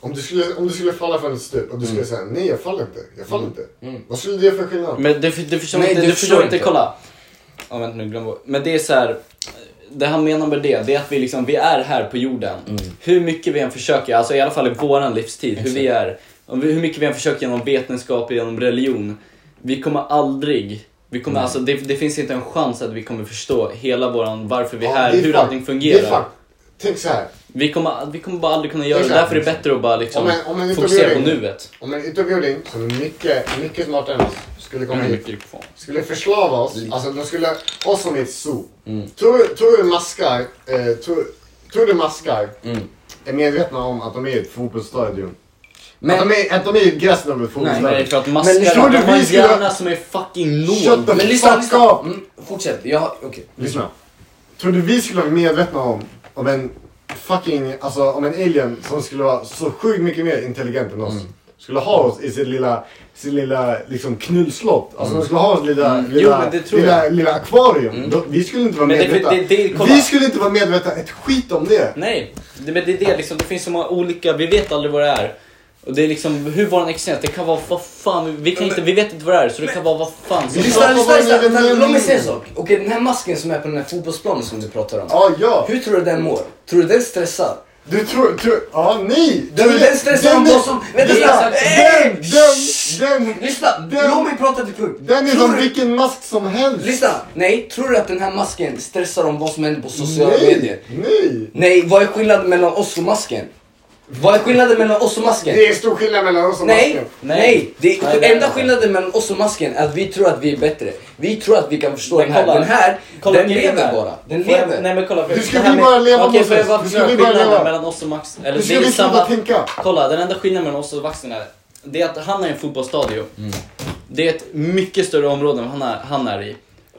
Speaker 7: Om, du skulle, om du skulle falla från ett stup och du
Speaker 6: Mm.
Speaker 7: skulle säga nej jag faller inte, jag faller inte. Vad skulle det göra för skillnad?
Speaker 6: Men du, du förstår
Speaker 15: Nej,
Speaker 6: inte,
Speaker 15: du
Speaker 6: du,
Speaker 15: förstår
Speaker 6: förstår inte,
Speaker 15: inte.
Speaker 6: kolla. Ja, vänta nu, glöm bort. Men det är så här. Det han menar med det, det är att vi liksom, vi är här på jorden. Hur mycket vi än försöker, alltså i alla fall i våran livstid, hur vi är. Om vi, hur mycket vi än försöker genom vetenskap, genom religion. Vi kommer aldrig, vi kommer, alltså, det, det finns inte en chans att vi kommer förstå hela våran, varför vi är
Speaker 7: Ja,
Speaker 6: här,
Speaker 7: det är
Speaker 6: hur
Speaker 7: fan-
Speaker 6: allting
Speaker 7: Det är
Speaker 6: fungerar.
Speaker 7: fan, tänk så här.
Speaker 6: Vi kommer, vi kommer bara aldrig kunna göra det,
Speaker 7: Exakt.
Speaker 6: därför är det bättre att bara liksom,
Speaker 7: Om en- om en
Speaker 6: fokusera på
Speaker 7: utomjording-
Speaker 6: nuet.
Speaker 7: Om en utomjording som är mycket, mycket smartare än oss skulle komma
Speaker 6: Mm.
Speaker 7: hit skulle förslava oss, alltså de skulle ha oss som i ett zoo.
Speaker 6: Mm.
Speaker 7: Tror, tror du maskar, eh, tror, tror du maskar
Speaker 6: Mm.
Speaker 7: är medvetna om att de är i ett fotbollsstadion?
Speaker 15: Men-
Speaker 7: att, de är, att de är i gräset av ett
Speaker 6: Nej, för
Speaker 7: fotbollsstadion?
Speaker 6: att maskar, de
Speaker 7: tror du
Speaker 6: har en
Speaker 7: vi skulle-
Speaker 6: hjärna som är fucking
Speaker 7: Shut
Speaker 6: nål.
Speaker 7: the
Speaker 15: Men lyssna,
Speaker 7: fuck
Speaker 15: lyssna.
Speaker 7: up!
Speaker 15: Mm, fortsätt. Jag har, okej.
Speaker 7: Lyssna. Tror du vi skulle vara medvetna om, om en fucking, alltså om en alien som skulle vara så sjukt mycket mer intelligent än oss.
Speaker 15: Mm.
Speaker 7: Skulle ha oss i sin lilla, sin lilla liksom knullslott. Alltså de skulle ha oss i lilla,
Speaker 6: Mm. Jo,
Speaker 7: lilla,
Speaker 6: men det tror
Speaker 7: lilla, lilla akvarium.
Speaker 15: Mm.
Speaker 7: Då, vi skulle inte vara
Speaker 6: Men det-
Speaker 7: medvetna.
Speaker 6: det- det- kolla.
Speaker 7: vi skulle inte vara medvetna ett skit om det.
Speaker 6: Nej, det, men det är det liksom. Det finns så många olika, vi vet aldrig vad det är. Och det är liksom hur vår existens, det kan vara vad fan, vi, kan inte, vi vet inte vad det är så det kan vara vad fan som
Speaker 15: Lyssna,
Speaker 7: pratar
Speaker 15: lyssna,
Speaker 7: bara
Speaker 15: lyssna.
Speaker 7: med-
Speaker 15: Vänta,
Speaker 7: med-
Speaker 15: Låt mig säga en sak. Okej, den här masken som är på den här fotbollsplanen som du pratar om.
Speaker 7: Ja, ja.
Speaker 15: Hur tror du den mår? Tror du den stressar?
Speaker 7: Du tror, tror, ja nej.
Speaker 15: Tror du den stressar om vad som... Vänta, lyssna.
Speaker 7: den,
Speaker 15: Hey!
Speaker 7: den, den, den,
Speaker 15: Lyssna,
Speaker 7: Den-
Speaker 15: låt mig prata till punkt.
Speaker 7: den är
Speaker 15: Tror
Speaker 7: som
Speaker 15: du-
Speaker 7: vilken mask som helst.
Speaker 15: Lyssna, nej, tror du att den här masken stressar om vad som händer på sociala medier?
Speaker 7: Nej, nej.
Speaker 15: Nej, vad är skillnaden mellan oss och masken? Vad är skillnaden mellan oss och masken?
Speaker 7: Det är stor skillnad mellan oss och
Speaker 15: Nej,
Speaker 7: masken.
Speaker 15: nej. Det,
Speaker 6: Nej, det är
Speaker 15: enda
Speaker 6: det.
Speaker 15: skillnaden mellan oss och masken är att vi tror att vi är bättre. Vi tror att vi kan förstå den här.
Speaker 6: kolla.
Speaker 15: den här,
Speaker 6: Kolla,
Speaker 15: den
Speaker 6: grejen
Speaker 15: lever
Speaker 6: är-
Speaker 15: bara. Den
Speaker 6: Får jag-
Speaker 15: lever.
Speaker 6: Nej men kolla. för-
Speaker 7: Du skulle
Speaker 6: det här
Speaker 7: ju
Speaker 6: med-
Speaker 7: bara leva,
Speaker 6: Okej,
Speaker 7: Moses.
Speaker 6: får jag bara
Speaker 7: Du skulle ju
Speaker 6: förklara
Speaker 7: bara
Speaker 6: skillnaden
Speaker 7: leva.
Speaker 6: mellan oss och Max? Eller
Speaker 7: Du
Speaker 6: det
Speaker 7: skulle
Speaker 6: är
Speaker 7: ju
Speaker 6: samma...
Speaker 7: sluta
Speaker 15: Mm,
Speaker 7: tänka.
Speaker 6: Kolla, den enda skillnaden mellan oss och Vaxen är, det är att han är i en fotbollsstadion. Det är ett mycket större område än vad han är, han är i.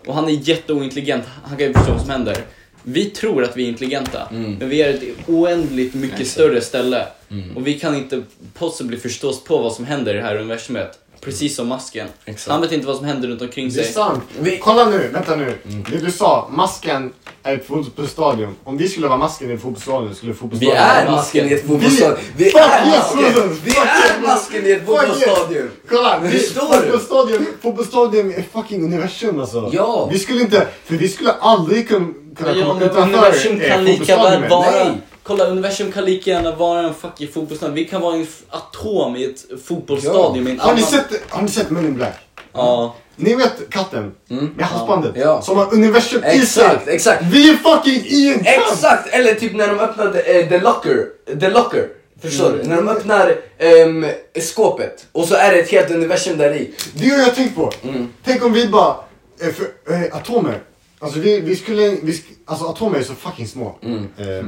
Speaker 6: Och han är jätteointelligent, han kan ju förstå vad som händer. Vi tror att vi är intelligenta, men vi är ett oändligt mycket större ställe. Och vi kan inte possibly förstå oss på vad som händer i det här universumet. Precis som masken.
Speaker 15: Exakt.
Speaker 6: Han vet inte vad som händer runt omkring
Speaker 7: Det är
Speaker 6: sig.
Speaker 7: sant. Kolla nu, vänta nu.
Speaker 15: Mm.
Speaker 7: Det du sa, masken är ett fotbollsstadion. Om vi skulle vara masken i ett fotbollsstadion skulle
Speaker 15: Vi
Speaker 7: fotbollsstadion
Speaker 15: är
Speaker 7: vara-
Speaker 15: masken i ett
Speaker 7: Vi-
Speaker 15: fotbollsstadion. Vi
Speaker 7: Fuck
Speaker 15: är
Speaker 7: yes,
Speaker 15: masken.
Speaker 7: Moses.
Speaker 15: Vi
Speaker 7: Fuck
Speaker 15: är
Speaker 7: yes.
Speaker 15: masken i ett
Speaker 7: Fuck yes.
Speaker 15: fotbollsstadion.
Speaker 7: Kolla! Vi,
Speaker 15: Förstår du?
Speaker 7: fotbollsstadion, fotbollsstadion är fucking universum alltså.
Speaker 15: Ja.
Speaker 7: Vi skulle inte, för vi skulle aldrig kun, kunna
Speaker 6: Ja,
Speaker 7: komma
Speaker 6: men
Speaker 7: utanför
Speaker 6: universum
Speaker 7: eh,
Speaker 6: kan lika väl
Speaker 7: fotbollsstadion.
Speaker 6: vara...
Speaker 15: Nej.
Speaker 6: Kolla, universum kan lika gärna vara en fucking fotbollsstad. Vi kan vara en f- atom i ett fotbollsstadion med en
Speaker 7: Har ni
Speaker 6: annan-
Speaker 7: sett, har ni sett Men in Black?
Speaker 6: Ja.
Speaker 7: Ni vet katten med halsbandet
Speaker 15: Mm. Ja.
Speaker 7: som har universum i sig?
Speaker 15: Exakt, exakt.
Speaker 7: Vi är fucking i en kamp!
Speaker 15: Exakt! Eller typ när de öppnade eh, The Locker. The Locker. Förstår
Speaker 7: Mm.
Speaker 15: du? När de öppnar ehm, skåpet och så är det ett helt universum där i.
Speaker 7: Det har jag tänkt på.
Speaker 15: Mm.
Speaker 7: Tänk om vi bara, eh, för, eh, atomer. Alltså vi, vi skulle, vi, sk- alltså atomer är så fucking små.
Speaker 15: Mm.
Speaker 7: Eh,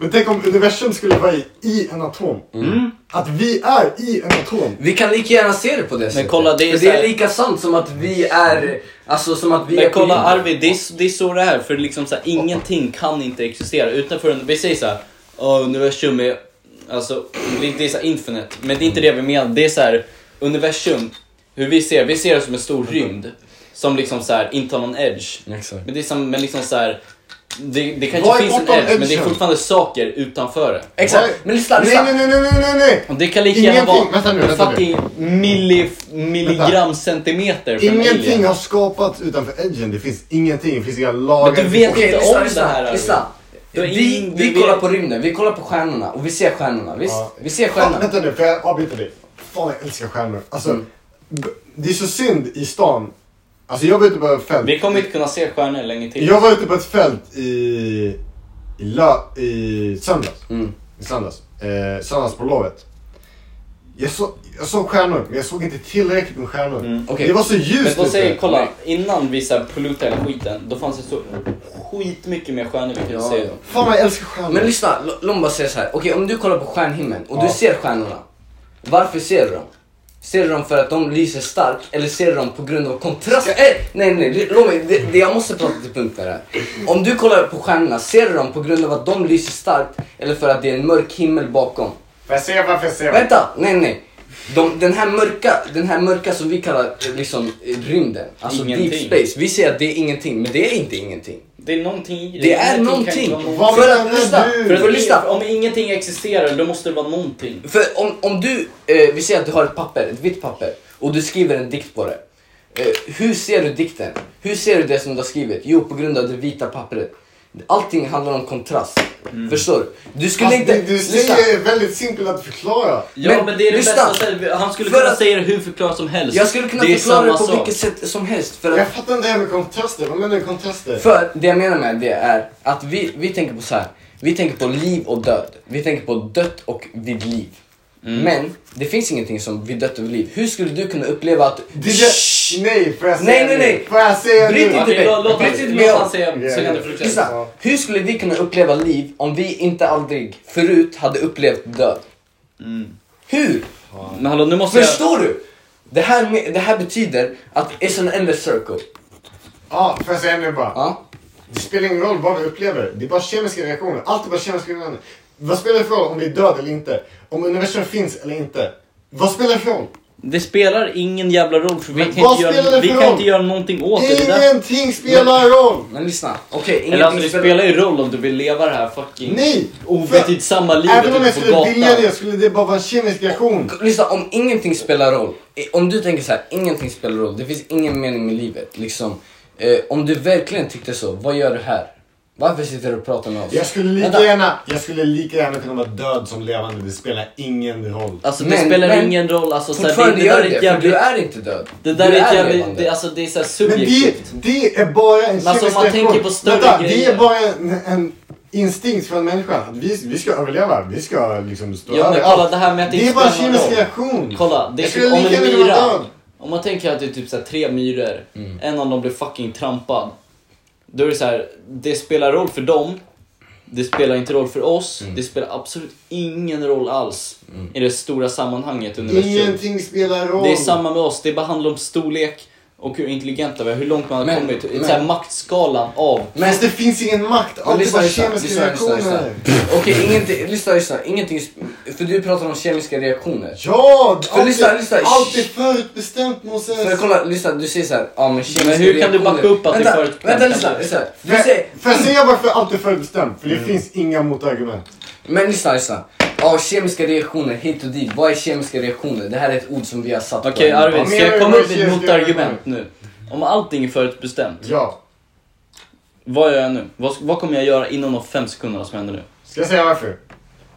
Speaker 7: Men tänk om universum skulle vara i, i en atom.
Speaker 15: Mm.
Speaker 7: Att vi är i en atom.
Speaker 15: Vi kan lika gärna se det på det sättet.
Speaker 6: kolla, det är
Speaker 15: För
Speaker 6: så
Speaker 15: det
Speaker 6: här-
Speaker 15: är lika sant som att vi är... Alltså som att vi är
Speaker 6: Men
Speaker 15: på
Speaker 6: kolla
Speaker 15: jorden.
Speaker 6: Arvid, det är, s- det är så det är. För liksom så här, ingenting kan inte existera utanför universum. Vi säger såhär, universum är, alltså, det det är så här infinite. Men det är inte det vi menar. Det är så här, universum, hur vi ser vi ser det som en
Speaker 7: Mm.
Speaker 6: stor rymd. Som liksom så här, inte har någon edge. Men det är som, men liksom så här, det, det kanske
Speaker 7: Vad är
Speaker 6: finns en
Speaker 7: bortom
Speaker 6: edge, men det är
Speaker 7: edgen?
Speaker 6: fortfarande saker utanför det.
Speaker 7: Men lyssna, lyssna. Nej, nej, nej, nej, nej, nej.
Speaker 6: Och Det kan lika gärna
Speaker 7: Ingenting-
Speaker 6: vara
Speaker 7: vänta nu, vänta nu.
Speaker 6: fucking milli, milligram centimeter från alien.
Speaker 7: Ingenting har skapats utanför edgen. Det finns ingenting. Det finns inga lagar.
Speaker 15: Men du vet
Speaker 7: Det finns-
Speaker 15: inte
Speaker 7: Lyssna,
Speaker 15: om
Speaker 7: lyssna,
Speaker 15: det här, Arvid.
Speaker 7: lyssna.
Speaker 15: Du har Vi- ingen- vi du vet- kollar på rymden, vi kollar på stjärnorna och vi ser stjärnorna, visst? Vi ser
Speaker 7: stjärnorna. Vänta nu, får jag avbryta dig? Fan, jag älskar stjärnor. Alltså,
Speaker 15: Mm.
Speaker 7: b- det är så synd i stan. Alltså jag var ute på ett fält.
Speaker 6: Vi kommer inte kunna se stjärnor länge till.
Speaker 7: Jag var ute på ett fält i, i, lö, i söndags.
Speaker 15: Mm.
Speaker 7: I söndags. Eh, söndags på lovet. Jag, så, jag såg stjärnor, men jag såg inte tillräckligt med stjärnor.
Speaker 15: Mm,
Speaker 7: Det var så
Speaker 6: Men
Speaker 7: ljust
Speaker 6: då säger,
Speaker 7: ute.
Speaker 6: kolla, innan vi så här polluterade hela skiten, då fanns det så skitmycket mer stjärnor vi kunde se.
Speaker 7: Fan vad jag älskar stjärnor.
Speaker 15: Men lyssna, L- Lomba säger så här. Okej, om du kollar på stjärnhimlen och du
Speaker 6: Ja.
Speaker 15: ser stjärnorna. Varför ser du dem? Ser du dem för att de lyser starkt eller ser du dem på grund av kontrast? Eh, nej, nej, li- låt mig. Det, det, jag måste prata till punkt där. Om du kollar på stjärnorna, ser du dem på grund av att de lyser starkt eller för att det är en mörk himmel bakom?
Speaker 7: Får jag se varför jag ser dem?
Speaker 15: Vänta, nej, nej. De, den, här mörka, den här mörka som vi kallar eh, liksom eh, rymden, alltså deep
Speaker 6: Ingenting.
Speaker 15: space. Vi säger att det är ingenting, men det är inte ingenting.
Speaker 6: Det är någonting i
Speaker 15: Det är någonting. För att lyssna,
Speaker 6: För
Speaker 15: för att lyssna.
Speaker 6: Om ingenting existerar, då måste det vara någonting.
Speaker 15: För om, om du, eh, vi säger att du har ett papper, ett vitt papper och du skriver en dikt på det. Eh, hur ser du dikten? Hur ser du det som du har skrivit? Jo, på grund av det vita pappret. Allting handlar om kontrast. Förstår du? Du skulle
Speaker 7: Mm. Fast Alltså, det
Speaker 15: inte...
Speaker 7: du
Speaker 15: lyssna.
Speaker 7: säger är väldigt simpelt att förklara.
Speaker 6: Ja, men, det är det
Speaker 15: lyssna.
Speaker 6: bästa sättet. Han skulle
Speaker 15: För
Speaker 6: kunna
Speaker 15: att-
Speaker 6: säga det hur förklarat som helst.
Speaker 15: Jag skulle kunna
Speaker 6: Det är
Speaker 15: förklara det
Speaker 6: samma
Speaker 15: på
Speaker 6: sak.
Speaker 15: vilket sätt som helst. För att...
Speaker 7: Jag fattar inte det här med kontraster. Vad menar du med kontraster?
Speaker 15: För det jag menar med det är att vi, vi tänker på så här. Vi tänker på liv och död. Vi tänker på dött och vid liv.
Speaker 7: Mm.
Speaker 15: Men det finns ingenting som vid dött och vid liv. Hur skulle du kunna uppleva att...
Speaker 7: Det är det- Nej, får jag säga
Speaker 15: Nej,
Speaker 7: nu?
Speaker 15: nej, nej.
Speaker 7: Får jag säga
Speaker 15: Bryt
Speaker 7: nu?
Speaker 15: inte mig. Bryt inte mig. Lyssna,
Speaker 7: Ja.
Speaker 15: hur skulle vi kunna uppleva liv om vi inte aldrig förut hade upplevt död?
Speaker 6: Mm.
Speaker 15: Hur?
Speaker 6: Men hallå, nu måste
Speaker 15: Förstår du? Det här, med- det här betyder att it's an endless circle.
Speaker 7: Ja, får jag säga nu bara? Det spelar ingen roll vad vi upplever. Det är bara kemiska reaktioner. Allt är bara kemiska reaktioner. Vad spelar det för roll om vi är döda eller inte? Om universum finns eller inte? Vad spelar det för roll?
Speaker 6: Det spelar ingen jävla roll för vi kan,
Speaker 7: vad
Speaker 6: inte
Speaker 7: spelar
Speaker 6: göra,
Speaker 7: det
Speaker 6: vi
Speaker 7: för
Speaker 6: kan
Speaker 7: roll?
Speaker 6: inte göra någonting åt det. det. där-
Speaker 7: Ingenting spelar roll!
Speaker 15: Men lyssna, okej.
Speaker 6: Eller alltså det
Speaker 15: ingenting
Speaker 6: spelar ju roll om du vill leva det här fucking
Speaker 7: Nej!
Speaker 6: obetänksamma livet
Speaker 7: Även om jag
Speaker 6: ute på
Speaker 7: skulle vilja
Speaker 6: gatan.
Speaker 7: det skulle det bara vara en kemisk reaktion.
Speaker 15: Lyssna, om ingenting spelar roll. eh, Om du tänker så här, ingenting spelar roll. Det finns ingen mening med livet. Liksom, eh, om du verkligen tyckte så, vad gör du här? Varför sitter du och pratar med oss?
Speaker 7: Jag skulle lika
Speaker 15: Vänta.
Speaker 7: gärna, jag skulle lika gärna kunna vara död som levande. Det spelar ingen roll.
Speaker 6: Alltså det spelar ingen roll. Alltså, så här,
Speaker 15: fortfarande
Speaker 6: där
Speaker 15: gör
Speaker 6: är ett
Speaker 15: det, för
Speaker 6: jävligt-
Speaker 15: du är inte död.
Speaker 6: Det där
Speaker 15: Du
Speaker 6: är ett
Speaker 15: är
Speaker 6: jävligt,
Speaker 15: levande.
Speaker 6: det, alltså det är så här
Speaker 7: Men det,
Speaker 6: subjektivt.
Speaker 7: det är bara en
Speaker 6: Men alltså, om man
Speaker 7: reaktion.
Speaker 6: tänker på större
Speaker 7: Vänta, det
Speaker 6: grejer.
Speaker 7: är bara en, en instinkt från människan. Att vi, vi ska överleva. Vi ska liksom stå
Speaker 6: Ja men
Speaker 7: över
Speaker 6: kolla
Speaker 7: allt.
Speaker 6: det här med att det
Speaker 7: Det
Speaker 6: inte
Speaker 7: är bara en
Speaker 6: spelar någon
Speaker 7: kemisk
Speaker 6: roll.
Speaker 7: reaktion.
Speaker 6: Kolla, det är
Speaker 7: Jag
Speaker 6: typ
Speaker 7: skulle
Speaker 6: om
Speaker 7: lika
Speaker 6: en
Speaker 7: gärna vara
Speaker 6: myra.
Speaker 7: död. Mm.
Speaker 6: Om man tänker att det är typ så här tre myror, en av dem blir fucking trampad. Då är det så här, det spelar roll för dem, det spelar inte roll för oss,
Speaker 7: Mm.
Speaker 6: det spelar absolut ingen roll alls i det stora sammanhanget universum.
Speaker 7: Ingenting spelar roll.
Speaker 6: Det är samma med oss, det bara handlar om storlek och hur intelligenta vi är, hur långt man har
Speaker 7: Men-
Speaker 6: kommit. Men,
Speaker 7: men-
Speaker 6: så här maktskalan av...
Speaker 7: Men det finns ingen makt. Allt är bara kemiska reaktioner.
Speaker 15: Okej, ingenting, lyssna, lyssna. Ingenting, sp- för du pratar om kemiska reaktioner.
Speaker 7: Ja!
Speaker 15: För
Speaker 7: allt
Speaker 15: lyssna,
Speaker 7: är-
Speaker 15: lyssna.
Speaker 7: Allt är förutbestämt Moses.
Speaker 15: För kolla, lyssna, du säger såhär, ja men kemiska
Speaker 7: Men hur kan du
Speaker 15: reaktioner-
Speaker 7: backa upp att det är
Speaker 15: vänta,
Speaker 7: förutbestämt?
Speaker 15: Vänta, lyssna, lyssna. Mm. Du
Speaker 7: För-
Speaker 15: säger,
Speaker 7: Får jag säga varför allt är förutbestämt? För det finns inga motargument.
Speaker 15: men lyssna, lyssna. Ja, kemiska reaktioner hit och dit. Vad är kemiska reaktioner? Det här är ett ord som vi har satt på
Speaker 6: Okej
Speaker 15: en-
Speaker 6: Arvid, ska jag komma upp med ett motargument nu? Om allting är förutbestämt.
Speaker 7: Ja.
Speaker 6: Vad gör jag nu? Vad, vad kommer jag göra inom de fem sekunderna som händer nu?
Speaker 7: Ska jag säga varför?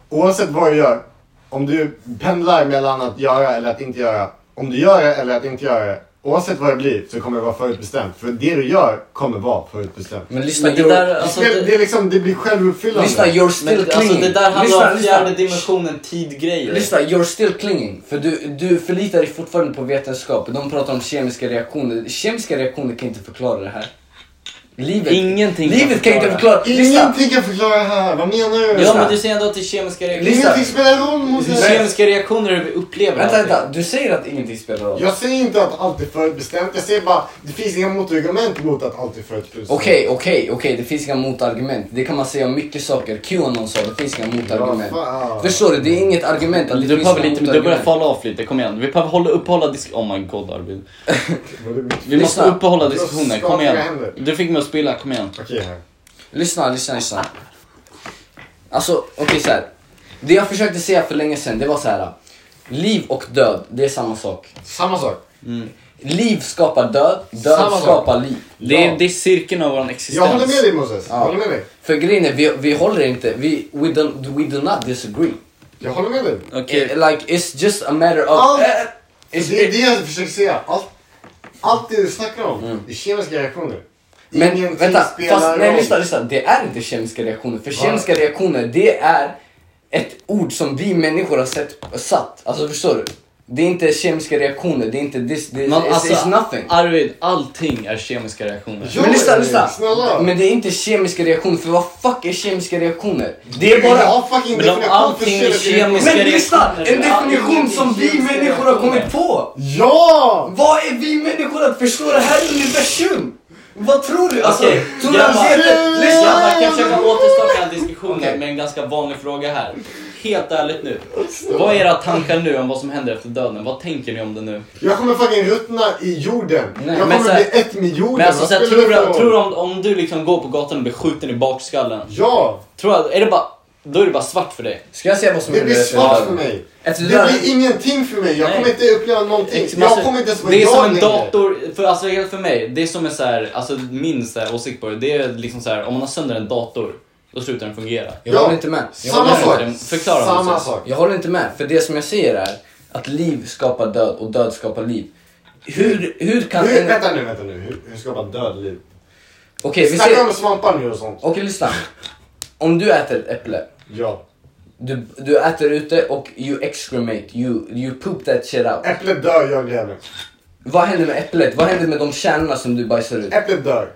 Speaker 7: Oavsett vad du gör, om du pendlar mellan att göra eller att inte göra. Om du gör det eller att inte göra det. Oavsett vad det blir så kommer det vara förutbestämt. För det du gör kommer vara förutbestämt.
Speaker 15: Men lyssna, Men det Georg- där, alltså,
Speaker 7: det, spelar-
Speaker 15: det-
Speaker 7: det, är liksom, det blir självuppfyllande.
Speaker 15: Lyssna, you're still
Speaker 6: Men,
Speaker 15: clinging.
Speaker 6: alltså, det där handlar
Speaker 15: lyssna,
Speaker 6: om
Speaker 15: lyssna.
Speaker 6: fjärde dimensionen tid-grejer.
Speaker 15: Lyssna, you're still clinging. För du, du förlitar dig fortfarande på vetenskap. De pratar om kemiska reaktioner. Kemiska reaktioner kan inte förklara det här. Livet,
Speaker 6: Ingenting kan
Speaker 15: livet kan inte
Speaker 6: förklara.
Speaker 15: förklara. Lyssna.
Speaker 7: Ingenting kan förklara det här. Vad menar du?
Speaker 6: Ja, men du säger ändå att det är kemiska reaktioner.
Speaker 7: Ingenting spelar roll mot det. här.
Speaker 6: Kemiska reaktioner är hur vi upplever
Speaker 15: Vänta,
Speaker 6: allting.
Speaker 15: vänta. Du säger att ingenting spelar roll.
Speaker 7: Jag säger inte att allt är förutbestämt. Jag säger bara det finns inga motargument mot att allt är förutbestämt.
Speaker 15: Okej, okej, okej, det finns inga motargument. Det kan man säga om mycket saker. Qanon sa det finns inga motargument.
Speaker 7: fan.
Speaker 15: Förstår du? Det är inget argument att det
Speaker 6: Du
Speaker 15: finns
Speaker 6: behöver
Speaker 15: inga
Speaker 6: lite, du börjar
Speaker 15: motargument.
Speaker 6: falla av lite, kom igen. Vi behöver hålla, uppehålla disk... Oh my god Arvid. Vi måste
Speaker 15: Lyssna.
Speaker 6: uppehålla diskussionen, kom
Speaker 15: Skakiga
Speaker 6: igen.
Speaker 15: händer.
Speaker 6: Du fick mig att spilla, kom igen.
Speaker 15: Lyssna, lyssna, lyssna. Alltså, okej så här. Det jag försökte säga för länge sedan, det var så här. Liv och död, det är samma sak.
Speaker 7: Samma sak.
Speaker 15: Liv skapar död, död
Speaker 6: Samma sak.
Speaker 15: skapar liv.
Speaker 6: Det är, det är cirkeln av vår existens.
Speaker 15: Ja. För grejen är, vi, vi håller inte, vi, we, don't, we do not disagree. Eh,
Speaker 7: Jag håller med dig.
Speaker 6: Okej.
Speaker 15: Like, it's just a matter of...
Speaker 7: Allt,
Speaker 15: Eh,
Speaker 7: Alltså, det är det jag försöker säga. Allt, allt det du snackar om,
Speaker 6: Mm.
Speaker 7: det är kemiska reaktioner.
Speaker 15: Men
Speaker 7: Ingenting
Speaker 15: vänta,
Speaker 7: spelar
Speaker 15: fast, nej
Speaker 7: roll.
Speaker 15: lyssna, lyssna. Det är inte kemiska reaktioner. För
Speaker 7: Va?
Speaker 15: kemiska reaktioner, det är ett ord som vi människor har sett, satt. Alltså förstår du? Det är inte kemiska reaktioner, det är inte this, this,
Speaker 6: Man,
Speaker 15: it's, it's
Speaker 6: alltså,
Speaker 15: nothing.
Speaker 6: Arvid, allting är kemiska reaktioner.
Speaker 15: men lyssna, lyssna. Men det är inte kemiska reaktioner, för vad fuck är kemiska reaktioner? Det är
Speaker 6: Men
Speaker 15: bara...
Speaker 6: jag har fucking Men om definition för allting är kemiska kemiska
Speaker 15: Men lyssna!
Speaker 6: reaktioner,
Speaker 15: En
Speaker 6: det är allting
Speaker 15: definition
Speaker 6: är
Speaker 15: som vi
Speaker 6: kemiska
Speaker 15: människor har kommit
Speaker 6: reaktioner.
Speaker 15: på!
Speaker 7: Ja!
Speaker 15: Vad är vi människor att förstå det här universum? Vad tror du? Alltså,
Speaker 6: Okej,
Speaker 15: tror du att
Speaker 6: grabbar,
Speaker 15: det-
Speaker 6: grabbar, kan jag
Speaker 15: Lyssna!
Speaker 6: försöka återstarta den diskussionen med en ganska vanlig fråga här. Helt ärligt nu, vad är era tankar nu om vad som händer efter döden? Vad tänker ni om det nu?
Speaker 7: Jag kommer fucking ruttna i jorden.
Speaker 6: Nej,
Speaker 7: jag
Speaker 6: men
Speaker 7: kommer
Speaker 6: så här-
Speaker 7: bli ett med jorden.
Speaker 6: Men alltså,
Speaker 7: Vad
Speaker 6: så här,
Speaker 7: spelar
Speaker 6: tror,
Speaker 7: det för
Speaker 6: du,
Speaker 7: roll?
Speaker 6: tror du om, om du liksom går på gatan och blir skjuten i bakskallen?
Speaker 7: Ja!
Speaker 6: Tror jag, är det bara, då är det bara svart för dig.
Speaker 15: Ska jag säga vad
Speaker 7: Det blir svart för mig. Det blir ingenting för mig. Jag
Speaker 6: Nej.
Speaker 7: kommer inte uppleva någonting.
Speaker 6: Ex-
Speaker 7: Jag
Speaker 6: alltså,
Speaker 7: kommer inte ens vara
Speaker 6: Det är
Speaker 7: jag
Speaker 6: som en
Speaker 7: längre.
Speaker 6: dator, för, alltså, helt för mig, det är som en så här, alltså, min så här, åsikt på det, det är liksom så här, om man har sönder en dator, då slutar den fungera.
Speaker 15: Jag håller inte med. Jag
Speaker 6: Samma
Speaker 15: håller
Speaker 6: sak.
Speaker 15: inte med.
Speaker 6: Förklara Samma Moses. sak.
Speaker 15: Jag håller inte med. För det som jag säger är att liv skapar död och död skapar liv. Hur, hur kan...
Speaker 7: Hur,
Speaker 15: en-
Speaker 7: vänta nu, vänta nu. Hur, hur skapar död liv?
Speaker 15: Okej, vi
Speaker 7: Snacka
Speaker 15: ser-
Speaker 7: om svampar nu och sånt.
Speaker 15: Okej, lyssna. Om du äter ett äpple.
Speaker 7: Ja.
Speaker 15: Du, du äter ute och you excremate, you, you poop that shit out.
Speaker 7: Äpplet dör, jag lever.
Speaker 15: Vad händer med äpplet? Vad händer med de kärnorna som du bajsar ut?
Speaker 7: Äpplet dör.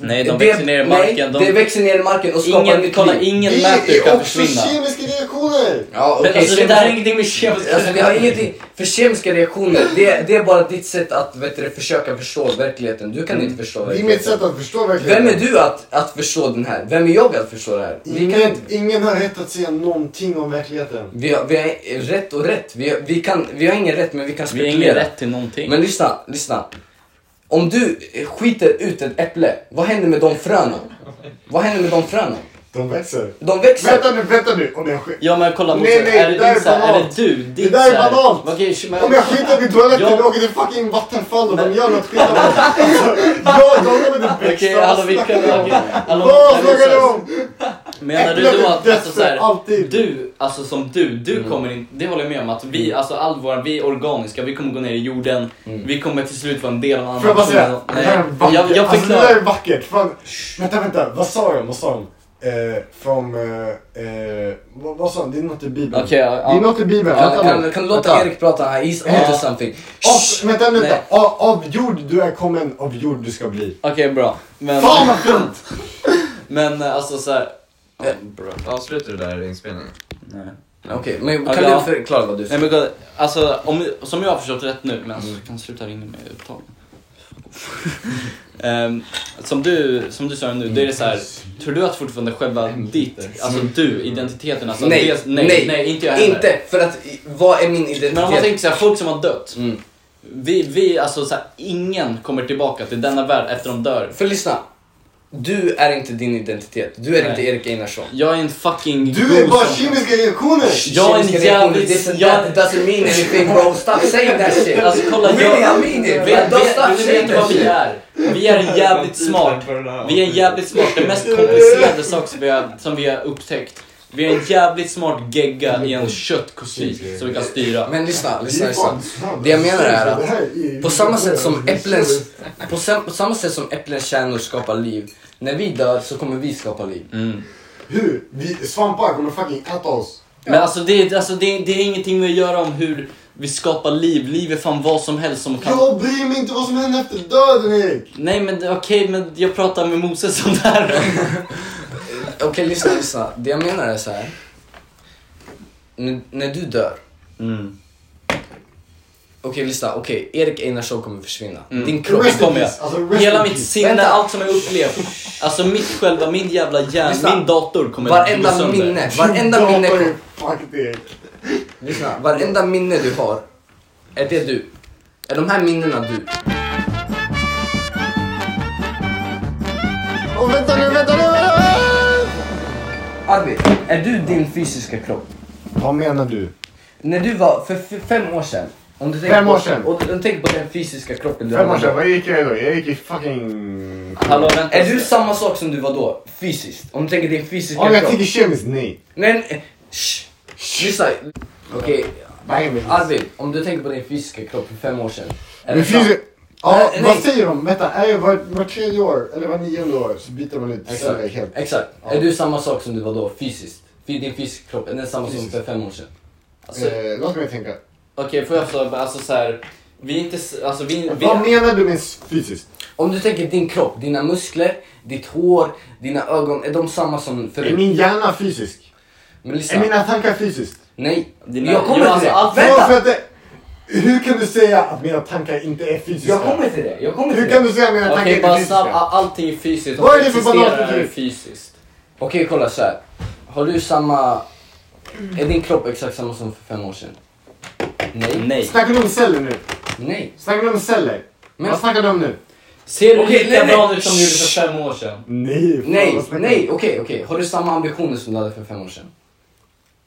Speaker 6: Nej, de växer ner i marken,
Speaker 15: Nej,
Speaker 6: de-
Speaker 15: det växer ner i marken och skapar
Speaker 6: Ingen-
Speaker 15: nytt
Speaker 6: kolla,
Speaker 15: liv.
Speaker 6: ingen
Speaker 7: Det
Speaker 6: matter
Speaker 7: är
Speaker 6: kan
Speaker 7: också
Speaker 6: försvinna.
Speaker 7: kemiska reaktioner.
Speaker 15: Ja, okej,
Speaker 6: Men alltså, det
Speaker 15: kemi-
Speaker 6: där har ingenting med kemiska
Speaker 15: Alltså, det har ingenting... För kemiska reaktioner, det, det är bara ditt sätt att vet du, försöka förstå verkligheten. Du kan inte förstå
Speaker 7: Mm. Det är
Speaker 15: verkligheten.
Speaker 7: mitt sätt att förstå verkligheten.
Speaker 15: Vem är du att, att förstå den här? Vem är jag att förstå det här? Vi, kan,
Speaker 7: Ingen, ingen har rätt att säga någonting om verkligheten.
Speaker 15: vi, har, vi har rätt och rätt. Vi, har- vi, kan, vi har ingen rätt men vi kan
Speaker 6: Vi har
Speaker 15: spekulera.
Speaker 6: ingen rätt till någonting.
Speaker 15: Men lyssna, lyssna. Om du skiter ut ett äpple, vad händer med de fröna? Vad händer med de fröna?
Speaker 7: De växer.
Speaker 15: De växer.
Speaker 7: Vänta nu, vänta nu. Om jag skiter...
Speaker 6: Ja men kolla
Speaker 7: Nej,
Speaker 6: Moses,
Speaker 7: nej,
Speaker 6: är
Speaker 7: det
Speaker 6: det
Speaker 7: där
Speaker 6: din
Speaker 7: är
Speaker 6: så här, är
Speaker 7: banalt.
Speaker 6: det du? Ditt
Speaker 7: Det där är
Speaker 6: så här-
Speaker 7: banalt.
Speaker 6: Okej, men-
Speaker 7: Om jag skiter i toaletten,
Speaker 6: Ja.
Speaker 7: jag åker till fucking Vattenfall och de gör något skit av mig. Alltså, Jag, de har inte växt.
Speaker 6: Okej,
Speaker 7: Vad
Speaker 6: hallå vi
Speaker 7: snackar
Speaker 6: kan...
Speaker 7: du om?
Speaker 6: okej, hallå,
Speaker 7: Vad
Speaker 6: Moses.
Speaker 7: snackar du om?
Speaker 6: Menar du
Speaker 7: Äcklar
Speaker 6: då
Speaker 7: till
Speaker 6: att
Speaker 7: döds
Speaker 6: alltså, så
Speaker 7: för
Speaker 6: här, du, alltså som du, du kommer inte, det håller jag med om att vi, alltså all våra, vi är organiska, vi kommer gå ner i jorden, vi kommer till slut vara en del av en annan
Speaker 7: Får jag bara säga? Det
Speaker 6: Nej,
Speaker 7: här är vackert.
Speaker 6: jag, jag
Speaker 7: alltså, det där
Speaker 6: förklarar.
Speaker 7: är vackert. Fan. Vänta, vänta. Vad sa de? Vad sa de? Eh, från... Eh, eh, vad, vad sa de? Det är något i Bibeln.
Speaker 6: Okej, ja,
Speaker 7: Det är något i Bibeln.
Speaker 15: Kan,
Speaker 7: Vänta
Speaker 15: kan,
Speaker 7: nu.
Speaker 15: kan du låta
Speaker 7: Vänta.
Speaker 15: Erik prata? här? He's
Speaker 7: Eh.
Speaker 15: onto something.
Speaker 7: Av, vänta, vänta.
Speaker 15: Nej.
Speaker 7: Av, av jord du är kommen, av jord du ska bli.
Speaker 6: Okej bra. Men,
Speaker 7: Fan vad fint!
Speaker 6: men eh, alltså såhär.
Speaker 10: Avslutar du där inspelningen?
Speaker 6: Nej.
Speaker 15: Okej, men kan
Speaker 6: Ja.
Speaker 15: du förklara vad du
Speaker 6: Nej men god, alltså om, som jag har förstått rätt nu, men
Speaker 15: Mm.
Speaker 6: alltså, kan sluta ringa mig uttagen. Ehm, som, du, som du sa nu, det är det så här. tror du att fortfarande själva ditt, alltså du, identiteten, alltså
Speaker 15: Mm. nej,
Speaker 6: dels- nej, nej, inte jag heller.
Speaker 15: Inte, för att i- vad är min identitet? Mm.
Speaker 6: Men om man tänker såhär, folk som har dött. Vi, vi, alltså såhär, ingen kommer tillbaka till denna värld efter de dör.
Speaker 15: För lyssna, Du är inte din identitet. Du är
Speaker 6: Nej.
Speaker 15: inte Erik Einarsson.
Speaker 6: Jag är en fucking
Speaker 15: Du är bara
Speaker 6: ghost.
Speaker 15: kemiska reaktioner.
Speaker 6: Jag är en
Speaker 15: Kemiska reaktioner,
Speaker 6: jävligt...
Speaker 15: this and
Speaker 6: jag-
Speaker 15: that doesn't mean anything, bro. Stop saying that shit.
Speaker 6: Alltså kolla,
Speaker 15: Really,
Speaker 6: jag...
Speaker 15: I mean it.
Speaker 6: Vet-
Speaker 15: Like, don't
Speaker 6: vet-
Speaker 15: stop
Speaker 6: vet ni
Speaker 15: saying
Speaker 6: vad
Speaker 15: that
Speaker 6: vi
Speaker 15: shit.
Speaker 6: är? Vi är en jävligt smart. Vi är en jävligt smart. Den mest komplicerade sak som vi har, som vi har upptäckt. Vi är en jävligt smart gegga i en köttkostym som vi kan styra.
Speaker 15: Men lyssna, lyssna, lyssna. Det jag menar är att på samma sätt som äpplens, på, sam, på samma sätt som äpplens kärnor skapar liv, när vi dör så kommer vi skapa liv.
Speaker 6: Mm.
Speaker 7: Hur? Vi, svampar kommer fucking äta oss.
Speaker 6: Men alltså det, är- alltså det, är- det är ingenting med att göra om hur vi skapar liv. Liv är fan vad som helst som kan...
Speaker 7: Jag bryr mig inte vad som händer efter döden Erik!
Speaker 6: Nej men det- okej, men jag pratar med Moses om det här.
Speaker 15: Okej, lyssna, lyssna. Det jag menar är så här. N- när du dör.
Speaker 6: Mm.
Speaker 15: Okej, lyssna. Okej, Erik Einarsson kommer försvinna.
Speaker 6: Mm.
Speaker 15: Din kropp
Speaker 6: Det kommer jag.
Speaker 15: Alltså, rest
Speaker 6: Hela
Speaker 15: in
Speaker 6: mitt
Speaker 15: peace.
Speaker 6: sinne,
Speaker 15: Vänta.
Speaker 6: allt som jag upplevt. Alltså mitt själva, min jävla hjärna,
Speaker 15: Lyssna.
Speaker 6: min dator kommer
Speaker 15: Varenda
Speaker 6: gå sönder.
Speaker 15: minne, varenda minne. kom-
Speaker 7: Fuck det.
Speaker 15: Lyssna, varenda minne du har. Är det du? Är de här minnena du?
Speaker 7: Och vänta nu, vänta nu, vänta nu!
Speaker 15: Arvid, är du din fysiska kropp?
Speaker 7: Vad menar du?
Speaker 15: När du var för f- fem år sedan. Om du tänker
Speaker 7: Fem
Speaker 15: på-
Speaker 7: år sedan.
Speaker 15: Och du tänker på den fysiska kroppen du
Speaker 7: Fem år
Speaker 15: hade
Speaker 7: sedan,
Speaker 15: då.
Speaker 7: vad gick jag i då? Jag gick i fucking...
Speaker 15: är du samma sak som du var då? Fysiskt? Om du tänker din fysiska
Speaker 7: Om jag
Speaker 15: kropp?
Speaker 7: tänker kemiskt, nej.
Speaker 15: Nej, nej. Shh. Lyssna. Okej.
Speaker 7: Alltså,
Speaker 15: Arvid, om du tänker på din fysiska kropp för fem år sedan. är
Speaker 7: Men
Speaker 15: det sant?
Speaker 7: fysisk... Ja,
Speaker 15: Nej,
Speaker 7: vad
Speaker 15: nej.
Speaker 7: säger de? Vänta, är jag var, var tredje år eller var nionde år så byter man ut celler
Speaker 15: Exakt.
Speaker 7: helt.
Speaker 15: Exakt.
Speaker 7: Ja.
Speaker 15: Är du samma sak som du var då fysiskt? För Din fysiska kropp, är den samma
Speaker 6: Fysiskt.
Speaker 15: som för fem år sedan?
Speaker 6: Alltså,
Speaker 7: Eh, låt mig tänka.
Speaker 6: Okej, får jag fråga, alltså så här. Vi är inte, s- alltså vi... vi
Speaker 15: Vad
Speaker 7: menar du med fysiskt?
Speaker 15: Om du tänker din kropp, dina muskler, ditt hår, dina ögon, är de samma som förut?
Speaker 7: Är min hjärna fysisk?
Speaker 15: Men lyssna.
Speaker 7: Är mina tankar fysiskt?
Speaker 15: Nej, jag kommer till det.
Speaker 7: Vadå, för
Speaker 15: Ah, Vänta!
Speaker 7: att det. Hur kan du säga att mina tankar inte är fysiska?
Speaker 15: Jag kommer till det, jag kommer till
Speaker 7: Hur
Speaker 15: det.
Speaker 7: kan du säga att mina tankar
Speaker 6: Okej,
Speaker 7: inte är
Speaker 6: bara
Speaker 7: fysiska?
Speaker 6: snabb, all- allting är fysiskt.
Speaker 7: Vad är det för
Speaker 6: Existerar
Speaker 7: banankultur?
Speaker 6: är fysiskt.
Speaker 15: Okej, kolla så här. Har du samma... Är din kropp exakt samma som för fem år sedan? Nej.
Speaker 6: Nej.
Speaker 7: Snackar du om celler nu?
Speaker 15: Nej.
Speaker 7: Snackar du om celler?
Speaker 15: Men-
Speaker 7: Vad snackar du om nu?
Speaker 6: Ser du
Speaker 15: Okej,
Speaker 6: lika
Speaker 15: nej,
Speaker 6: bra
Speaker 15: nej.
Speaker 6: ut som du gjorde för fem år sedan?
Speaker 7: Nej, fan,
Speaker 15: Nej,
Speaker 7: vad snackar du
Speaker 15: nej,
Speaker 7: om?
Speaker 15: okej, okej. Har du samma ambitioner som du hade för fem år sedan?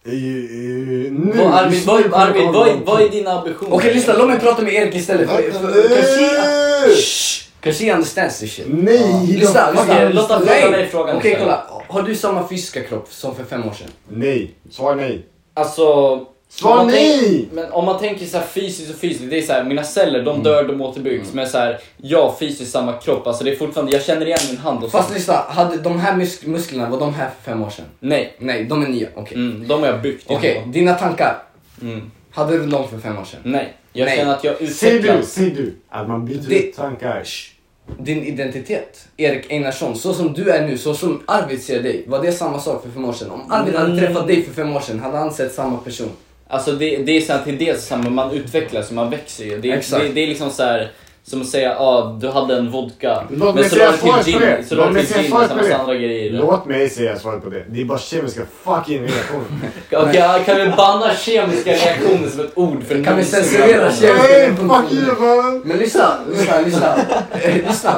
Speaker 7: Eh, eh, nu-
Speaker 6: Vad, Arvid, vad,
Speaker 7: nu-
Speaker 6: Arvid, vad, är- vad är dina ambitioner?
Speaker 15: Okej, lyssna, låt mig prata med Erik istället. För, för, för, kanske, Shh, kanske he understands this shit.
Speaker 7: Nej,
Speaker 15: Ja. lyssna,
Speaker 7: de-
Speaker 15: lyssna.
Speaker 7: Okej, låt
Speaker 6: honom
Speaker 15: Nej.
Speaker 6: ställa dig frågan
Speaker 15: Okej,
Speaker 6: istället.
Speaker 15: kolla. Har du samma fysiska kropp som för fem år sedan?
Speaker 7: Nej, svar nej.
Speaker 6: Alltså...
Speaker 7: Svar
Speaker 6: om man
Speaker 7: nej!
Speaker 6: tänk- Men om man tänker så här fysiskt och fysiskt, det är så här, mina celler de dör, de återbyggs.
Speaker 7: Mm.
Speaker 6: Men så här, jag fysiskt samma kropp, alltså det är fortfarande, jag känner igen min hand och så.
Speaker 15: Fast lyssna, hade de här musk- musklerna, var de här för fem år sedan?
Speaker 6: Nej.
Speaker 15: Nej, de är nya. Okej,
Speaker 6: Mm, de har jag byggt.
Speaker 15: Okej,
Speaker 6: innan.
Speaker 15: dina tankar.
Speaker 6: Mm.
Speaker 15: Hade du dem för fem år sedan?
Speaker 6: Nej, jag
Speaker 15: Nej.
Speaker 6: känner att jag
Speaker 7: Säg du,
Speaker 6: utvecklas.
Speaker 7: säg du att man byter
Speaker 15: Det-
Speaker 7: ut tankar.
Speaker 15: Din identitet, Erik Einarsson, så som du är nu, så som Arvid ser dig, var det samma sak för fem år sedan? Om Arvid hade
Speaker 6: Mm.
Speaker 15: träffat dig för fem år sedan, hade han sett samma person?
Speaker 6: Alltså det, det är så här, till dels samma, man utvecklas och man växer ju. Det, är-
Speaker 15: Exakt.
Speaker 6: det, det är liksom så här. Som att säga, ah, du hade en vodka,
Speaker 7: Låt
Speaker 6: men
Speaker 7: mig
Speaker 6: så
Speaker 7: säga
Speaker 6: la du
Speaker 7: svaret
Speaker 6: till
Speaker 7: på
Speaker 6: gin,
Speaker 7: det.
Speaker 6: så la
Speaker 7: Låt
Speaker 6: du
Speaker 7: mig
Speaker 6: till
Speaker 7: säga
Speaker 6: gin och
Speaker 7: svaret
Speaker 6: så
Speaker 7: på
Speaker 6: massa andra
Speaker 7: det.
Speaker 6: grejer i det.
Speaker 7: Låt mig säga svaret på det. Det är bara kemiska fucking reaktioner.
Speaker 6: Okej, kan vi banna kemiska reaktioner som ett ord för
Speaker 15: Kan vi
Speaker 6: någonsin?
Speaker 15: censurera
Speaker 7: Hey,
Speaker 15: kemiska
Speaker 7: fuck you man!
Speaker 15: Men lyssna, lyssna, lyssna. Eh, lyssna.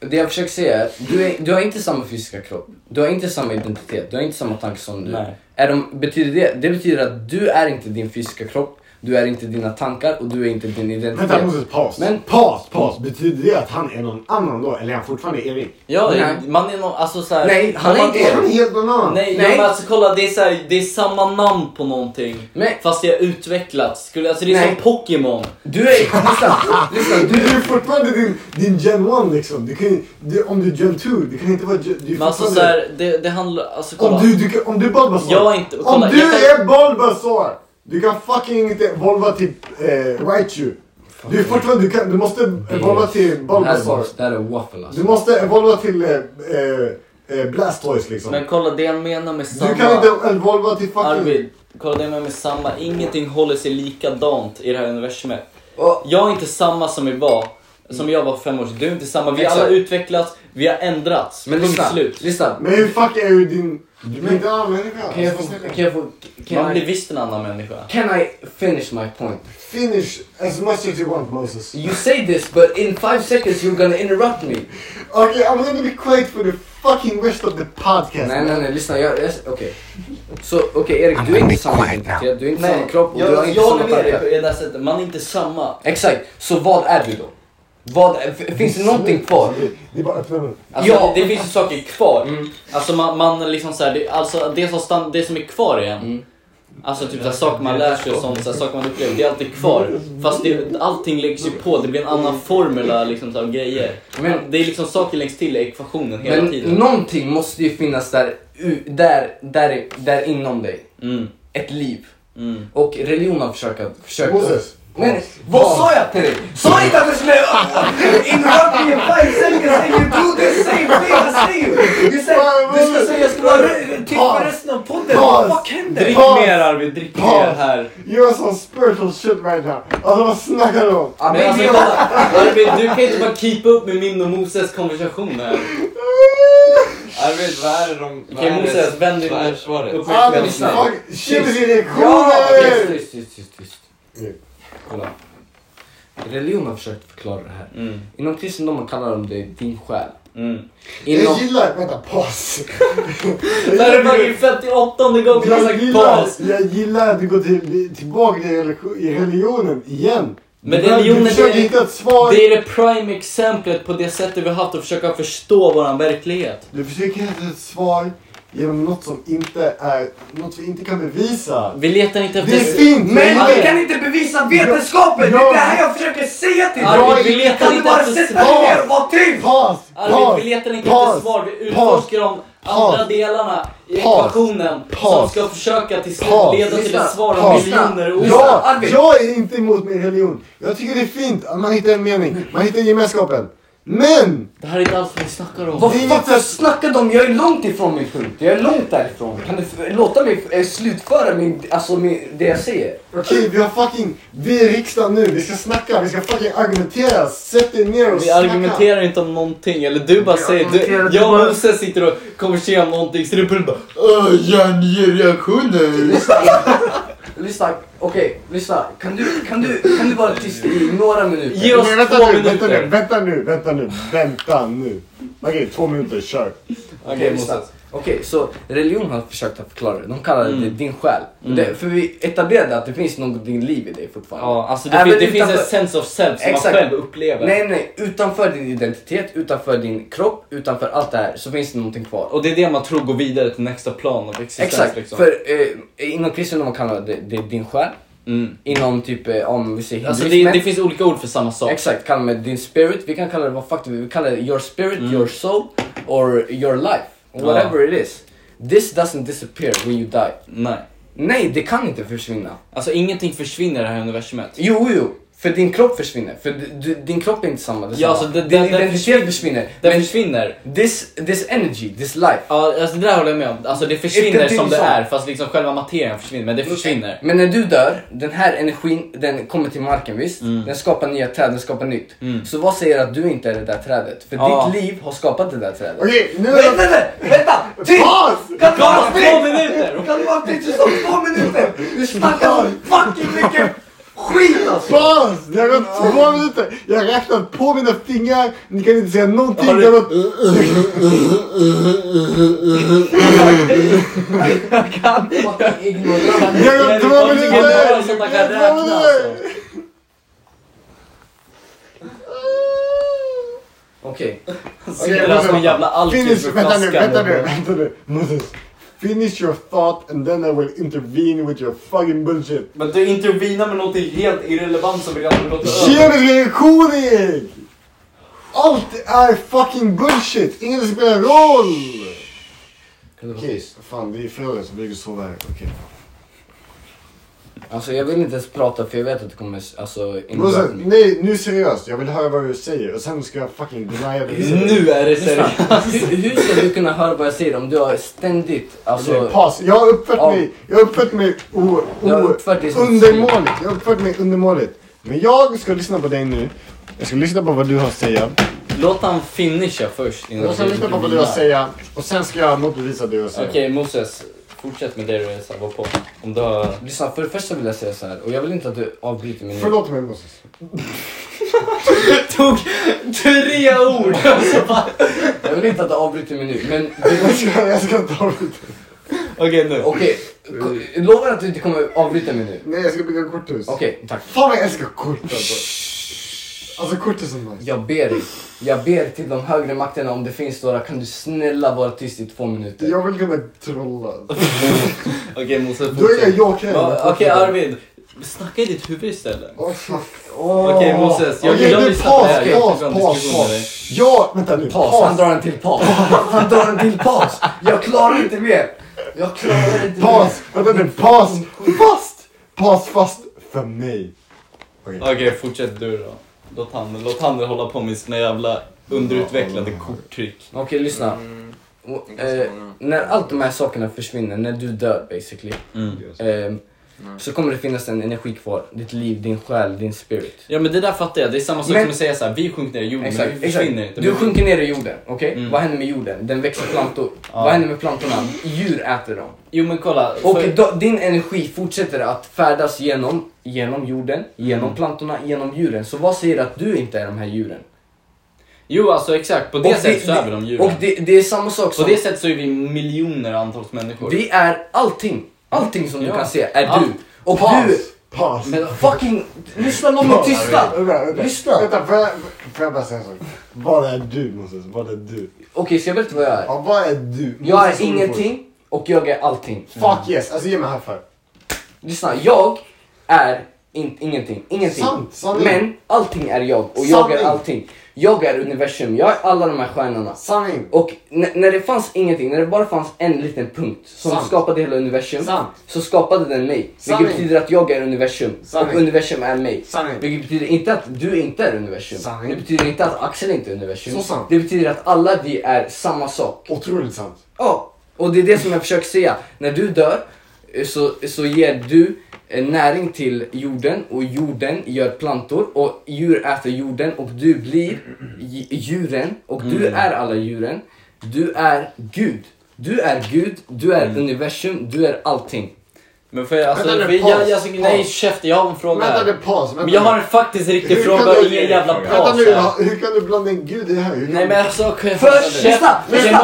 Speaker 15: Det jag försöker säga är att du, är, du har inte samma fysiska kropp. Du har inte samma identitet. Du har inte samma tankar som du.
Speaker 6: Nej.
Speaker 15: Är de, betyder det, det betyder att du är inte din fysiska kropp. Du är inte dina tankar och du är inte din identitet.
Speaker 7: Vänta Moses, paus.
Speaker 15: Men-
Speaker 7: Paus, paus. Betyder det att han är någon annan då? Eller är han fortfarande Erik?
Speaker 6: Ja,
Speaker 15: Nej.
Speaker 6: man är någon, alltså såhär...
Speaker 15: Nej, han är inte
Speaker 7: Han är
Speaker 15: Erik.
Speaker 7: helt någon annan.
Speaker 6: Nej,
Speaker 15: Nej.
Speaker 6: Ja, men alltså kolla det är, så här, det är samma namn på någonting
Speaker 15: Nej.
Speaker 6: fast jag har utvecklats. Skulle, alltså det är
Speaker 15: Nej.
Speaker 6: som Pokémon.
Speaker 15: Du är, lyssna, lyssna.
Speaker 7: Du
Speaker 15: Du,
Speaker 7: är fortfarande din, din gen 1 liksom. Du kan, ju- du, om du är gen 2, du kan inte vara gen... Du är
Speaker 6: Men alltså
Speaker 7: fortfarande-
Speaker 6: så här, det, det handlar, alltså kolla.
Speaker 7: om, du, du, kan- om du är Bulbasaur.
Speaker 6: Jag är inte-
Speaker 7: om
Speaker 6: kolla,
Speaker 7: du
Speaker 6: jag kan-
Speaker 7: är Bulbasaur! Du kan fucking inte volva till eh, Raichu. Du är fortfarande, du, kan, du måste evolva till
Speaker 15: Mm. det här är
Speaker 7: Bulbasaur.
Speaker 15: bara- det här är waffle alltså.
Speaker 7: Du måste evolva till eh, eh, eh, Blastoise liksom.
Speaker 6: Men kolla det jag menar med samma...
Speaker 7: Du kan inte evolva till fucking...
Speaker 6: Arvid, kolla det jag menar med samma. Ingenting håller sig likadant i det här universumet.
Speaker 15: Och-
Speaker 6: Jag är inte samma som vi var, som jag var för fem år sedan. Du är inte samma. Vi har alla
Speaker 15: Exakt.
Speaker 6: utvecklats, vi har ändrats.
Speaker 15: Men
Speaker 6: Punkt
Speaker 15: lyssna,
Speaker 6: slut.
Speaker 15: lyssna.
Speaker 7: Men hur fuck är du din... Du är inte en annan människa.
Speaker 15: Kan jag få,
Speaker 7: Alltså, snälla.
Speaker 15: kan jag få,
Speaker 6: Man
Speaker 15: can
Speaker 6: blir
Speaker 15: I,
Speaker 6: visst en annan människa.
Speaker 15: can I finish my point?
Speaker 7: Finish as much as you want Moses.
Speaker 15: You say this but in five seconds you're gonna interrupt me.
Speaker 7: Okay, I'm gonna be quiet for the fucking rest of the podcast.
Speaker 15: Nej, nej, nej, lyssna. Jag, jag, okej. Så, okej Erik, du är inte samma identitet, du är inte samma kropp och
Speaker 6: jag,
Speaker 15: du har inte
Speaker 6: jag
Speaker 15: samma
Speaker 6: håller med dig
Speaker 15: tankar.
Speaker 6: på det där sättet, man är inte samma.
Speaker 15: Exakt, så vad är du då? Vad, f- finns det någonting kvar?
Speaker 6: Alltså, ja, det finns ju saker kvar.
Speaker 15: Mm.
Speaker 6: Alltså man, man liksom så här, det, alltså det som, stan, det som är kvar igen.
Speaker 15: Mm.
Speaker 6: Alltså typ så här, saker man lär sig och sånt, så här, saker man upplever, det är alltid kvar. Fast det, allting läggs ju på, det blir en annan formula liksom så här, av grejer. Men, det är liksom saker läggs till i ekvationen hela
Speaker 15: Men
Speaker 6: tiden.
Speaker 15: någonting måste ju finnas där, u- där, där, där inom dig.
Speaker 6: Mm,
Speaker 15: Ett liv. Och religion har försökt... försökt
Speaker 7: Moses.
Speaker 15: Men vad sa jag till dig? Sa inte att du skulle... In European five seconds and you do the same thing as me! You said du ska säga jag ska vara re- till för resten av podden.
Speaker 7: Paus.
Speaker 15: Vad händer?
Speaker 7: Drick Paus. mer,
Speaker 6: Arvid, drick
Speaker 7: mer
Speaker 6: här.
Speaker 7: You're some spiritual shit right now. Alltså vad snackar du om?
Speaker 6: Men alltså, kolla, Arvid, du kan inte bara keep up med min och Moses konversation här.
Speaker 10: Arvid, vad är det de...
Speaker 6: Okej, Moses, vänd dig
Speaker 10: Vad är
Speaker 6: mot-
Speaker 10: svaret?
Speaker 6: upp-
Speaker 7: Ah, men
Speaker 6: Lyssna.
Speaker 7: fuck, Kemiska
Speaker 15: Ja,
Speaker 7: reaktioner!
Speaker 15: tyst, tyst, tyst, tyst, tyst. Kolla. Religion har försökt förklara det här.
Speaker 6: Mm,
Speaker 15: Inom kristendomen kallar de det din själ. Inom...
Speaker 7: Jag gillar, vänta, paus.
Speaker 6: Det här är fucking 58 gången jag har
Speaker 7: Jag
Speaker 6: sagt
Speaker 7: gillar,
Speaker 6: paus.
Speaker 7: jag gillar att du går till, tillbaka till religi- i religionen igen.
Speaker 6: Men
Speaker 7: Du bör-
Speaker 6: religionen
Speaker 7: du försöker
Speaker 6: är-
Speaker 7: hitta ett svar.
Speaker 6: Det är det prime exemplet på det sättet vi har haft att försöka förstå våran verklighet.
Speaker 7: Du försöker hitta ett svar genom något som inte är, något vi inte kan bevisa.
Speaker 6: Vi letar inte efter...
Speaker 7: Det finns!
Speaker 15: Men vi kan inte bevisa vetenskapen! Det är det här jag försöker säga till
Speaker 6: Arvid, vi
Speaker 15: dig!
Speaker 6: letar
Speaker 15: Kan du
Speaker 6: inte
Speaker 15: bara
Speaker 6: efter svar.
Speaker 15: sätta dig ner och vara tyst?
Speaker 7: Paus!
Speaker 6: Arvid, vi letar inte efter
Speaker 7: paus,
Speaker 6: svar, vi
Speaker 7: paus,
Speaker 6: utforskar de andra delarna i
Speaker 7: paus,
Speaker 6: ekvationen som
Speaker 7: paus,
Speaker 6: ska försöka till slut
Speaker 7: paus,
Speaker 6: leda till
Speaker 15: lyssna,
Speaker 6: ett svar om
Speaker 7: paus.
Speaker 6: miljoner ord.
Speaker 7: Ja,
Speaker 15: Arvid.
Speaker 7: jag är inte emot min religion. Jag tycker det är fint att man hittar en mening, man hittar gemenskapen. Men!
Speaker 6: Det här är inte alls vad vi snackar om.
Speaker 15: Vad fuck jag snackar om? Jag är långt ifrån min punkt. Jag är långt därifrån. Kan du f- låta mig f- eh, slutföra min, alltså min, det jag säger?
Speaker 7: Okej, vi har fucking... Vi är i riksdagen nu, vi ska snacka, vi ska fucking argumentera. Sätt er ner och
Speaker 6: Vi
Speaker 7: snacka.
Speaker 6: argumenterar inte om någonting, eller du bara säger... Du,
Speaker 7: argumenterar, du
Speaker 6: jag och
Speaker 7: bara-
Speaker 6: Moses sitter och konverserar om någonting, så du bara...
Speaker 7: Öh, hjärnreaktioner!
Speaker 15: Lyssna, okej, lyssna. Kan du, kan, du, kan du vara tyst i några minuter?
Speaker 6: Ge oss
Speaker 7: Men
Speaker 6: två
Speaker 7: vänta nu, vänta
Speaker 6: minuter.
Speaker 7: nu, vänta nu, vänta nu, vänta nu. Okej, två minuter, kör.
Speaker 15: Okej, lyssna. Okej, så religion har försökt att förklara det. De kallar det
Speaker 6: Mm.
Speaker 15: din själ. Det, för vi etablerade att det finns någonting liv i dig fortfarande.
Speaker 6: Ja, alltså det,
Speaker 15: Även
Speaker 6: fin, det finns en
Speaker 15: utanför-
Speaker 6: sense of self som man själv upplever.
Speaker 15: Nej, nej. Utanför din identitet, utanför din kropp, utanför allt det här så finns det någonting kvar.
Speaker 6: Och det är det man tror går vidare till nästa plan av existens.
Speaker 15: Exakt,
Speaker 6: liksom.
Speaker 15: för eh, inom kristendom kallar det, det din själ. Inom typ, eh, om vi säger
Speaker 6: Alltså Mm. det,
Speaker 15: hinduismen.
Speaker 6: det finns olika ord för samma sak.
Speaker 15: Exakt, kallar det din spirit. Vi kan kalla det vad fuck vi vill. Vi kallar det your spirit,
Speaker 6: Mm.
Speaker 15: your soul or your life. Whatever it is. This doesn't disappear when you die.
Speaker 6: Nej.
Speaker 15: Nej, det kan inte försvinna.
Speaker 6: Alltså ingenting försvinner i det här universumet.
Speaker 15: Jo, jo. För din kropp försvinner. För du, du, din kropp är inte samma. Det är
Speaker 6: Ja,
Speaker 15: samma.
Speaker 6: alltså, det-
Speaker 15: din
Speaker 6: den- den
Speaker 15: identitet
Speaker 6: försvinner.
Speaker 15: försvinner. försvinner.
Speaker 6: Den
Speaker 15: Men
Speaker 6: försvinner.
Speaker 15: this, this energy, this life.
Speaker 6: Ja, alltså det där håller jag med om. Alltså det
Speaker 15: Inte
Speaker 6: försvinner
Speaker 15: till
Speaker 6: som det
Speaker 15: sånt.
Speaker 6: är fast liksom själva materien försvinner. Men det försvinner.
Speaker 15: Men när du dör, den här energin den kommer till marken visst?
Speaker 6: Mm.
Speaker 15: Den skapar nya träd, den skapar nytt. Så vad säger att du inte är det där trädet? För
Speaker 6: Ja.
Speaker 15: ditt liv har skapat det där trädet.
Speaker 7: Okej, nu...
Speaker 15: Vänta, vänta! vänta! Tyst!
Speaker 7: Paus!
Speaker 15: Kan du vara
Speaker 6: Bara två
Speaker 15: tyst?
Speaker 6: minuter!
Speaker 15: Kan du vara tyst? Du sa två minuter! Du snackar så fucking mycket skit alltså!
Speaker 7: Paus! Det har gått två minuter. Jag har räknat på mina fingrar. Ni kan inte säga någonting. Det har gått...
Speaker 15: Jag kan fucking ignorera
Speaker 7: Det har gått två minuter!
Speaker 6: Det är sånt man kan
Speaker 7: Det
Speaker 6: räkna,
Speaker 7: har gått två minuter!
Speaker 15: Okej,
Speaker 7: Okej,
Speaker 6: Sitter där som en jävla
Speaker 7: Finish, vänta nu,
Speaker 6: alkisflaska.
Speaker 7: vänta nu, vänta nu. Moses. Finish your thought and then I will intervene with your fucking bullshit.
Speaker 6: Men du intervenar med någonting helt irrelevant som vi redan har gått över.
Speaker 7: Kemisk reaktion Erik! Allt är fucking bullshit! Ingen spelar roll! Okej, fan det är fredag så vi går sova här. Okej.
Speaker 15: alltså jag vill inte ens prata för jag vet att det kommer alltså
Speaker 7: Moses,
Speaker 15: inbörda mig.
Speaker 7: nej nu seriöst. Jag vill höra vad du säger och sen ska jag fucking denia det. du säger.
Speaker 6: Nu är det
Speaker 15: Lyssna,
Speaker 6: seriöst.
Speaker 15: hur, hur ska du kunna höra vad jag säger om du har ständigt
Speaker 7: Okej,
Speaker 15: alltså...
Speaker 7: Paus. Jag har uppfört
Speaker 15: Ja.
Speaker 7: mig, jag har uppfört mig o, o,
Speaker 15: Jag har uppfört dig som
Speaker 7: undermåligt. Jag har uppfört mig undermåligt. Men jag ska lyssna på dig nu. Jag ska lyssna på vad du har att säga.
Speaker 6: Låt han finisha först. innan
Speaker 7: Jag ska
Speaker 6: vi
Speaker 7: lyssna på vad du har
Speaker 6: intervenar.
Speaker 7: att säga. Och sen ska jag motbevisa det du har att
Speaker 6: Okej
Speaker 7: säga.
Speaker 6: Moses, fortsätt med det du sa, var på. Om du har...
Speaker 15: Lyssna, för det första vill jag säga så här och jag vill inte att du avbryter mig nu.
Speaker 7: Förlåt mig Moses.
Speaker 6: Tog tre ord!
Speaker 15: ord. jag vill inte att du avbryter mig nu, men... Jag ska, jag ska inte avbryta.
Speaker 17: Okej, nu.
Speaker 15: Okej, ko- lovar att du inte kommer avbryta mig nu?
Speaker 7: Nej, jag ska bygga korthus.
Speaker 15: Okej, tack.
Speaker 7: Fan vad jag älskar kort alltså. Alltså kort är så nice.
Speaker 15: Jag ber dig. Jag ber till de högre makterna om det finns några, kan du snälla vara tyst i två minuter?
Speaker 7: Jag vill kunna trolla.
Speaker 6: Okej Mosse,
Speaker 7: Då är jag Joker.
Speaker 6: Ja, Okej Arvid, snacka i ditt huvud istället. Okej Moses, jag,
Speaker 7: Okej,
Speaker 6: jag
Speaker 7: nu
Speaker 6: lyssnar på
Speaker 7: paus,
Speaker 6: det här. Jag
Speaker 7: paus,
Speaker 6: tycker om
Speaker 7: paus,
Speaker 6: diskussioner med dig.
Speaker 7: paus. Ja, vänta nu.
Speaker 15: Paus, han drar en till paus. Han drar en till paus. Jag klarar inte mer. Jag klarar inte
Speaker 7: Paus, vänta nu. Paus, fast. Paus, fast för mig.
Speaker 6: Okej, fortsätt du då. Låt han, låt han hålla på med sina jävla underutvecklade korttrick.
Speaker 15: Okej, lyssna.
Speaker 6: Mm.
Speaker 15: Och, eh, när allt de här sakerna försvinner, när du dör basically.
Speaker 6: Mm.
Speaker 15: ehm, så kommer det finnas en energi kvar. Ditt liv, din själ, din spirit.
Speaker 6: Ja men det där fattar jag, det är samma sak
Speaker 15: Men-
Speaker 6: som att säga såhär, vi sjunker ner i jorden
Speaker 15: Exakt,
Speaker 6: men vi
Speaker 15: exakt.
Speaker 6: försvinner inte. Mm.
Speaker 15: Du
Speaker 6: Men-
Speaker 15: sjunker ner i jorden, okej? Vad händer med jorden? Den växer plantor. Vad händer med plantorna? Djur äter dem.
Speaker 6: Jo men kolla.
Speaker 15: Och
Speaker 6: för-
Speaker 15: då, din energi fortsätter att färdas genom, genom jorden, genom
Speaker 6: Mm.
Speaker 15: plantorna, genom djuren. Så vad säger att du inte är de här djuren?
Speaker 6: Jo alltså exakt, på det
Speaker 15: Och
Speaker 6: sättet så är vi de djuren.
Speaker 15: Och det, det är samma sak som...
Speaker 6: på det sättet så är vi miljoner antals människor.
Speaker 15: Vi är allting. Allting som
Speaker 6: Ja.
Speaker 15: du kan se är
Speaker 6: Allt.
Speaker 15: du. Och
Speaker 6: Paus.
Speaker 15: du...
Speaker 7: Paus.
Speaker 15: Men fucking... Lyssna, låt mig
Speaker 7: Paus.
Speaker 15: tysta!
Speaker 7: Vänta, vänta.
Speaker 15: Lyssna!
Speaker 7: Vänta, får jag, får jag bara säga en sak? Vad är du Moses? Vad är du?
Speaker 15: Okej, ska jag berätta vad jag är?
Speaker 7: Ja, vad är du?
Speaker 15: Jag
Speaker 7: Moses
Speaker 15: är ingenting och jag är allting.
Speaker 7: Fuck yes, alltså ge mig high five.
Speaker 15: Lyssna, jag är in, ingenting. ingenting.
Speaker 7: Sant, sanning.
Speaker 15: Men allting är jag och jag är
Speaker 7: Sanning.
Speaker 15: allting. Jag är universum, jag är alla de här stjärnorna.
Speaker 7: Sanning.
Speaker 15: Och n- när det fanns ingenting, när det bara fanns en liten punkt som
Speaker 7: Sant.
Speaker 15: skapade hela universum,
Speaker 7: Sant.
Speaker 15: så skapade den mig.
Speaker 7: Sanning.
Speaker 15: Vilket betyder att jag är universum
Speaker 7: Sanning.
Speaker 15: och universum är mig.
Speaker 7: Sanning.
Speaker 15: Vilket betyder inte att du inte är universum.
Speaker 7: Sanning.
Speaker 15: Det betyder inte att Axel inte är universum.
Speaker 7: Så sant.
Speaker 15: Det betyder att alla vi är samma sak.
Speaker 7: Otroligt sant.
Speaker 15: Ja, och det är det som jag försöker säga. När du dör eh, så, så ger du eh, näring till jorden och jorden gör plantor och djur äter jorden och du blir dj- djuren och du
Speaker 6: Mm.
Speaker 15: är alla djuren. Du är Gud. Du är Gud, du är universum, du är allting.
Speaker 6: Men för jag, alltså,
Speaker 15: Vänta
Speaker 6: för
Speaker 15: nu,
Speaker 6: jag,
Speaker 15: paus,
Speaker 6: jag, jag, nej
Speaker 15: paus.
Speaker 6: käften, jag har en fråga
Speaker 7: Vänta
Speaker 6: här.
Speaker 7: nu, paus, vänta
Speaker 6: men jag
Speaker 7: nu.
Speaker 6: har en faktiskt riktig
Speaker 7: Hur
Speaker 6: fråga
Speaker 7: kan
Speaker 6: och
Speaker 7: du-
Speaker 6: ingen jävla
Speaker 7: Vänta
Speaker 6: paus
Speaker 7: nu,
Speaker 6: här.
Speaker 7: hur kan du blanda in Gud i det här? Hur kan
Speaker 6: Nej
Speaker 7: du-
Speaker 6: men alltså, kan jag
Speaker 7: Först- lyssna, lyssna.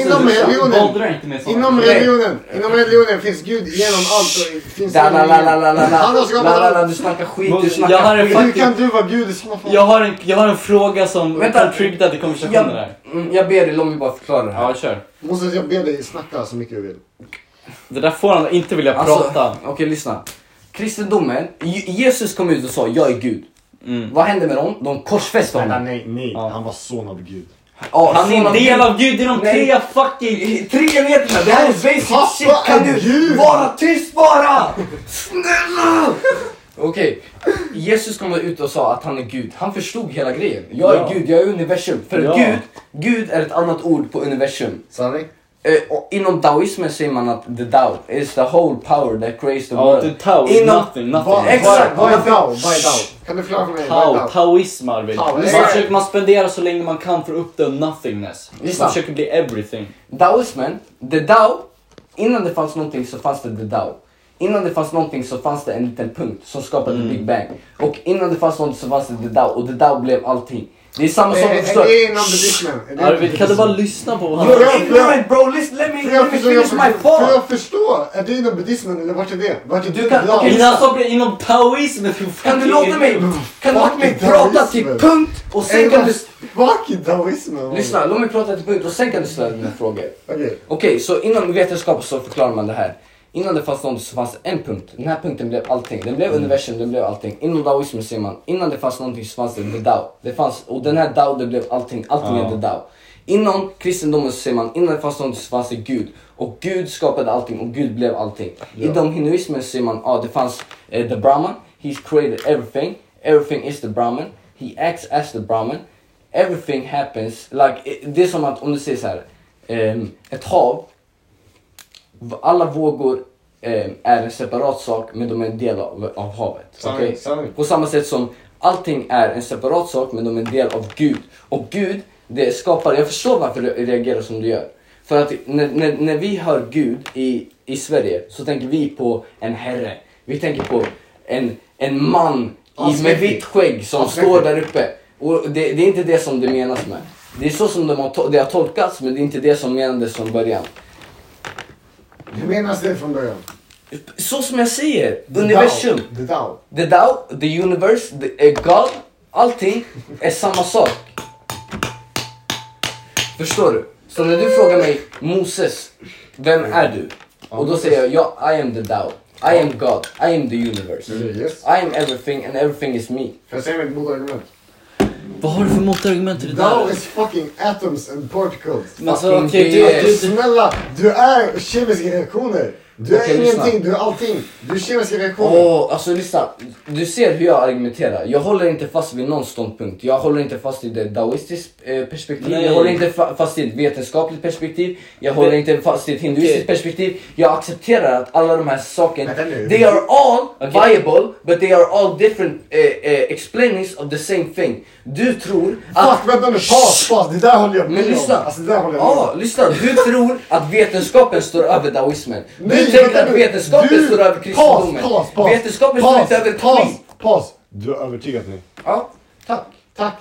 Speaker 7: Inom religionen. Inom religionen, inom religionen finns Gud genom allt och finns
Speaker 15: Da, la, la, la, la, la, la.
Speaker 7: Han har skapat
Speaker 15: La, la, la,
Speaker 7: allt.
Speaker 15: du snackar skit, du
Speaker 6: Jag har
Speaker 15: snackar
Speaker 6: en
Speaker 15: skit.
Speaker 6: faktiskt...
Speaker 7: du vara gud i sådana fall?
Speaker 6: Jag har en, jag har en fråga som
Speaker 15: Vänta.
Speaker 6: contributar till konversationen här.
Speaker 15: Mm, Jag ber dig, låt mig bara förklara det här.
Speaker 6: Ja, kör.
Speaker 7: Moses, jag ber dig snacka så mycket du vill.
Speaker 6: Det där får han inte vilja
Speaker 7: Alltså,
Speaker 6: prata.
Speaker 15: Alltså, Okej, lyssna. Kristendomen, Je- Jesus kom ut och sa jag är Gud.
Speaker 6: Mm.
Speaker 15: Vad hände med dem? De korsfäste
Speaker 7: Nej,
Speaker 15: honom.
Speaker 7: nej, nej. Han var son av Gud.
Speaker 15: Ja,
Speaker 6: Han är
Speaker 15: son
Speaker 6: en
Speaker 15: av
Speaker 6: del av Gud, det är de
Speaker 15: Nej.
Speaker 6: tre fucking...
Speaker 15: Treenheterna, det här är basic shit. Kan du vara tyst bara? Snälla! Okej, Jesus kom ut och sa att han är Gud. Han förstod hela grejen. Jag är
Speaker 6: Ja.
Speaker 15: Gud, jag är universum. För
Speaker 6: Ja.
Speaker 15: Gud, Gud är ett annat ord på universum.
Speaker 7: Sanning.
Speaker 15: Eh, och inom daoismen säger man att the dao is the whole power that creates the
Speaker 6: Ja,
Speaker 15: world.
Speaker 6: the Tao is nothing, nothing.
Speaker 7: Vad-
Speaker 15: Exakt!
Speaker 7: Vad är Dao? Vad är Dao? Kan du förklara för mig? Vad är
Speaker 6: Tao,
Speaker 7: Dao?
Speaker 6: taoism Arvid.
Speaker 7: Tao,
Speaker 6: Man,
Speaker 7: exakt.
Speaker 6: försöker, man spenderar så länge man kan för att uppnå nothingness.
Speaker 15: Just
Speaker 6: Man
Speaker 15: det.
Speaker 6: försöker bli everything.
Speaker 15: Daoismen, the Dao, innan det fanns någonting så fanns det the Dao. Innan det fanns någonting så fanns det en liten punkt som skapade
Speaker 7: Mm.
Speaker 15: Big Bang. Och innan det fanns någonting så fanns det the Dao och the Dao blev allting. Det är samma sak
Speaker 7: Eh, eh,
Speaker 15: med
Speaker 7: Är
Speaker 15: förstör.
Speaker 7: det inom buddhismen? Är det-
Speaker 6: Arvid, kan du bara lyssna på vad han
Speaker 7: Får
Speaker 6: säger?
Speaker 7: jag- får jag-
Speaker 15: Ignorant bro, listen, let me,
Speaker 7: får jag
Speaker 15: let me finish
Speaker 7: försöka-
Speaker 15: my
Speaker 7: Får
Speaker 15: thought!
Speaker 7: jag förstå? Är det inom buddhismen eller vart är det? Vart är
Speaker 15: Du
Speaker 7: det
Speaker 15: kan-
Speaker 7: Dao?
Speaker 15: okej,
Speaker 6: Men han sa inom taoismen för
Speaker 15: Kan du
Speaker 7: eh,
Speaker 6: fucking-
Speaker 15: låta mig, kan du låta mig
Speaker 7: Fucking
Speaker 15: prata
Speaker 7: daoismen.
Speaker 15: till punkt och sen
Speaker 7: Är
Speaker 15: kan
Speaker 7: det
Speaker 15: du...
Speaker 7: Fuck i daoismen.
Speaker 15: Lyssna, låt mig prata till punkt och sen kan du ställa dina frågor.
Speaker 7: Okej.
Speaker 15: Okej, så inom vetenskap så förklarar man det här. Innan det fanns någon så fanns det en punkt. Den här punkten blev allting. Den blev universum, den blev allting. Inom daoismen säger man, innan det fanns någonting så fanns det the dao. Det fanns, och den här dao, det blev allting. Allting är the dao. Inom kristendomen så säger man, innan det fanns någonting så fanns det gud. Och gud skapade allting och gud blev allting. Inom hinduismen säger man, ah, det fanns eh, the brahman. He created everything. Everything is the brahman. He acts as the brahman. Everything happens. Like, eh, det är som att om du säger så här. ehm, ett hav V- alla vågor eh, är en separat sak men de är en del av, av havet.
Speaker 7: Sanning,
Speaker 15: okej?
Speaker 7: sanning.
Speaker 15: På samma sätt som allting är en separat sak men de är en del av Gud. Och Gud, det skapar, jag förstår varför du reagerar som du gör. För att när, när, när vi hör Gud i, i Sverige så tänker vi på en herre. Vi tänker på en, en man i, med
Speaker 7: Allsmäktig.
Speaker 15: vitt skägg som
Speaker 7: Allsmäktig.
Speaker 15: står där uppe. Och det, det är inte det som det menas med. Det är så som de har, to- det har tolkats men det är inte det som menades från början.
Speaker 7: Hur menas det från början?
Speaker 15: Så som jag säger, universum.
Speaker 7: The Tao.
Speaker 15: The Tao, the universe, the, eh, God, allting är samma sak. Förstår du? Så när du frågar mig Moses, vem är du? Och då säger jag, ja, I am the Tao. I am God, I am the universe. I am everything and everything is me.
Speaker 7: Får jag säga mitt motargument?
Speaker 6: Vad har du för motargument till det
Speaker 7: Now
Speaker 6: där?
Speaker 7: is fucking atoms and particles.
Speaker 6: Men alltså,
Speaker 7: Fucking
Speaker 6: okej, du-
Speaker 7: det-
Speaker 6: du-
Speaker 7: Snälla, du är kemiska reaktioner. Du är
Speaker 15: Okej, lyssna.
Speaker 7: ingenting, du är allting. Du är kemiska reaktioner.
Speaker 15: Åh, alltså lyssna. Du ser hur jag argumenterar. Jag håller inte fast vid någon ståndpunkt. Jag håller inte fast i det daoistiskt eh, perspektiv.
Speaker 6: Nej.
Speaker 15: Jag håller inte fa- fast i ett vetenskapligt perspektiv. Jag håller
Speaker 6: Det-
Speaker 15: inte fast i ett hinduistiskt
Speaker 6: Okej.
Speaker 15: perspektiv. Jag accepterar att alla de här sakerna,
Speaker 6: nu.
Speaker 15: they are all
Speaker 6: Okej.
Speaker 15: viable but they are all different eh, eh, explainings of the same thing. Du tror att...
Speaker 7: Fuck, vänta nu. Paus, paus. Det där håller jag med
Speaker 15: Men
Speaker 7: om.
Speaker 15: lyssna.
Speaker 7: Alltså, det där håller jag med
Speaker 15: Ja,
Speaker 7: om.
Speaker 15: lyssna. Du tror att vetenskapen står över daoismen. Du
Speaker 7: Nej,
Speaker 15: tänker
Speaker 7: vänta
Speaker 15: att
Speaker 7: nu.
Speaker 15: vetenskapen
Speaker 7: Du-
Speaker 15: står över kristendomen.
Speaker 7: Paus, paus, paus.
Speaker 15: Vetenskapen
Speaker 7: Paus,
Speaker 15: står inte över
Speaker 7: paus,
Speaker 15: skit.
Speaker 7: paus. Du har övertygat mig.
Speaker 15: Ja, tack.
Speaker 7: Tack.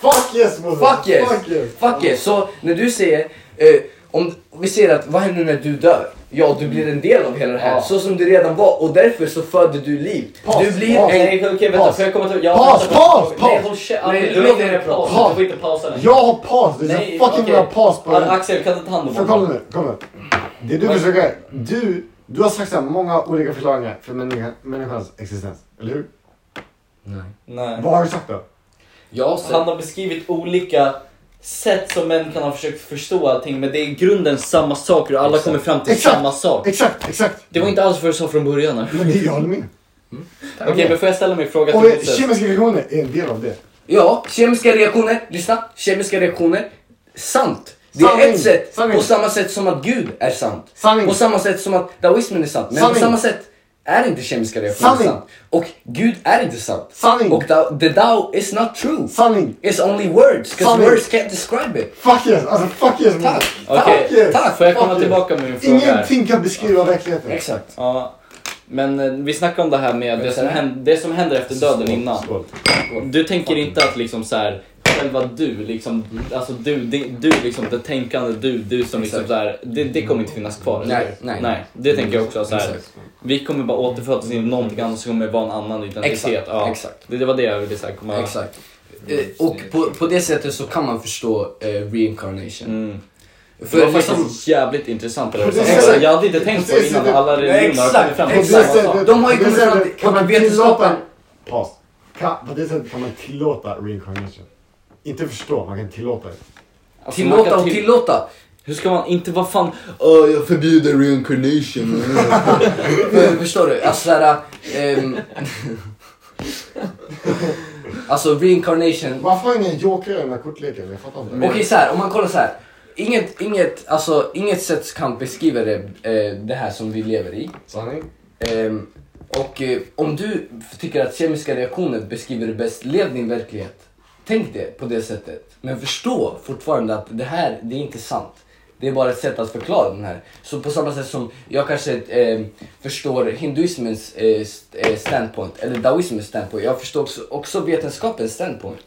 Speaker 7: Fuck yes, Moses.
Speaker 15: Fuck yes.
Speaker 7: Fuck yes.
Speaker 15: Fuck yes. Så när du säger, eh, om vi säger att vad händer när du dör? Ja, du blir en del av hela det här.
Speaker 6: Ja.
Speaker 15: Så som du redan var och därför så födde du liv.
Speaker 6: Paus,
Speaker 15: du blir
Speaker 6: paus.
Speaker 15: en...
Speaker 6: Nej, okej, vänta, får jag komma till- jag-
Speaker 15: paus,
Speaker 6: vänta,
Speaker 15: paus,
Speaker 6: vänta.
Speaker 15: paus!
Speaker 6: Nej, håll kä-
Speaker 15: Nej,
Speaker 6: du-
Speaker 15: låt mig-
Speaker 6: paus. Du får inte pausa längre.
Speaker 7: Jag har paus. Det är
Speaker 6: Nej,
Speaker 7: så fucking
Speaker 6: okej.
Speaker 7: bra paus på den.
Speaker 6: Axel, kan du ta hand om
Speaker 7: För
Speaker 6: honom?
Speaker 7: kolla nu, kolla. Det du försöker, du, du har sagt så här många olika förklaringar för människa, människans existens, eller hur?
Speaker 15: Nej.
Speaker 6: Nej.
Speaker 7: Vad har du sagt då?
Speaker 6: Han har beskrivit olika sätt som män kan ha försökt förstå allting men det är i grunden samma saker och alla kommer fram till samma sak.
Speaker 7: Exakt, exakt.
Speaker 6: Det var inte alls vad du sa från början. här.
Speaker 7: Men det, jag håller med.
Speaker 6: Okej, men får jag ställa min fråga till
Speaker 7: Och
Speaker 6: Moses?
Speaker 7: kemiska reaktioner är en del av det.
Speaker 15: Ja, kemiska reaktioner. Lyssna. Kemiska reaktioner. Sant. Det
Speaker 7: Sanning.
Speaker 15: är ett sätt.
Speaker 7: Sanning.
Speaker 15: På samma sätt som att Gud är sant.
Speaker 7: Sanning.
Speaker 15: På samma sätt som att daoismen är sant. Men på
Speaker 7: Sanning.
Speaker 15: samma sätt är inte kemiska reaktioner
Speaker 7: Sanning.
Speaker 15: sant. Och Gud är inte sant.
Speaker 7: Sanning.
Speaker 15: Och da- the dao is not true.
Speaker 7: Sanning.
Speaker 15: It's only words. 'cause
Speaker 7: Sanning.
Speaker 15: words can't describe it.
Speaker 7: Fuck yes, alltså fuck yes. Tack,
Speaker 6: Okej,
Speaker 7: fuck yes.
Speaker 6: tack. Får jag
Speaker 7: fuck
Speaker 6: komma
Speaker 7: yes.
Speaker 6: tillbaka med min fråga här?
Speaker 7: Ingenting kan beskriva verkligheten.
Speaker 15: Exakt.
Speaker 6: Ja, men eh, vi snackade om det här med det som, händer, det som händer efter döden innan. Du tänker inte att liksom så här, själva du, liksom, alltså du, di- du liksom, det tänkande du, du som liksom så här, det, det kommer inte finnas kvar. eller
Speaker 15: Nej,
Speaker 6: hur?
Speaker 15: nej.
Speaker 6: nej. Det tänker jag också. Så här,
Speaker 15: Exakt.
Speaker 6: vi kommer bara återfödas in i någonting annat som kommer vara en annan identitet.
Speaker 15: Exakt,
Speaker 6: Ja.
Speaker 15: exakt.
Speaker 6: Det, det var det jag ville säga. Komma.
Speaker 15: Exakt. Eh, och på, på det sättet så kan man förstå eh, reincarnation.
Speaker 6: För Mm. det var
Speaker 15: liksom-
Speaker 6: faktiskt jävligt intressant det där.
Speaker 15: På det
Speaker 6: Alltså,
Speaker 15: sättet-
Speaker 6: Jag hade inte tänkt på det innan. Alla religioner har kommit fram Alltså, till samma
Speaker 15: Exakt,
Speaker 6: sak.
Speaker 15: exakt. De har ju
Speaker 7: På det
Speaker 15: kommit fram
Speaker 7: sättet
Speaker 15: till-
Speaker 7: kan
Speaker 15: och
Speaker 7: man
Speaker 15: vetenskapen...
Speaker 7: tillåta... Paus. Kan- På det sättet kan man tillåta reincarnation. Inte förstå, man kan tillåta det.
Speaker 6: Alltså, man
Speaker 15: Tillåta
Speaker 6: kan
Speaker 15: och
Speaker 6: till-
Speaker 15: tillåta.
Speaker 6: Hur ska man inte, vad fan, "Åh, jag förbjuder reincarnation.
Speaker 15: För- Förstår du? Alltså såhär... ehm, alltså reincarnation.
Speaker 7: Varför har ingen joker i den här kortleken? Jag fattar inte.
Speaker 15: Okej så här, om man kollar så här. Inget, inget, alltså, inget sätt kan beskriva det, eh, det här som vi lever i.
Speaker 7: Sanning.
Speaker 15: Ehm, och eh, om du tycker att kemiska reaktioner beskriver det bäst, lev din verklighet. Tänk det på det sättet. Men förstå fortfarande att det här, det är inte sant. Det är bara ett sätt att förklara den här. Så på samma sätt som jag kanske eh, förstår hinduismens eh, st- eh, standpoint, eller daoismens standpoint. Jag förstår också, också vetenskapens standpoint.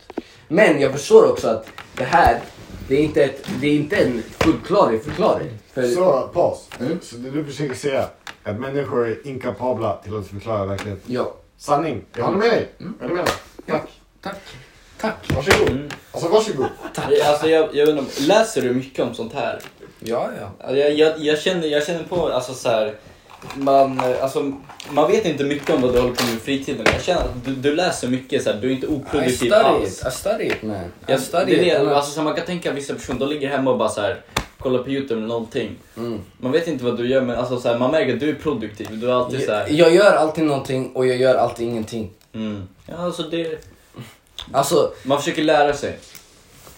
Speaker 15: Men jag förstår också att det här, det är inte, ett, det är inte en fullklarig förklaring. För-
Speaker 7: Så, paus. Mm. Så det du försöker säga är att människor är inkapabla till att förklara verkligheten.
Speaker 15: Ja.
Speaker 7: Sanning. Jag håller med dig.
Speaker 6: Mm.
Speaker 7: Jag håller med dig. Tack.
Speaker 15: Tack.
Speaker 7: Tack. Varsågod. Alltså varsågod.
Speaker 6: alltså, jag, jag undrar, läser du mycket om sånt här?
Speaker 15: Ja, ja.
Speaker 6: Alltså, Jag, jag, jag, känner, jag känner på, alltså så här, man, eh, alltså, man vet inte mycket om vad du håller på med i fritiden. Jag känner att du, du läser mycket, så här, du är inte
Speaker 15: I
Speaker 6: oproduktiv
Speaker 15: study
Speaker 6: alls.
Speaker 15: it, I study it man. I
Speaker 6: Jag,
Speaker 15: study
Speaker 6: det
Speaker 15: it.
Speaker 6: är
Speaker 15: and
Speaker 6: det,
Speaker 15: I-
Speaker 6: alltså, så här, man kan tänka att vissa personer de ligger hemma och bara så här, kollar på Youtube eller någonting.
Speaker 15: Mm.
Speaker 6: Man vet inte vad du gör men alltså, så här, man märker att du är produktiv. Du är alltid så här.
Speaker 15: Jag, jag gör alltid någonting och jag gör alltid ingenting.
Speaker 6: Mm. Ja, alltså, det,
Speaker 15: Alltså,
Speaker 6: man försöker lära sig.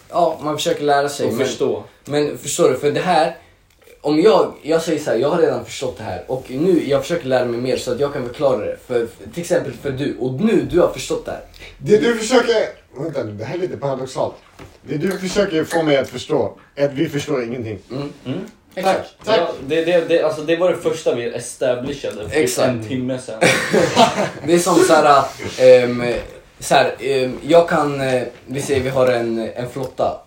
Speaker 15: ja, man försöker lära sig.
Speaker 6: Och förstå.
Speaker 15: Men förstår du, för det här, om jag, jag säger så här, jag har redan förstått det här och nu, jag försöker lära mig mer så att jag kan förklara det. För, till exempel för du, och nu, du har förstått det här.
Speaker 7: Det du försöker... Vänta nu, det här är lite paradoxalt. Det du försöker få mig att förstå är att vi förstår ingenting. Tack. Tack.
Speaker 6: Ja, det, det, det, alltså, det var det första vi establishade för typ
Speaker 15: Exakt.
Speaker 6: en timme sedan.
Speaker 15: Det är som såhär, ehm, så här, eh, jag kan, eh, vi säger vi har en, en flotta.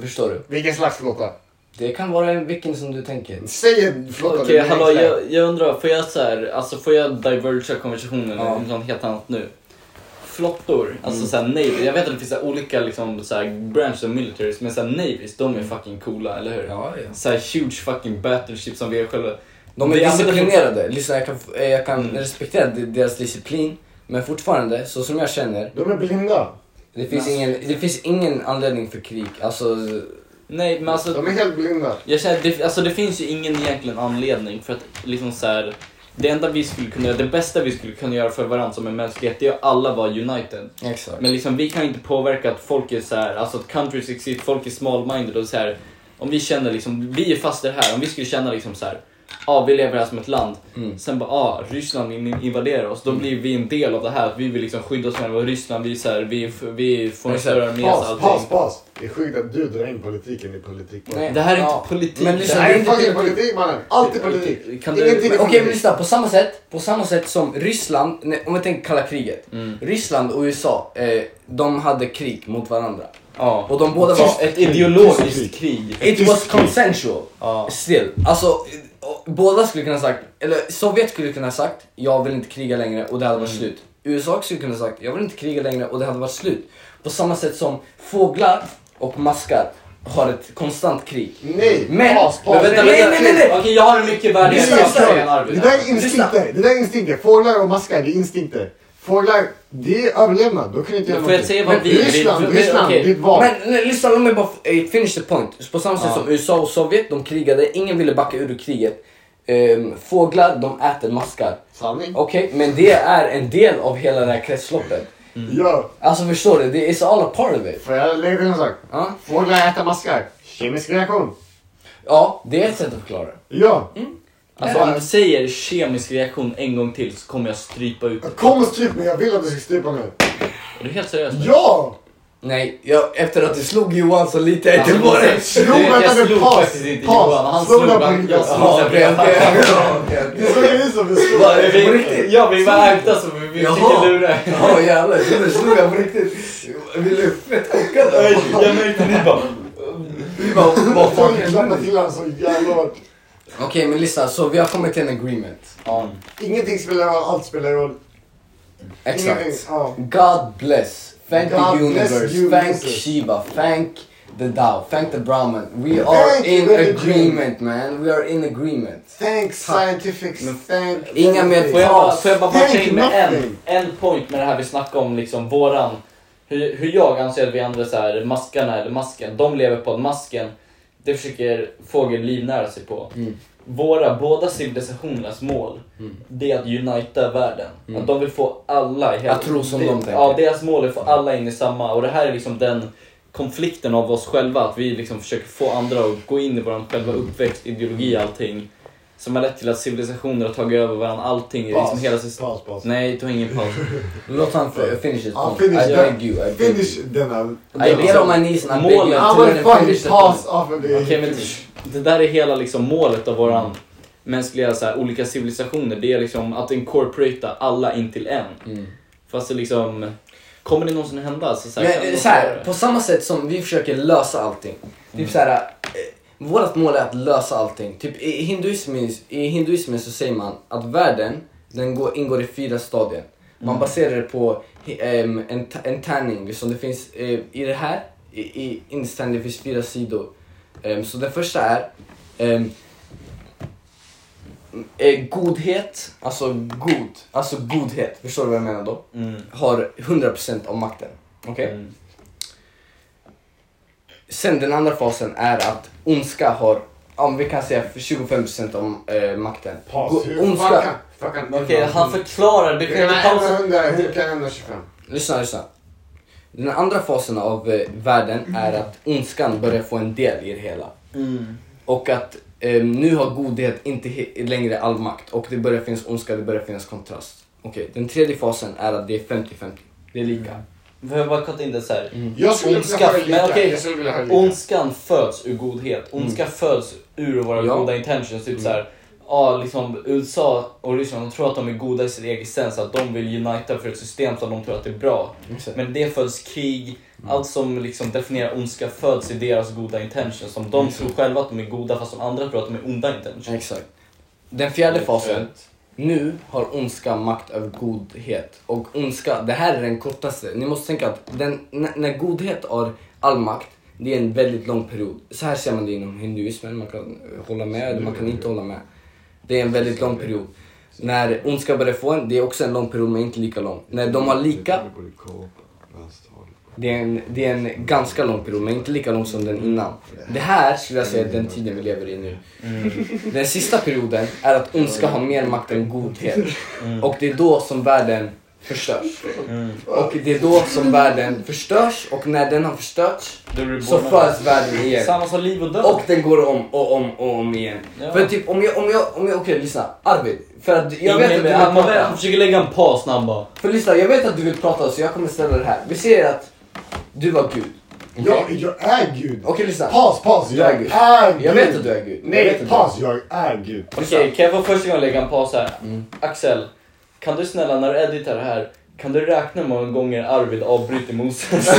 Speaker 15: Förstår du?
Speaker 14: Vilken slags flotta?
Speaker 15: Det kan vara en, vilken som du tänker.
Speaker 14: Säg en
Speaker 15: flotta.
Speaker 6: Okej, hallå, jag, jag undrar, får jag så här, alltså får jag divergea konversationen
Speaker 15: Ja.
Speaker 6: om något helt annat nu? Flottor, alltså såhär navies, jag vet att det finns så här olika liksom såhär branches of militaries, men såhär navies, de är fucking coola, eller hur? Ja, ja. Såhär huge fucking battleships som vi är Mm. själva.
Speaker 15: De är
Speaker 6: Vi använder-
Speaker 15: disciplinerade. Lyssna, jag kan, eh, jag kan respektera de- deras disciplin. Men fortfarande, så som jag känner.
Speaker 14: De är blinda.
Speaker 15: Det finns,
Speaker 6: Nej.
Speaker 15: ingen, det finns ingen anledning för krig. Alltså,
Speaker 6: Nej, men alltså...
Speaker 14: De är helt blinda.
Speaker 6: Jag känner, det, alltså det finns ju ingen egentligen anledning för att liksom så här, det enda vi skulle kunna göra, det bästa vi skulle kunna göra för varandra som en mänsklighet, det är att alla vara united.
Speaker 15: Exakt.
Speaker 6: Men liksom vi kan inte påverka att folk är så här, alltså att countries exist, folk är small-minded och så här. Om vi känner liksom, vi är fast i det här, om vi skulle känna liksom så här, ja ah, vi lever här som ett land,
Speaker 15: Mm.
Speaker 6: sen bara ah, Ryssland in- invaderar oss, då blir vi en del av det här, att vi vill liksom skydda oss själva, Ryssland, vi, är så här, vi, vi får en större armé, så
Speaker 14: Paus,
Speaker 6: allting.
Speaker 14: paus, paus. Det är sjukt att du drar in politiken i politik.
Speaker 6: Nej, det här är inte politik.
Speaker 14: Men
Speaker 6: Men
Speaker 14: lyssna, det
Speaker 6: lyssna, det
Speaker 14: här
Speaker 6: är
Speaker 14: är
Speaker 6: inte
Speaker 14: fucking
Speaker 6: politik.
Speaker 14: politik mannen. Allt är politik.
Speaker 6: Kan
Speaker 14: Ingenting är
Speaker 15: Men Okej,
Speaker 14: politik.
Speaker 15: men lyssna. På samma sätt, på samma sätt som Ryssland, nej, om vi tänker kalla kriget.
Speaker 6: Mm.
Speaker 15: Ryssland och USA, eh, de hade krig mot varandra.
Speaker 6: Ja.
Speaker 15: Och de båda var...
Speaker 6: Tyst krig. Tyst krig.
Speaker 15: It
Speaker 6: Tyst
Speaker 15: was
Speaker 6: krig.
Speaker 15: consensual. Still. Alltså, eh, och båda skulle kunna sagt, eller Sovjet skulle kunna sagt, jag vill inte kriga längre och det hade varit slut. USA skulle kunna sagt, jag vill inte kriga längre och det hade varit slut. På samma sätt som fåglar och maskar har ett konstant krig.
Speaker 14: Nej!
Speaker 15: Men,
Speaker 14: paus, paus.
Speaker 15: men vänta,
Speaker 14: Nej,
Speaker 15: vänta.
Speaker 14: nej, nej, nej.
Speaker 6: Okej, jag har en mycket värdigare
Speaker 14: Lyssna,
Speaker 6: förklaring än
Speaker 14: lyssna.
Speaker 6: Arvid.
Speaker 14: Det där är instinkter. Det där är instinkter. Fåglar och maskar, det är instinkter. Fåglar, det är överlevnad. Då kan du inte göra
Speaker 6: Får jag säga vad
Speaker 14: Men
Speaker 6: vi vill?
Speaker 14: Ryssland,
Speaker 6: För-
Speaker 14: Ryssland,
Speaker 6: okej.
Speaker 14: ditt val.
Speaker 15: Men nej, lyssna, låt mig bara eh, finish the point. På samma sätt som USA och Sovjet, de krigade, ingen ville backa ur kriget. Ehm, fåglar, de äter maskar.
Speaker 14: Sanning.
Speaker 7: Mm.
Speaker 15: Okej, men det är en del av hela det här kretsloppet.
Speaker 14: Mm. Ja.
Speaker 15: Alltså förstår du, det är all a part of it.
Speaker 14: Får jag lägga till en sak? Fåglar äter maskar. Kemisk reaktion.
Speaker 15: Ja, det är ett sätt att förklara det.
Speaker 14: Ja.
Speaker 6: Alltså om du säger kemisk reaktion en gång till så kommer jag strypa ut dig.
Speaker 14: Kom och stryp mig, jag vill att du ska strypa mig.
Speaker 6: Är du helt seriös?
Speaker 14: Ja!
Speaker 15: Nej, jag, efter att du slog Johan så litar jag inte
Speaker 6: Alltså,
Speaker 15: på
Speaker 6: jag
Speaker 15: dig.
Speaker 6: slog- Jag vänta, slog men paus, faktiskt inte paus. Johan, han Slå slog den på bara- jag slog
Speaker 15: Ja,
Speaker 6: den.
Speaker 15: okej, okej, okej, okej.
Speaker 14: Det såg ut som en
Speaker 15: Var det på riktigt?
Speaker 6: Ja, vi var ägda så vi vi
Speaker 15: Jaha.
Speaker 6: försöker lura.
Speaker 15: Ja jävlar, jag trodde du slog jag på riktigt. Vi blev fett chockade.
Speaker 6: Jag märkte ni bara...
Speaker 15: Vi bara, vad fan
Speaker 14: Jag klappade till honom så jävla hårt.
Speaker 15: Okej men lyssna, så vi har kommit till en agreement.
Speaker 14: Ingenting spelar roll, allt spelar roll. Ingenting,
Speaker 15: Exakt.
Speaker 14: ja.
Speaker 15: God bless. Thank
Speaker 14: God
Speaker 15: the
Speaker 14: bless
Speaker 15: universe.
Speaker 14: you,
Speaker 15: Thank
Speaker 14: Jesus.
Speaker 15: Shiva. Thank the Tao. Thank the Brahman. We
Speaker 14: Thank
Speaker 15: are in
Speaker 14: religion.
Speaker 15: agreement man. We are in agreement.
Speaker 14: Thanks scientific, thank...
Speaker 15: Inga mer
Speaker 6: Får jag bara,
Speaker 15: kaos.
Speaker 6: får jag bara matcha
Speaker 14: Think
Speaker 6: in med
Speaker 14: nothing.
Speaker 6: en, en point med det här vi snackade om, liksom våran... Hur, hur jag anser att vi andra så här, maskarna eller masken, de lever på att masken, det försöker fågeln livnära sig på.
Speaker 15: Mm.
Speaker 6: Våra, båda civilisationernas mål, det är att unita världen. Att de vill få alla i hela...
Speaker 15: Mm. Jag tror som
Speaker 6: det,
Speaker 15: de tänker.
Speaker 6: Ja, deras mål är att få alla in i samma och det här är liksom den konflikten av oss själva, att vi liksom försöker få andra att gå in i vår själva uppväxt, ideologi, allting. Som har lett till att civilisationer har tagit över varandra, allting. är Liksom
Speaker 14: Paus,
Speaker 6: hela systemet.
Speaker 14: paus, paus.
Speaker 6: Nej, ta ingen paus.
Speaker 15: Låt han fi- finish his
Speaker 14: Ja,
Speaker 15: point. I
Speaker 14: finish
Speaker 15: beg you. I
Speaker 14: den.
Speaker 15: beg you.
Speaker 14: Finish denna.
Speaker 15: I get on my knees and I beg you.
Speaker 6: Målet-
Speaker 14: I will
Speaker 15: until you finish
Speaker 14: fucking
Speaker 15: the
Speaker 14: pass
Speaker 15: point.
Speaker 14: off of the...
Speaker 6: liksom- Okej, men det där är hela liksom målet av våran mänskliga så här, olika civilisationer. Det är liksom att incorporata alla in till en. Fast det liksom, kommer det någonsin hända? Så, så här, kan
Speaker 15: Men eh,
Speaker 6: någon
Speaker 15: så här,
Speaker 6: svara?
Speaker 15: på samma sätt som vi försöker lösa allting. Typ så här, eh, vårt mål är att lösa allting. Typ i hinduismen, i hinduismen så säger man att världen, den går, ingår i fyra stadier. Man baserar det på hi- ehm, en, ta- en tärning, liksom det finns eh, i det här, i, i indisk tärning, det finns fyra sidor. Ehm, så den första är ehm, eh, godhet, alltså god, alltså godhet, förstår du vad jag menar då?
Speaker 6: Mm.
Speaker 15: Har 100% av makten. Okej?
Speaker 6: Mm.
Speaker 15: Sen den andra fasen är att ondska har, om vi kan säga 25% av eh, makten.
Speaker 14: Paus.
Speaker 15: Go-
Speaker 14: Hur fan
Speaker 15: ondska.
Speaker 14: kan- fan kan-
Speaker 6: Okej, han förklarar. Du
Speaker 14: Hur
Speaker 6: kan
Speaker 14: kan
Speaker 6: inte
Speaker 14: han
Speaker 6: pausa.
Speaker 14: ändra 100? Hur kan han ändra 25?
Speaker 15: Lyssna, lyssna. Den andra fasen av eh, världen är att ondskan börjar få en del i det hela. Och att eh, nu har godhet inte he- längre all makt och det börjar finnas ondska, det börjar finnas kontrast. Okej, den tredje fasen är att det är 50-50. Det är lika.
Speaker 6: Får jag bara kolla in det så här?
Speaker 14: Jag skulle vilja
Speaker 6: Ondska,
Speaker 14: ha det lika.
Speaker 6: men okej,
Speaker 14: Jag skulle vilja ha Mm. det lika.
Speaker 6: ondskan föds ur godhet. Ondska föds ur våra
Speaker 15: Ja.
Speaker 14: Mm.
Speaker 6: goda intentions. Typ så här, ah, liksom, USA och Ryssland de tror att de är goda i sin existens, att de vill unita för ett system som de tror att är bra. Men det föds krig,
Speaker 14: Mm.
Speaker 6: allt som liksom definierar ondska föds i deras goda intentions. Som
Speaker 14: Mm.
Speaker 6: de tror själva att de är goda fast de andra tror att de är onda intentions.
Speaker 15: Exakt. Den fjärde fasen. Nu har ondska makt över godhet. Och ondska, det här är den kortaste. Ni måste tänka att den, när, när godhet har all makt, det är en väldigt lång period. Så här ser man det inom hinduismen, man kan eh, hålla med eller man kan inte hålla med. Det är en väldigt lång period. När ondska börjar få en, det är också en lång period men inte lika lång. När de har lika, det är en, det är en ganska lång period men inte lika lång som den innan. Det här skulle jag säga är den tiden vi lever i nu. Den sista perioden är att ondska har mer makt än godhet.
Speaker 6: Mm.
Speaker 15: Och det är då som världen förstörs. Och det är då som världen förstörs och när den har förstörts så föds världen igen.
Speaker 6: Samma som liv och död.
Speaker 15: Och den går om och om och om igen.
Speaker 6: Ja.
Speaker 15: För typ om jag, om jag, om jag, okej lyssna. Arvid. För att jag
Speaker 6: Ingen
Speaker 15: vet att du
Speaker 6: vet.
Speaker 15: vill
Speaker 6: Han-
Speaker 15: prata.
Speaker 6: han försöker lägga en paus när han bara...
Speaker 15: För lyssna, jag vet att du vill prata så jag kommer ställa det här. Vi säger att du var Gud.
Speaker 7: Jag, jag är Gud.
Speaker 15: Okej lyssna.
Speaker 7: Paus, paus.
Speaker 15: Du är
Speaker 7: Jag
Speaker 15: Gud.
Speaker 7: är Gud.
Speaker 15: Jag vet att du är Gud. jag vet
Speaker 7: Nej,
Speaker 15: att
Speaker 7: paus.
Speaker 15: Du är
Speaker 7: Jag är Gud.
Speaker 6: Okej, Mm. kan jag få första gången lägga en paus här? Axel, kan du snälla när du editar det här, kan du räkna hur många gånger Arvid avbryter Moses?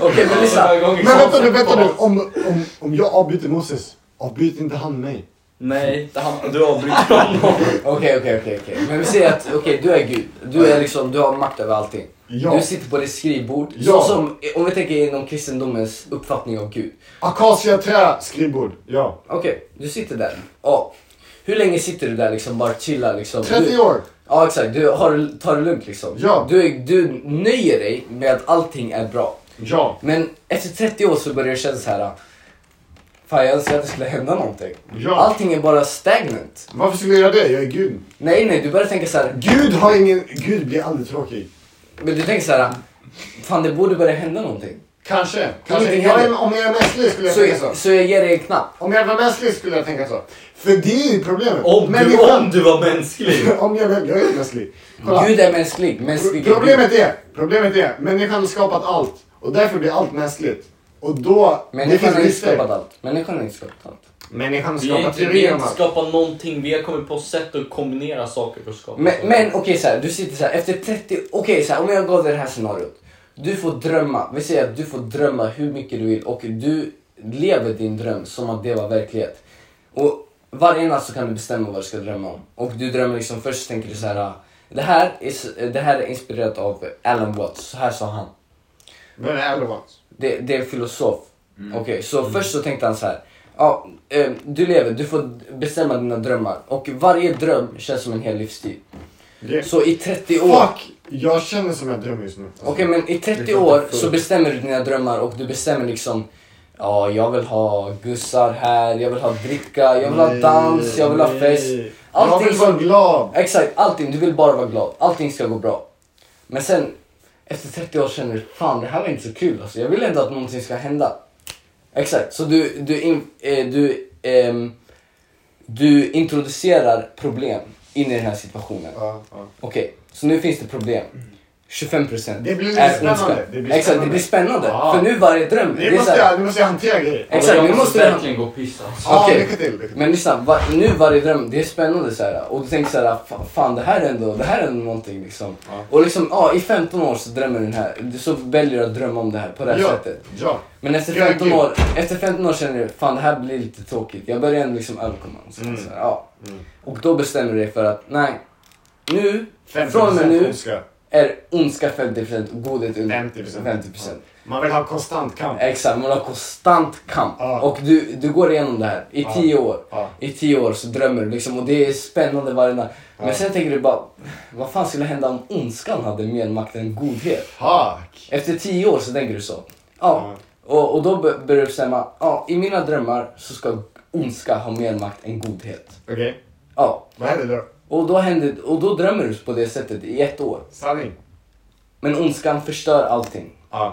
Speaker 15: Okej, men lyssna.
Speaker 7: Men vänta nu, vänta nu. Om, om, om jag avbryter Moses, avbryter inte han mig?
Speaker 6: Nej, det han, du avbryter honom.
Speaker 15: Okej, okej, okej. okej. Men vi säger att okej, du är Gud. Du, är liksom, du har makt över allting.
Speaker 7: Ja.
Speaker 15: Du sitter på ditt skrivbord.
Speaker 7: Ja.
Speaker 15: Så som, om vi tänker inom kristendomens uppfattning av Gud.
Speaker 7: Akaciaträ, skrivbord. Ja.
Speaker 15: Okej, du sitter där. Ja. Hur länge sitter du där liksom bara chillar liksom?
Speaker 7: 30
Speaker 15: Du-
Speaker 7: år.
Speaker 15: Ja exakt, du har, tar det lugnt liksom.
Speaker 7: Ja.
Speaker 15: Du, är- du nöjer dig med att allting är bra.
Speaker 7: Ja.
Speaker 15: Men efter 30 år så börjar det kännas så här. Fan jag önskar att det skulle hända någonting.
Speaker 7: Ja.
Speaker 15: Allting är bara stagnant.
Speaker 7: Varför skulle jag göra det? Jag är Gud.
Speaker 15: Nej nej, du börjar tänka så här.
Speaker 7: Gud har ingen... Gud blir aldrig tråkig.
Speaker 15: Men du tänker så här. Fan det borde börja hända någonting.
Speaker 7: Kanske. Kanske.
Speaker 15: Ingenting
Speaker 7: Jag
Speaker 15: händer.
Speaker 7: är, om jag är mänsklig skulle jag
Speaker 15: Så-
Speaker 7: tänka så.
Speaker 15: så jag ger dig en knapp.
Speaker 7: Om jag var mänsklig skulle jag tänka så. För det är ju problemet.
Speaker 6: Om du,
Speaker 7: Människan-
Speaker 6: om du var mänsklig!
Speaker 7: om jag, jag är mänsklig.
Speaker 15: Gud är mänsklig. mänsklig är
Speaker 7: Problemet
Speaker 15: Gud.
Speaker 7: är, problemet är, människan har skapat allt. Och därför blir allt mänskligt. Och då... det
Speaker 15: Människan
Speaker 7: finns
Speaker 15: har inte
Speaker 7: brister.
Speaker 15: skapat allt. Människan har inte skapat allt.
Speaker 7: Människan
Speaker 6: Vi har
Speaker 7: skapar
Speaker 6: inte, vi
Speaker 7: teorier
Speaker 6: har
Speaker 7: om
Speaker 6: inte
Speaker 7: allt.
Speaker 6: skapat någonting, vi har kommit på sätt att kombinera saker för att skapa
Speaker 15: Men,
Speaker 6: saker.
Speaker 15: men okej såhär, du sitter såhär efter 30, okej såhär om jag gav dig det här scenariot. Du får drömma, vi säger att du får drömma hur mycket du vill och du lever din dröm som att det var verklighet. Och varje natt så kan du bestämma vad du ska drömma om. Och du drömmer liksom, först tänker du så här. ah, Det här är, s- det här är inspirerat av Alan Watts, så här sa han.
Speaker 7: Men det är Alan Watts?
Speaker 15: Det, det är en filosof.
Speaker 7: Mm.
Speaker 15: Okej, så först så tänkte han så här. Ja, eh, du lever, du får bestämma dina drömmar. Och varje dröm känns som en hel livsstil.
Speaker 7: Det-
Speaker 15: Så i 30 år...
Speaker 7: Fuck! Jag känner som jag drömmer just nu.
Speaker 15: Okej men i 30 år så bestämmer du dina drömmar och du bestämmer liksom Ja, jag vill ha gussar här, jag vill ha dricka, jag vill ha
Speaker 7: Nej,
Speaker 15: dans, jag vill ha
Speaker 7: nej.
Speaker 15: fest.
Speaker 7: Jag vill vara glad.
Speaker 15: Exakt, allting. Du vill bara vara glad. Allting ska gå bra. Men sen efter 30 år känner du fan det här var inte så kul alltså. Jag vill ändå att någonting ska hända. Exakt, så du, du, in, eh, du, ehm, du introducerar problem in i den här situationen. Okej, så nu finns det problem. 25 procent
Speaker 7: Det blir lite spännande. Det blir
Speaker 15: Exakt, det
Speaker 7: spännande.
Speaker 15: blir spännande.
Speaker 7: Ja.
Speaker 15: För nu varje dröm.
Speaker 7: Nu
Speaker 15: det är
Speaker 7: måste
Speaker 15: så här-
Speaker 7: jag- nu måste jag hantera grejer.
Speaker 15: Exakt,
Speaker 7: Jag
Speaker 15: nu
Speaker 7: måste
Speaker 15: måste
Speaker 7: verkligen
Speaker 6: gå och pissa.
Speaker 7: Ja,
Speaker 15: Okej,
Speaker 7: lycka till, lycka till.
Speaker 15: men lyssna. Va, nu varje dröm, det är spännande så här. Och du tänker så här, fa- fan det här är ändå, det här är ändå någonting liksom. Och liksom, ja i 15 år så drömmer du den här, så väljer du att drömma om det här på det här
Speaker 7: Ja,
Speaker 15: sättet.
Speaker 7: ja.
Speaker 15: Men efter
Speaker 7: Jag är
Speaker 15: 15,
Speaker 7: Gud.
Speaker 15: år, efter 15 år känner du, fan det här blir lite tråkigt. Jag börjar ändå liksom överkomma och
Speaker 7: Mm.
Speaker 15: så, så här, ja. Och då bestämmer du dig för att, nej. Nu,
Speaker 7: 50%
Speaker 15: från och med nu,
Speaker 7: ondska.
Speaker 15: är ondska 50% och godhet under
Speaker 7: 50%.
Speaker 15: 50%.
Speaker 7: Man vill ha konstant kamp.
Speaker 15: Exakt, man har konstant kamp. Och du, du går igenom det här i
Speaker 7: Ja.
Speaker 15: tio år.
Speaker 7: Ja.
Speaker 15: I tio år så drömmer du liksom och det är spännande varje natt. Men
Speaker 7: Ja.
Speaker 15: sen tänker du bara, vad fan skulle hända om ondskan hade mer makt än godhet?
Speaker 7: Fuck.
Speaker 15: Efter tio år så tänker du så. Ja. Och, och då bör- börjar du bestämma, ja i mina drömmar så ska ondska ha mer makt än godhet.
Speaker 7: Okej.
Speaker 15: Ja.
Speaker 7: Vad händer då?
Speaker 15: Och då, händer, och då drömmer du på det sättet i ett år.
Speaker 7: Sanning.
Speaker 15: Men ondskan förstör allting.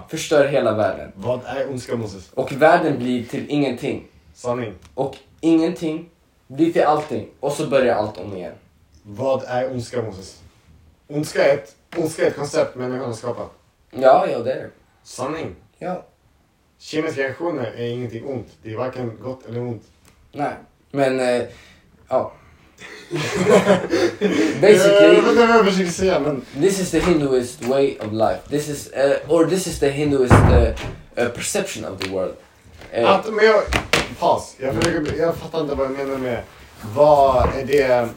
Speaker 15: Förstör hela världen.
Speaker 7: Vad är ondska Moses?
Speaker 15: Och världen blir till ingenting.
Speaker 7: Sanning.
Speaker 15: Och ingenting blir till allting. Och så börjar allt om igen.
Speaker 7: Vad är ondska Moses? Ondska är ett, ondska är ett koncept människan har skapat.
Speaker 15: Ja, ja det är det.
Speaker 7: Sanning.
Speaker 15: Ja.
Speaker 7: Kemiska reaktioner är ingenting ont. Det är varken gott eller ont.
Speaker 15: Nej. Men eh, Ja. Basically,
Speaker 7: Jag vet inte vad Eh, jag försöker säga men...
Speaker 15: this is the Hinduist way of life. This is, uh, or this is the Hinduist uh, uh, perception of the world. Eh,
Speaker 7: Att, men jag, paus. Jag, försöker, jag fattar inte vad jag menar med vad är det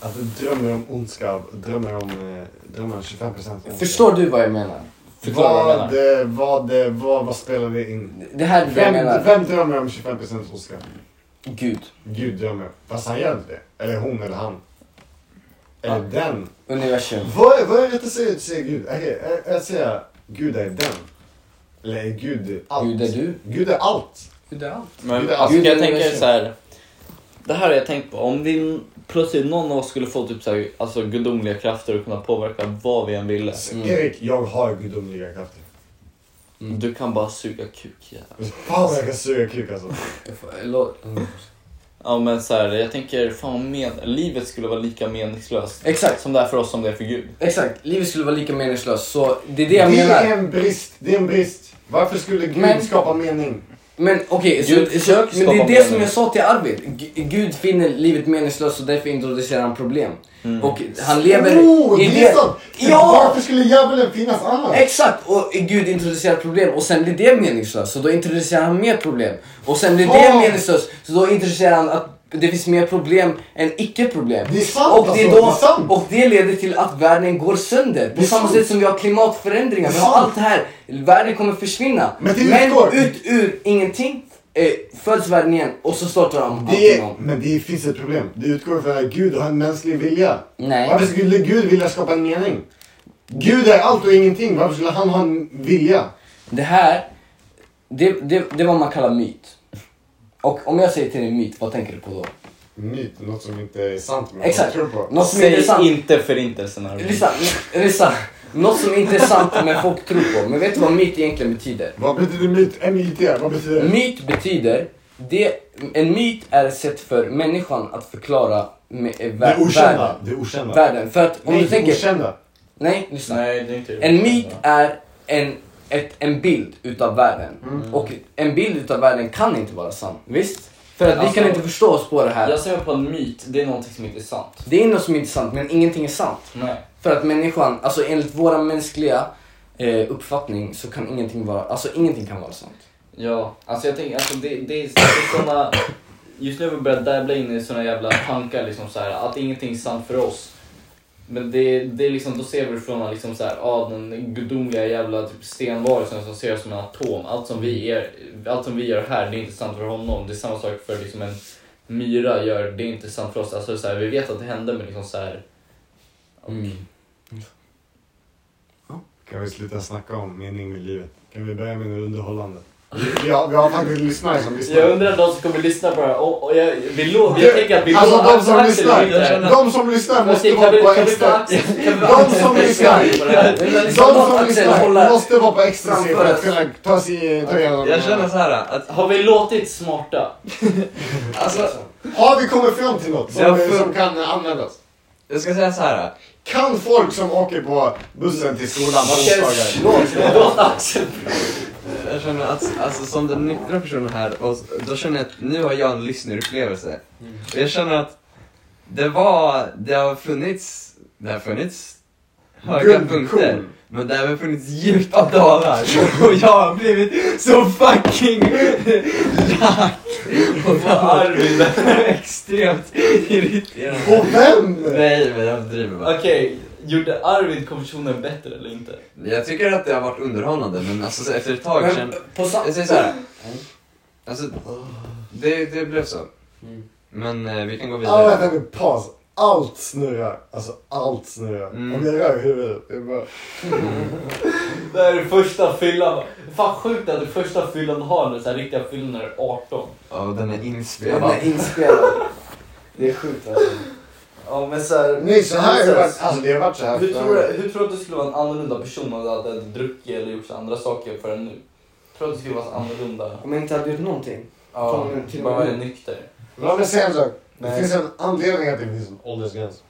Speaker 7: att du drömmer om ondska, drömmer om, eh, drömmer om 25% ondska.
Speaker 15: Förstår du vad jag menar? Förklara vad jag
Speaker 7: vad, eh, vad, eh, vad, vad spelar det in?
Speaker 15: Det här är det jag
Speaker 7: vem,
Speaker 15: menar.
Speaker 7: vem drömmer om 25% ondska?
Speaker 15: Gud.
Speaker 7: Gud drömmer. Fast han gör inte det. Eller hon eller han. Eller den.
Speaker 15: Universum.
Speaker 7: Vad, är- vad är rätt att säga, att säga Gud? Okej, att- att säga Gud är den. Eller är Gud allt? Gud är
Speaker 15: du.
Speaker 7: Gud är allt.
Speaker 18: Gud är allt.
Speaker 6: Men
Speaker 7: Gud är
Speaker 6: alltså,
Speaker 7: allt.
Speaker 6: jag tänker så här. Det här har jag tänkt på. Om vi plötsligt någon av oss skulle få typ så här, alltså gudomliga krafter och kunna påverka vad vi än ville.
Speaker 7: Mm. Erik, jag har gudomliga krafter. Mm.
Speaker 6: Du kan bara suga kuk jävel.
Speaker 7: Fan vad jag kan suga kuk alltså.
Speaker 6: Ja men så här, jag tänker fan men, livet skulle vara lika meningslöst.
Speaker 15: Exakt.
Speaker 6: Som det är för oss som det är för Gud.
Speaker 15: Exakt, livet skulle vara lika meningslöst. Så det är det
Speaker 7: Det
Speaker 15: jag menar.
Speaker 7: är en brist. Det är en brist. Varför skulle Gud
Speaker 15: Men-
Speaker 7: skapa mening?
Speaker 15: Men okej,
Speaker 7: Gud
Speaker 15: så, så,
Speaker 7: försöker
Speaker 15: men det är
Speaker 7: skapa
Speaker 15: det som
Speaker 7: mening.
Speaker 15: jag sa till Arvid. G- Gud finner livet meningslöst och därför introducerar han problem.
Speaker 7: Mm.
Speaker 15: Och han lever
Speaker 7: Oh, det är sant!
Speaker 15: Ja!
Speaker 7: Varför skulle djävulen finnas annars?
Speaker 15: Exakt! Och Gud introducerar problem och sen blir det meningslöst. Så då introducerar han mer problem. Och sen blir det
Speaker 7: Fan!
Speaker 15: meningslöst. Så då introducerar han att det finns mer problem än icke-problem.
Speaker 7: Det är sant,
Speaker 15: och, det är
Speaker 7: alltså,
Speaker 15: då,
Speaker 7: det är sant.
Speaker 15: och det leder till att världen går sönder. På
Speaker 7: Det är
Speaker 15: samma
Speaker 7: sant.
Speaker 15: sätt som vi har klimatförändringar.
Speaker 7: Det
Speaker 15: Vi
Speaker 7: är
Speaker 15: har
Speaker 7: sant.
Speaker 15: allt det här. Världen kommer försvinna.
Speaker 7: Men det utgår.
Speaker 15: ut ur ingenting eh, föds världen igen och så startar de
Speaker 7: Det
Speaker 15: allting
Speaker 7: är,
Speaker 15: om.
Speaker 7: men det finns ett problem. Det utgår från att Gud har en mänsklig vilja.
Speaker 15: Nej.
Speaker 7: Varför skulle Gud vilja skapa en mening? Gud är allt och ingenting. Varför skulle han ha en vilja?
Speaker 15: Det här, det, det, det är vad man kallar myt. Och om jag säger till dig myt, vad tänker du på då?
Speaker 7: Myt, något som inte är sant men
Speaker 15: Exakt.
Speaker 7: folk tror på.
Speaker 15: Något som
Speaker 6: Säg
Speaker 15: inte är sant.
Speaker 6: inte förintelsen Arvid.
Speaker 15: Lyssna, lyssna. Något som inte är sant men folk tror på. Men vet du vad myt egentligen betyder?
Speaker 7: Vad betyder myt? M-Y-T, vad betyder det?
Speaker 15: Myt betyder, det, en myt är ett sätt för människan att förklara med, eh, vär,
Speaker 7: Det okända,
Speaker 15: världen.
Speaker 7: det okända.
Speaker 15: Världen. För att om
Speaker 7: Nej,
Speaker 15: du
Speaker 7: det
Speaker 15: tänker...
Speaker 7: okända.
Speaker 15: Nej, lyssna.
Speaker 6: Nej, det är inte det
Speaker 15: en
Speaker 6: okända.
Speaker 15: myt är en, ett, en bild utav världen.
Speaker 6: Mm.
Speaker 15: Och en bild utav världen kan inte vara sann. Visst? För att vi
Speaker 6: Alltså,
Speaker 15: kan inte förstå oss på det här.
Speaker 6: Jag ser på en myt, det är någonting som inte är sant.
Speaker 15: Det är något som inte är sant, men ingenting är sant.
Speaker 6: Nej.
Speaker 15: För att människan, alltså enligt våra mänskliga eh, uppfattning så kan ingenting vara, alltså ingenting kan vara sant.
Speaker 6: Ja, alltså jag tänker, alltså det, det är, det är såna... Just nu har vi börjat dabbla in i såna jävla tankar liksom så här, att ingenting är sant för oss. Men det, det är liksom, då ser vi från liksom så här, ah, den gudomliga jävla typ stenvarelsen som ser oss som en atom. Allt som, vi är, allt som vi gör här, det är inte sant för honom. Det är samma sak för liksom en myra gör, det är inte sant för oss. Alltså så här, vi vet att det hände men liksom så här...
Speaker 7: Mm.
Speaker 6: Mm.
Speaker 7: Kan vi sluta snacka om mening med livet? Kan vi börja med något underhållande? Vi- Vi har, vi har faktiskt lyssnare som lyssnar.
Speaker 6: Jag undrar de som kommer lyssna på det här. Och, och jag, vi lo, jag
Speaker 7: Du,
Speaker 6: tänker att vi
Speaker 7: alltså
Speaker 6: lovar
Speaker 7: de som
Speaker 6: Axel
Speaker 7: lyssnar,
Speaker 6: lite här.
Speaker 7: de som lyssnar måste
Speaker 6: Okej, kan
Speaker 7: vara
Speaker 6: vi-
Speaker 7: på
Speaker 6: kan vi
Speaker 7: extra.
Speaker 6: ta Axel- kan vi-
Speaker 7: De som lyssnar, de som lyssnar måste vara på extra
Speaker 6: framför
Speaker 7: C för att
Speaker 6: oss.
Speaker 7: kunna ta sig ta igenom.
Speaker 6: Jag känner så här att... Har vi låtit smarta?
Speaker 15: Alltså,
Speaker 7: Har vi kommit fram till något som,
Speaker 6: Jag får-
Speaker 7: som kan användas?
Speaker 10: Jag ska säga så här.
Speaker 7: Kan folk som åker på bussen till skolan på
Speaker 10: Okej,
Speaker 7: onsdagar...
Speaker 10: låt Axel. Jag känner att, alltså som den nyktra personen här, och s- då känner jag att nu har jag en lyssnarupplevelse. Och jag känner att det var, det har funnits, det har funnits höga
Speaker 7: Guldkorn.
Speaker 10: punkter. Men det har även funnits djupa dalar. Och jag har blivit så fucking lack. Och på Arvid extremt irriterad.
Speaker 7: På vem?
Speaker 10: Nej men jag driver bara.
Speaker 6: Okej, gjorde Arvid konversionen bättre eller inte?
Speaker 10: Jag tycker att det har varit underhållande men alltså så efter ett tag
Speaker 6: Men,
Speaker 10: sen...
Speaker 6: på sa-
Speaker 10: Jag säger såhär. Alltså, det, det blev så. Men eh, vi kan gå
Speaker 7: Ja,
Speaker 10: vidare.
Speaker 7: vänta nu, paus. Allt snurrar. Alltså allt snurrar.
Speaker 6: Mm.
Speaker 7: Om jag rör huvudet, det är bara...
Speaker 6: Det här är första fyllan. Fan sjukt att det första fyllan du har nu, så här riktiga fyllan när du är 18.
Speaker 10: Ja, och den är inspelad.
Speaker 15: Den är inspelad. Det är sjukt alltså.
Speaker 6: Ja men såhär...
Speaker 7: Nej, så här har det varit- alltså, det har varit så här
Speaker 6: Hur
Speaker 7: för-
Speaker 6: tror, du, hur tror du att du skulle vara en annorlunda person om du hade druckit eller gjort så andra saker förrän nu? Tror du att du skulle vara annorlunda?
Speaker 15: Om jag inte hade gjort någonting?
Speaker 6: Ja,
Speaker 15: Kom nu till
Speaker 6: bara
Speaker 15: mig.
Speaker 6: vara nykter.
Speaker 7: Låt mig säga en sak. Det
Speaker 15: Nej.
Speaker 7: finns en anledning att det finns en åldersgräns.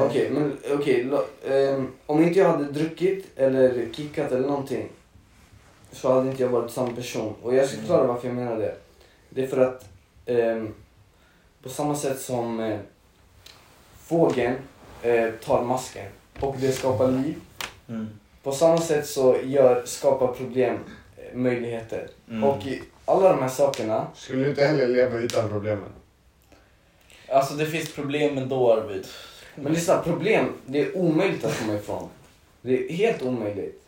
Speaker 15: Okej, men okej. lo- ehm, om inte jag hade druckit eller kickat eller någonting så hade inte jag varit samma person. Och jag ska förklara varför jag menar det. Det är för att ehm, på På samma sätt som eh, fågeln eh, tar masken och det skapar liv.
Speaker 6: Mm.
Speaker 15: På samma sätt så gör, skapar problem eh, möjligheter.
Speaker 7: Mm.
Speaker 15: Och i alla de här sakerna...
Speaker 7: Skulle du inte heller leva utan problemen?
Speaker 19: Alltså det finns problem ändå Arvid.
Speaker 15: Men lyssna, problem, det är omöjligt att komma ifrån. Det är helt omöjligt.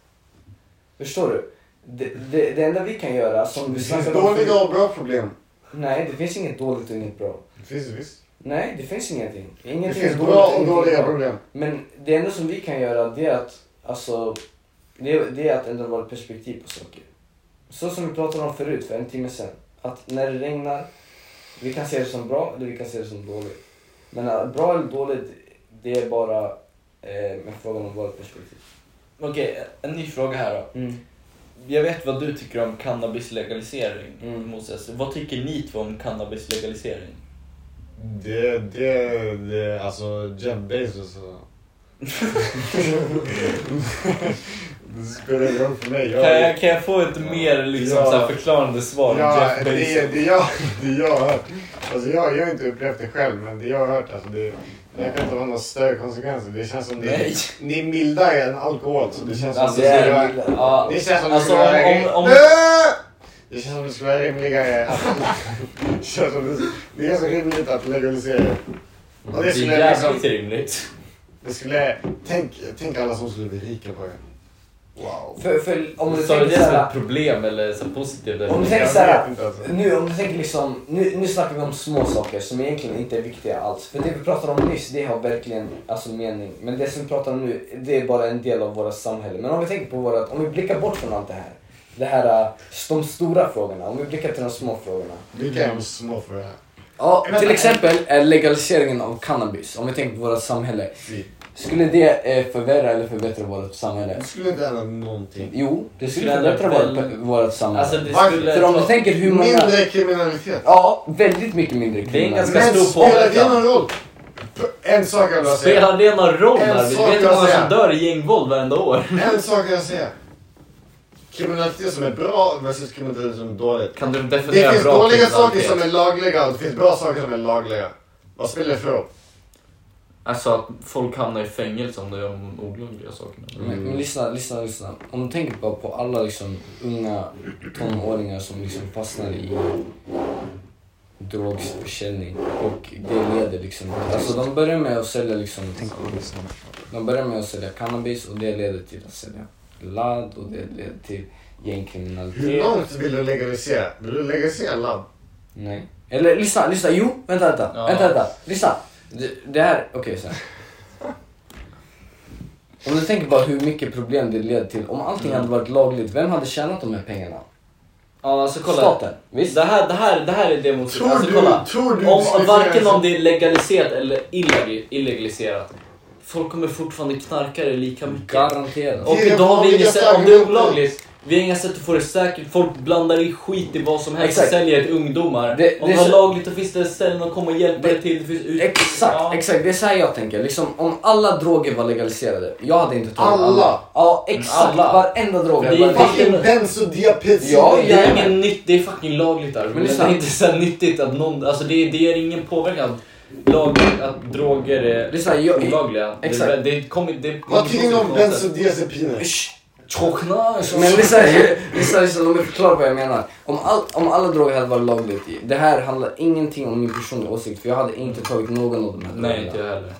Speaker 15: Förstår du? Det, det, det enda vi kan göra som vi
Speaker 7: Det finns
Speaker 15: snackade om förut-
Speaker 7: dåliga och bra problem.
Speaker 15: Nej, det finns inget dåligt och inget bra.
Speaker 7: Det finns det visst.
Speaker 15: Nej, det finns ingenting. ingenting
Speaker 7: Det finns
Speaker 15: är dåligt
Speaker 7: bra och
Speaker 15: ingenting är
Speaker 7: dåliga
Speaker 15: bra.
Speaker 7: problem.
Speaker 15: Men det enda som vi kan göra det är att, alltså, det är, det är att ändra vårt perspektiv på saker. Så som vi pratade om förut, för en timme sedan. Att när det regnar, vi kan se det som bra eller vi kan se det som dåligt. Men eh, bra eller dåligt, det är bara eh, en fråga om vårt perspektiv.
Speaker 19: Okej, en ny fråga här då. Jag vet vad du tycker om cannabislegalisering, Moses. Vad tycker ni två om cannabislegalisering?
Speaker 7: Det, det, det, alltså Jeff Bezos alltså. och... det spelar ingen roll för mig.
Speaker 19: kan, jag, kan jag få ett mer liksom,
Speaker 7: Ja.
Speaker 19: så här, förklarande svar? om
Speaker 7: Ja,
Speaker 19: Jeff Bezos?
Speaker 7: det, är- det, jag, det jag har hört. Alltså jag, jag har inte upplevt det själv, men det jag har hört, alltså det, det kan inte vara några större konsekvenser. Det känns som
Speaker 19: Nej.
Speaker 7: det, det är mildare än alkohol. Så det känns som
Speaker 19: Alltså,
Speaker 7: det,
Speaker 19: det är
Speaker 7: skulle vara-
Speaker 19: mildare. Ja.
Speaker 7: det känns som
Speaker 19: Alltså,
Speaker 7: det skulle
Speaker 19: om-
Speaker 7: vara-
Speaker 19: om- om-
Speaker 7: Äh! Det känns som det skulle vara rimligare. att- det, känns som det, det är så rimligt att legalisera det. Och
Speaker 19: Det är
Speaker 7: det skulle liksom...
Speaker 19: jävligt rimligt.
Speaker 7: Det skulle, tänk, tänk alla som skulle bli rika på det. Wow.
Speaker 15: För, för om du
Speaker 19: Sa du
Speaker 15: tänker
Speaker 19: det som
Speaker 15: såhär,
Speaker 19: ett problem eller så positivt? eller?
Speaker 15: Om du tänker
Speaker 19: Jag
Speaker 15: såhär,
Speaker 19: vet inte, alltså.
Speaker 15: nu, om du tänker liksom, nu, nu snackar vi om små saker som egentligen inte är viktiga alls. För det vi pratade om nyss, det har verkligen alltså, mening. Men det som vi pratar om nu, det är bara en del av våra samhälle. Men om vi tänker på våra, om vi blickar bort från allt det här. Det här, eh, de stora frågorna. Om vi blickar till de små frågorna.
Speaker 7: Vilka är de små för det här?
Speaker 15: Ja, till exempel eh, legaliseringen av cannabis. Om vi tänker på vårt samhälle. Skulle det eh, förvärra eller förbättra vårt samhälle? Det
Speaker 7: skulle inte ändra någonting.
Speaker 15: Jo, det skulle
Speaker 7: Det skulle
Speaker 15: förbättra
Speaker 7: väl-
Speaker 15: vårt, vårt samhälle.
Speaker 7: Alltså, det skulle-
Speaker 15: För om du tänker hur många...
Speaker 7: Mindre kriminalitet.
Speaker 15: Ja, väldigt mycket mindre kriminalitet.
Speaker 7: Men spelar det någon roll? P- En sak jag vill säga.
Speaker 6: Spelar det någon roll
Speaker 7: En
Speaker 6: Arvid?
Speaker 7: sak
Speaker 6: Vet du hur
Speaker 7: jag
Speaker 6: många
Speaker 7: säger.
Speaker 6: som dör i gängvåld varenda år?
Speaker 7: En sak jag säger. Kriminalitet som är bra versus kriminalitet som är dåligt.
Speaker 6: Kan du
Speaker 7: Det
Speaker 6: definiera
Speaker 7: finns
Speaker 6: bra
Speaker 7: dåliga saker
Speaker 6: kriminalitet?
Speaker 7: som är lagliga och det finns bra saker som är lagliga. Vad spelar det för roll?
Speaker 19: Alltså att folk hamnar i fängelse om de gör de olagliga sakerna.
Speaker 6: Mm.
Speaker 15: Men, men lyssna, lyssna, lyssna. Om du tänker bara på alla liksom unga tonåringar som liksom fastnar i drogförsäljning och det leder liksom... Alltså de börjar med att sälja liksom... De börjar med att sälja cannabis och det leder till att sälja ladd och det leder till gängkriminalitet.
Speaker 7: Hur långt vill du legalisera? Vill du legalisera ladd?
Speaker 15: Nej. Eller lyssna, lyssna. Jo, vänta, vänta.
Speaker 7: Ja.
Speaker 15: Vänta, vänta. Lyssna. Det, det här, okej så här. Om du tänker bara hur mycket problem det leder till. Om allting hade varit lagligt, vem hade tjänat de här pengarna?
Speaker 19: Ja, alltså kolla.
Speaker 15: Staten. Visst?
Speaker 6: Det här, det här, det här är det mot...
Speaker 19: Tror
Speaker 6: alltså,
Speaker 19: du-
Speaker 6: kolla.
Speaker 19: tror du
Speaker 6: om,
Speaker 19: skulle
Speaker 6: varken
Speaker 19: kunna-
Speaker 6: om det är legaliserat eller illeg- illegaliserat. Folk kommer fortfarande knarka det lika mycket.
Speaker 15: Garanterat.
Speaker 6: Och
Speaker 15: Det är
Speaker 6: idag har vi
Speaker 15: vanliga
Speaker 6: inga sätt, om det är
Speaker 15: argumentet.
Speaker 6: olagligt, vi har inga sätt att få det säkert. Folk blandar i skit i vad som helst och
Speaker 15: Exakt.
Speaker 6: säljer till ungdomar.
Speaker 15: Det-
Speaker 6: om
Speaker 15: det
Speaker 6: det
Speaker 15: är
Speaker 6: är
Speaker 15: så-
Speaker 6: lagligt då finns det ställen att komma och hjälpa dig till. Det finns ut...
Speaker 15: Exakt, exakt. Det är så här jag tänker. Liksom, om alla droger var legaliserade, jag hade inte tagit alla.
Speaker 7: Alla?
Speaker 15: Ja, exakt.
Speaker 6: Alla.
Speaker 15: Varenda drog.
Speaker 6: Det är fucking
Speaker 7: bensodiazepin.
Speaker 6: Ja, det är ingen nytt, det är fucking lagligt där. Men det
Speaker 15: lyssna.
Speaker 6: är inte så här nyttigt att någon, alltså det, är- det är ingen påverkan att, lag, att droger är
Speaker 15: Lyssna, jag-
Speaker 6: olagliga.
Speaker 15: exakt.
Speaker 6: Det, det kommer, det
Speaker 7: Vad tycker ni om bensodiazepiner?
Speaker 6: alltså.
Speaker 15: Men lyssna, lyssna, lyssna, låt mig förklara vad jag menar. Om, all, om alla droger hade varit lagligt, det här handlar ingenting om min personliga åsikt för jag hade inte tagit någon av de här
Speaker 6: Nej, inte jag heller.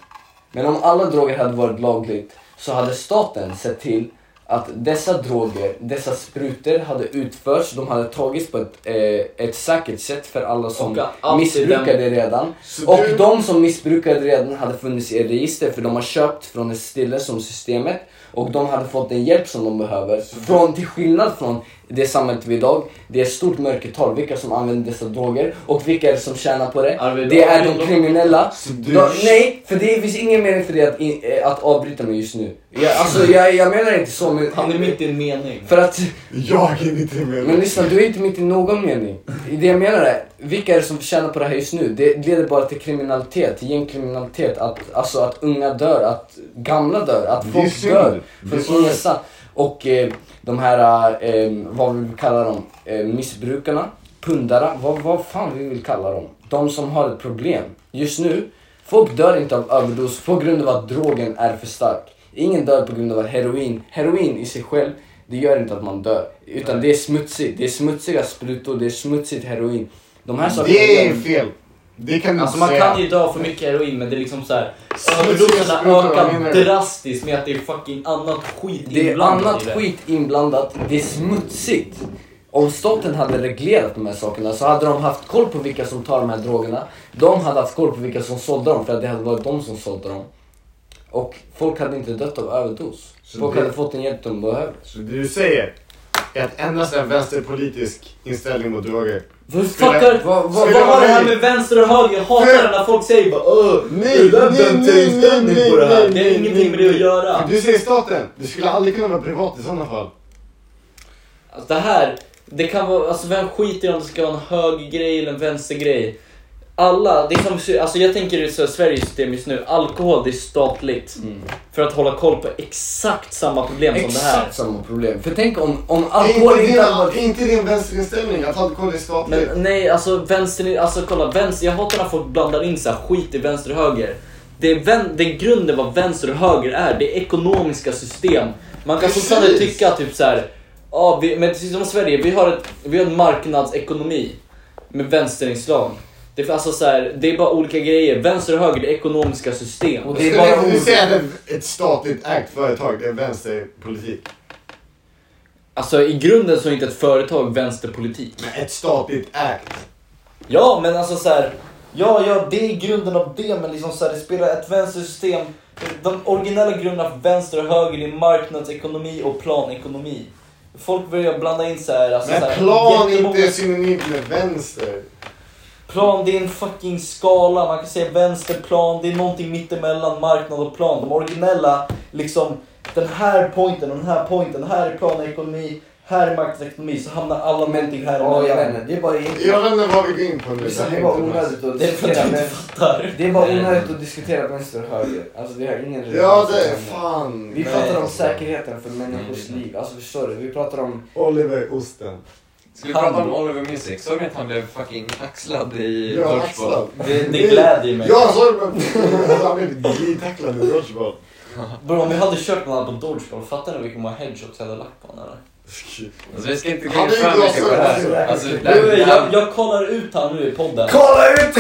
Speaker 15: Men om alla droger hade varit lagligt så hade staten sett till att dessa droger, dessa sprutor hade utförts, de hade tagits på ett, eh, ett säkert sätt för alla som
Speaker 6: Och allt i
Speaker 15: missbrukade
Speaker 6: den-
Speaker 15: redan.
Speaker 6: Så
Speaker 15: Och
Speaker 6: du-
Speaker 15: de som missbrukade redan hade funnits i register för de har köpt från ett ställe som systemet och de hade fått den hjälp som de behöver. Från, till skillnad från det samhället vi idag, det är stort mörkertal vilka som använder dessa droger och vilka är det som tjänar på det. Det är de kriminella.
Speaker 7: du-
Speaker 15: De, nej, för det finns ingen mening för dig att, in, eh, att avbryta mig just nu. Jag, alltså, jag, jag menar inte så men...
Speaker 6: Han är mitt i en
Speaker 7: Mm.
Speaker 6: mening.
Speaker 15: För att...
Speaker 7: Jag är inte med.
Speaker 15: Men lyssna, du är inte mitt i någon mening. Det jag menar är, vilka är det som tjänar på det här just nu? Det leder bara till kriminalitet, till gängkriminalitet. Att, alltså att unga dör, att gamla dör, att
Speaker 7: Det är
Speaker 15: folk
Speaker 7: synd.
Speaker 15: dör.
Speaker 7: Det är
Speaker 15: Från
Speaker 7: så
Speaker 15: ingenstans. Och eh, de här, eh, vad vill vi kalla dem, eh, missbrukarna. pundare, vad, vad fan vi vill kalla dem. De som har ett problem. Just nu, folk dör inte av överdos på grund av att drogen är för stark. Ingen dör på grund av att heroin, heroin i sig själv, det gör inte att man dör. Utan det är smutsigt. Det är smutsiga sprutor, det är smutsigt heroin. De här sakerna
Speaker 7: Det
Speaker 15: gör-
Speaker 7: är fel. Det kan du
Speaker 6: Alltså
Speaker 7: inte
Speaker 6: man
Speaker 7: säga.
Speaker 6: kan ju dö av för mycket heroin men det är liksom såhär
Speaker 7: Smutsiga
Speaker 6: Överdoserna
Speaker 7: sprutor, vad
Speaker 6: ökar
Speaker 7: menar du?
Speaker 6: drastiskt med att det är fucking annat skit
Speaker 15: Det är
Speaker 6: inblandat
Speaker 15: annat
Speaker 6: i det.
Speaker 15: skit inblandat, det är smutsigt. Om staten hade reglerat de här sakerna så hade de haft koll på vilka som tar de här drogerna. De hade haft koll på vilka som sålde dem för att det hade varit de som sålde dem. Och folk hade inte dött av överdos.
Speaker 7: Så
Speaker 15: folk
Speaker 7: det-
Speaker 15: hade fått den hjälp de behöver.
Speaker 7: Så det du säger är att endast en vänsterpolitisk inställning mot droger
Speaker 6: Fuckar! Vad vad har det här med vänster och höger? Jag hatar det när folk säger bara öh,
Speaker 7: Nej,
Speaker 6: det där är
Speaker 7: nej,
Speaker 6: en
Speaker 7: nej,
Speaker 6: inställning
Speaker 7: nej,
Speaker 6: på det här.
Speaker 7: nej,
Speaker 6: Det har
Speaker 7: nej,
Speaker 6: ingenting med det att göra.
Speaker 7: Du säger staten, det skulle aldrig kunna vara privat i sådana fall.
Speaker 6: Alltså det här, det kan vara, alltså vem skiter i om det ska vara en hög grej eller en vänster grej? Alla, det är som, alltså jag tänker i så här Sveriges system just nu, alkohol det är statligt. För att hålla koll på exakt samma problem som det här.
Speaker 15: Exakt samma problem. För tänk om, om
Speaker 7: Är
Speaker 15: alkohol
Speaker 7: inte,
Speaker 15: inte,
Speaker 7: din,
Speaker 15: hade varit...
Speaker 7: är inte din vänsterinställning att alkohol är statligt?
Speaker 6: Men nej, alltså vänster, i- alltså kolla vänster, jag hatar när folk blandar in så här skit i vänster och höger. Det är, vän, det är grunden vad vänster och höger är, det är ekonomiska system. Man kan
Speaker 7: Precis.
Speaker 6: fortfarande tycka typ så här, ja vi, men precis som Sverige, vi har, ett, vi har en marknadsekonomi med vänsterinslag. Det är, alltså så här, det är bara olika grejer, vänster och höger det är ekonomiska system.
Speaker 7: Och det skulle du säga att ett- ett statligt ägt företag, det är vänsterpolitik?
Speaker 6: Alltså i grunden så är inte ett företag vänsterpolitik.
Speaker 7: Men ett statligt ägt.
Speaker 6: Ja, men alltså så här. Ja, ja, det är grunden av det, men liksom så här, det spelar ett vänstersystem. De originella grunderna för vänster och höger är marknadsekonomi och planekonomi. Folk börjar blanda in så här, alltså så
Speaker 7: Men
Speaker 6: här,
Speaker 7: plan är
Speaker 6: jättemånga-
Speaker 7: inte synonymt med vänster.
Speaker 6: Plan, det är en fucking skala. Man kan säga vänsterplan, det är någonting mittemellan marknad och plan. De originella, liksom den här pointen och den här pointen. Här är planekonomi, här är marknadsekonomi. Så hamnar alla någonting här
Speaker 15: Ja, jag vet inte. Det är bara
Speaker 7: Jag vet inte vad vi går in på nu.
Speaker 15: Det är bara onödigt att
Speaker 6: Det är för att
Speaker 15: diskutera.
Speaker 6: jag inte
Speaker 15: men-
Speaker 6: fattar.
Speaker 15: Det är bara onödigt att diskutera vänster och höger. Alltså det har ingen
Speaker 7: Ja,
Speaker 15: relevans
Speaker 7: det är
Speaker 15: till varandra.
Speaker 7: fan.
Speaker 15: Vi
Speaker 7: Nej.
Speaker 15: pratar om säkerheten för
Speaker 20: Mm.
Speaker 15: människors liv. Alltså förstår du? Vi pratar om...
Speaker 7: Oliver Osten.
Speaker 10: Ska vi prata om Oliver Music? Såg ni att han blev fucking axlad i
Speaker 7: Ja,
Speaker 10: dodgeball?
Speaker 7: axlad. Jag såg det men Alltså, han blev glidtacklad i dodgeball.
Speaker 6: Bro, om vi hade kört med honom på dodgeball, fattar ni vilken många headshots jag hade lagt på honom eller?
Speaker 10: Alltså vi ska inte gå
Speaker 6: Han
Speaker 10: in
Speaker 6: är
Speaker 10: för
Speaker 6: ju
Speaker 10: mycket på det
Speaker 6: också-
Speaker 10: här. Alltså, det
Speaker 6: Jo,
Speaker 10: här,
Speaker 6: jo,
Speaker 10: det här
Speaker 6: jag, jag kollar ut han nu i podden.
Speaker 15: Kolla ut!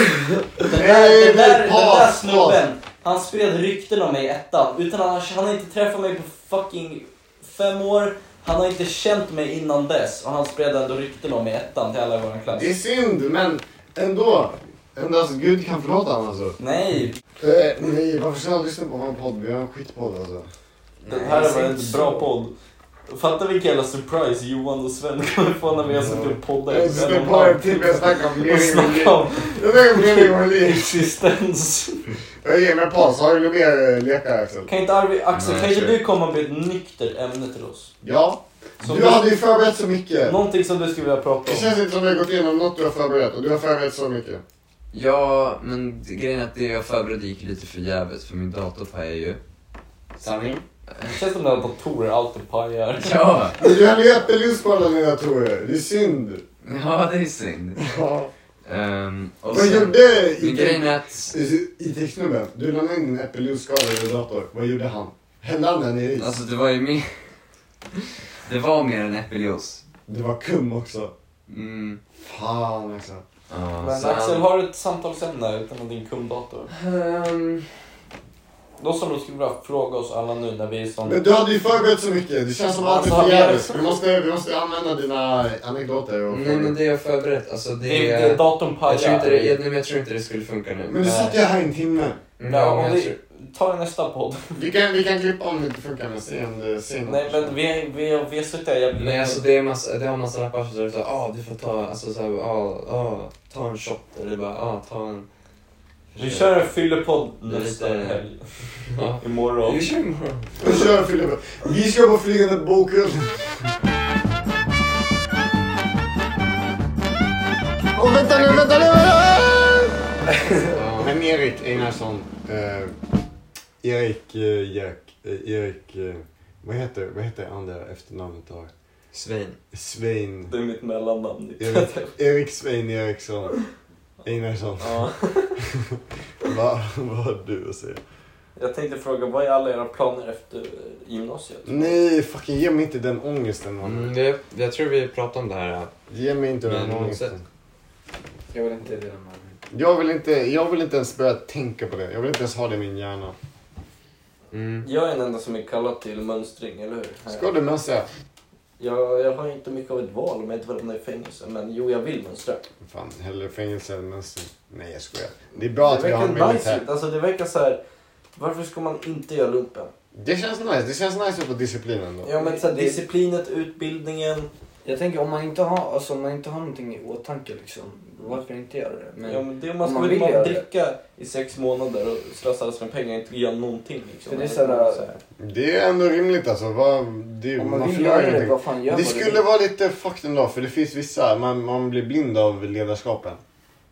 Speaker 6: Den där, den där, den där
Speaker 7: pass,
Speaker 6: snubben, han spred rykten om mig i ettan. Utan han, han har inte träffat mig på fucking fem år. Han har inte känt mig innan dess och han spred ändå rykten om mig i ettan till alla i vår klass.
Speaker 7: Det är synd, men ändå. Endast Gud kan förlåta honom alltså.
Speaker 6: Nej.
Speaker 7: Eh, nej, varför ska jag lyssna på vår podd? Vi har en skitpodd alltså.
Speaker 6: Den här var en bra podd. Fatta vilken jävla surprise Johan och Sven kommer få när vi har suttit och poddat
Speaker 7: Jag
Speaker 6: en och en
Speaker 7: sitter bara
Speaker 6: halv
Speaker 7: Eh, en timme och snackar om
Speaker 6: Och
Speaker 7: mening med liv.
Speaker 6: snackar om
Speaker 7: Jag tänker på mening med liv.
Speaker 6: existens.
Speaker 7: Jag ger mig en paus. Har du några mer eh, lekar Axel?
Speaker 6: Kan inte Arvid, Axel,
Speaker 7: Nej,
Speaker 6: kan inte
Speaker 7: kör.
Speaker 6: du komma med ett nyktert ämne till oss?
Speaker 7: Ja.
Speaker 6: Som
Speaker 7: du hade ju förberett så mycket.
Speaker 6: Någonting som du skulle vilja prata
Speaker 7: Det
Speaker 6: om.
Speaker 7: känns inte som att vi har gått igenom något du har förberett och du har förberett så mycket.
Speaker 10: Ja, men grejen är att det jag förberedde gick lite förgäves för min dator pajade ju.
Speaker 6: Sanning? Det känns som att datorer alltid pajar.
Speaker 10: Ja.
Speaker 7: Men du hade ju äppeljuice på alla dina datorer. Det är synd.
Speaker 10: Ja, det är synd.
Speaker 7: Ja.
Speaker 10: Ehm, och
Speaker 7: Vad
Speaker 10: sen-
Speaker 7: gjorde
Speaker 10: Men grejen är att...
Speaker 7: IT-snubben? Du la in en äppeljuice-skala i din dator. Vad gjorde han? Hände han den i is?
Speaker 10: Alltså det var ju mer... Det var mer än äppeljuice.
Speaker 7: Det var kum också.
Speaker 10: Mm.
Speaker 7: Fan alltså. också.
Speaker 10: Ja,
Speaker 6: Men
Speaker 10: så
Speaker 6: Axel,
Speaker 10: han-
Speaker 6: har du ett samtalsämne utan din kunddator?
Speaker 10: Um...
Speaker 6: Då som du skulle vilja fråga oss alla nu när vi är som...
Speaker 7: Men du hade ju förberett så mycket. Det känns som att allt är
Speaker 6: Alltså, vi
Speaker 7: förgäves.
Speaker 6: har-
Speaker 7: Vi måste, vi måste använda dina anekdoter. Och
Speaker 10: Nej men det jag förberett, alltså det...
Speaker 6: Det är- det är datorn pajar.
Speaker 10: Jag tror inte det, jag, nej, men jag tror inte det skulle funka nu.
Speaker 7: Men du satt ju här i en timme.
Speaker 10: Mm,
Speaker 6: Ja, om
Speaker 10: jag
Speaker 6: vi...
Speaker 10: tror-
Speaker 6: Ta nästa podd.
Speaker 7: Vi kan, vi kan klippa om det inte funkar med scen. scen.
Speaker 6: Nej men vi, vi, vi har suttit här jävligt
Speaker 10: Nej
Speaker 6: länge.
Speaker 10: alltså det, är massa, det har massa rappare som säger såhär, ah du får ta, alltså såhär, ah, ah, ta en shot eller bara, ah, ta en...
Speaker 6: Vi kör en fyllepodd
Speaker 10: Det är
Speaker 6: nästa
Speaker 10: lite-
Speaker 6: helg.
Speaker 10: Ja.
Speaker 6: Imorgon.
Speaker 10: Vi kör imorgon.
Speaker 7: Vi kör Filip. Vi ska på flygande bokhund. Och vänta nu, vänta nu, vänta Men Erik Einarsson. Eh, Erik eh, Jack. Eh, Erik... Eh, vad heter, vad heter andra efternamnet du har?
Speaker 10: Svein.
Speaker 7: Svein.
Speaker 20: Det är mitt mellannamn.
Speaker 6: liksom.
Speaker 7: Erik, Erik Svein Eriksson. Einarsson.
Speaker 20: Ja.
Speaker 7: Va, vad har du att säga?
Speaker 20: Jag tänkte fråga, vad är alla era planer efter gymnasiet?
Speaker 7: Nej, fucking ge mig inte den ångesten mannen.
Speaker 10: Mm, det, jag tror vi pratade om det här.
Speaker 7: Ge mig inte
Speaker 10: Men
Speaker 7: den
Speaker 10: något
Speaker 7: ångesten.
Speaker 10: sätt.
Speaker 15: Jag vill inte dela med
Speaker 7: Jag vill, inte, jag vill inte ens börja tänka på det. Jag vill inte ens ha det i min hjärna.
Speaker 10: Mm.
Speaker 20: Jag är den enda som är kallad till mönstring, eller hur?
Speaker 7: Ska du mönstra?
Speaker 20: Jag, jag har inte mycket av ett val om jag inte vill hamna i fängelse, men jo, jag vill mönstra.
Speaker 7: Fan, hellre fängelse än mönstring. Nej, jag skojar. Det är bra att vi har en militär.
Speaker 20: nice, alltså Det verkar så här, varför ska man inte göra lumpen?
Speaker 7: Det känns nice. Det känns nice att få disciplin ändå.
Speaker 20: Ja, men så här, disciplinet, utbildningen.
Speaker 15: Jag tänker om man inte har, alltså, om man inte har någonting i åtanke liksom, varför inte göra det?
Speaker 20: ja, men det, man ska
Speaker 15: vill
Speaker 20: väl bara
Speaker 15: göra det.
Speaker 20: dricka i sex månader och slösa alla sina pengar och inte göra någonting. Liksom.
Speaker 15: För det är
Speaker 20: Eller
Speaker 15: så här,
Speaker 20: så här.
Speaker 7: Det är ändå rimligt alltså. Vad, det,
Speaker 15: Om
Speaker 7: man
Speaker 15: man vill
Speaker 7: förlorar
Speaker 15: göra det,
Speaker 7: ingenting.
Speaker 15: vad fan gör
Speaker 7: Det
Speaker 15: man det?
Speaker 7: skulle vara lite fucked ändå, för det finns vissa, man, man blir blind av ledarskapen.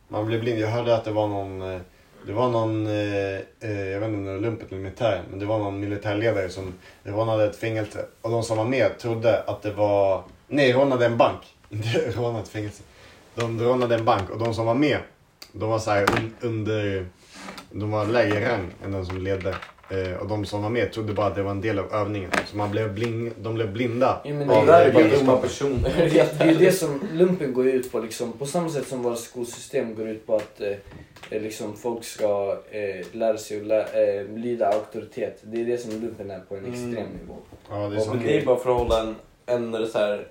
Speaker 7: Man blir blind. Jag hörde att det var någon, eh, det var någon, eh, eh, jag vet inte om det var lumpet eller militären, men det var någon militärledare som, det var någon hade ett fängelse. Och de som var med trodde att det var, nej rånade en bank. Inte rånade ett fängelse. De rånade en bank och de som var med, de var så här un, under, de var lägre i rang än den som ledde. Eh, och de som var med trodde bara att det var en del av övningen. Så man blev bling, de blev blinda.
Speaker 15: Ja, men
Speaker 7: av eh,
Speaker 15: det där är bara
Speaker 7: ledarskapet.
Speaker 15: dumma personer. Det är ju det som lumpen går ut på. Liksom. På samma sätt som våra skolsystem går ut på att eh, eh, liksom, folk ska eh, lära sig att lä- eh, lyda auktoritet. Det är det som lumpen är på en extrem
Speaker 20: Mm.
Speaker 15: nivå.
Speaker 7: Ja,
Speaker 20: det,
Speaker 7: det
Speaker 20: är
Speaker 7: är
Speaker 20: och
Speaker 7: sant.
Speaker 20: det är bara för att hålla en, en så här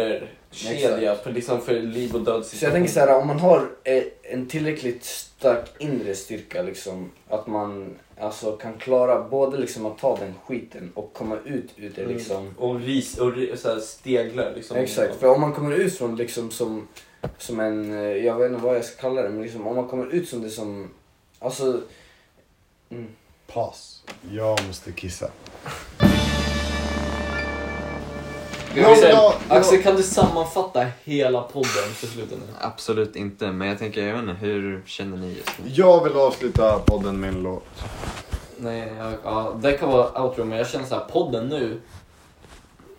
Speaker 20: orderkedja för, liksom för liv och död
Speaker 15: Så jag tänker så här, om man har eh, en tillräckligt stark inre styrka, liksom, att man alltså, kan klara både liksom, att ta den skiten och komma ut ur det.
Speaker 20: Mm.
Speaker 15: Liksom.
Speaker 20: Och, ris, och ri- så här steglar liksom.
Speaker 15: Exakt, för om man kommer ut från liksom som, som en, eh, jag vet inte vad jag ska kalla det, men liksom, om man kommer ut som det som, alltså... Mm.
Speaker 7: Pass. Jag måste kissa.
Speaker 6: Jag vill säga, Axel, kan du sammanfatta hela podden för slutet nu?
Speaker 10: Absolut inte, men jag tänker, jag vet inte, hur känner ni just nu?
Speaker 7: Jag vill avsluta podden med en låt.
Speaker 6: Nej, jag, ja, det kan vara outro, men jag känner så här, podden nu.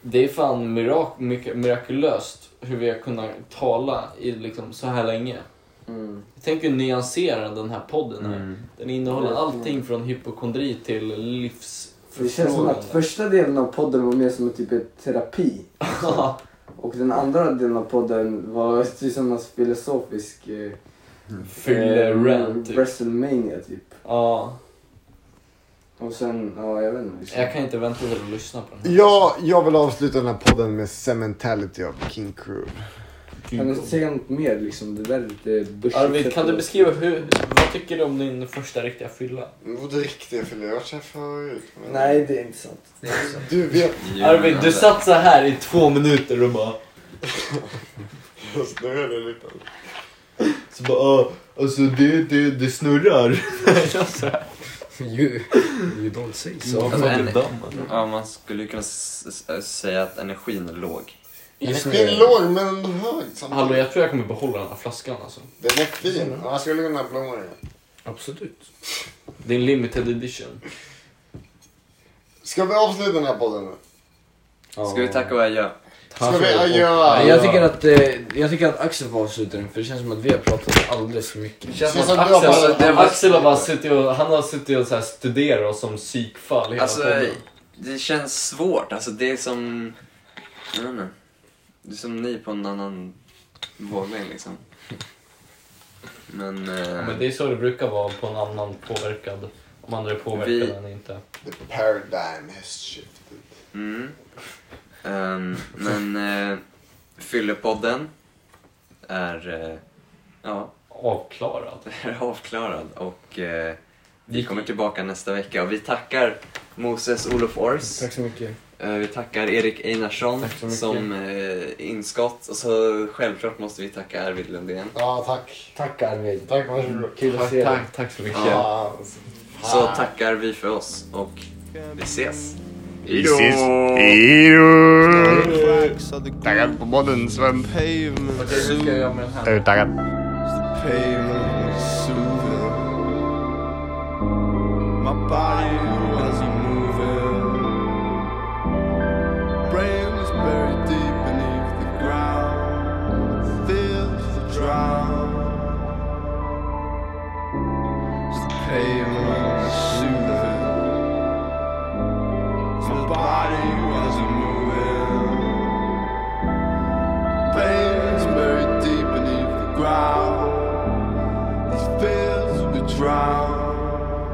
Speaker 6: Det är fan mirak, mycket mirakulöst hur vi har kunnat tala i liksom så här länge. Jag tänker nyansera den här podden här. Den innehåller
Speaker 15: Mm.
Speaker 6: allting från hypokondri till livs...
Speaker 15: Det känns som att första delen av podden var mer som typ ett terapi. och den andra delen av podden var tillsammans filosofisk... Eh, Mm.
Speaker 6: Fyllerant, typ.
Speaker 15: WrestleMania typ.
Speaker 6: Ja.
Speaker 15: Och sen, ja jag vet inte. liksom.
Speaker 6: Jag kan inte vänta till att lyssna på den.
Speaker 7: Jag, jag vill avsluta den här podden med Cementality av King Crew.
Speaker 15: Kan du säga något mer liksom? Det där är lite börsigt.
Speaker 6: Arvid, kan du beskriva hur, vad tycker du om din första riktiga fylla?
Speaker 7: Vadå riktiga fylla? Jag har förut.
Speaker 15: Nej, det är inte sant.
Speaker 7: Du vet.
Speaker 6: Arvid, du satt så här i två minuter och bara...
Speaker 7: Jag snurrade lite.
Speaker 21: Så bara, ah, alltså det, det, det snurrar.
Speaker 15: You,
Speaker 21: you don't say so.
Speaker 6: "Mm,
Speaker 10: Alltså, en, ja, man skulle ju kunna s- s- säga att energin är låg.
Speaker 7: Den är låg men ändå hög
Speaker 6: Hallå,
Speaker 7: samtidigt.
Speaker 6: jag tror jag kommer behålla den här flaskan alltså.
Speaker 7: Den är fin. Man skulle kunna blomma den.
Speaker 6: Absolut. Det är en limited edition.
Speaker 7: Ska vi avsluta den här podden nu?
Speaker 10: Ska vi tacka och adjö?
Speaker 7: Ska vi adjöa?
Speaker 1: Jag tycker, att, eh, jag tycker att Axel får avsluta den för det känns som att vi har pratat alldeles för mycket.
Speaker 6: Känns som att Axel, Axel har bara suttit och, han har suttit och så här studerat oss som psykfall hela
Speaker 10: Alltså,
Speaker 6: podden.
Speaker 10: det känns svårt. Alltså, det är som... Jag vet inte. Det är som ni på en annan våglängd liksom. Men... eh,
Speaker 6: Ja, Men det är så det brukar vara på en annan påverkad. Om andra är påverkade
Speaker 10: Vi-
Speaker 6: eller inte.
Speaker 7: The paradigm has shifted.
Speaker 10: Mm. Ehm, men uh, Fyllepodden är eh, ja.
Speaker 6: avklarad.
Speaker 10: är avklarad och eh, vi kommer tillbaka nästa vecka. Och vi tackar Moses Olof Ors.
Speaker 1: Tack så mycket.
Speaker 10: Eh, vi tackar Erik Einarsson
Speaker 1: så mycket.
Speaker 10: som eh, inskott. Och så självklart måste vi tacka Arvid Lundén.
Speaker 7: Ja, tack.
Speaker 1: Tack Arvid.
Speaker 7: Tack, varsågod.
Speaker 1: Kul att se dig.
Speaker 6: Tack, tack så mycket.
Speaker 10: Ja. Så tackar vi för oss och vi ses.
Speaker 7: Hejdå! Taggad på podden Sven.
Speaker 6: Okej, hur ska jag göra med den här?
Speaker 7: Är du taggad?
Speaker 22: pavement soothing. My body was moving. Brain was buried deep.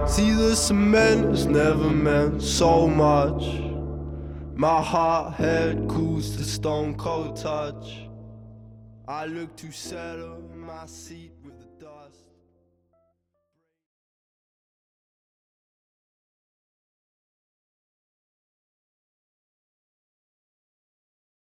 Speaker 15: See, the cement has never meant so much. My hot head cools to stone cold touch. I look to settle my seat.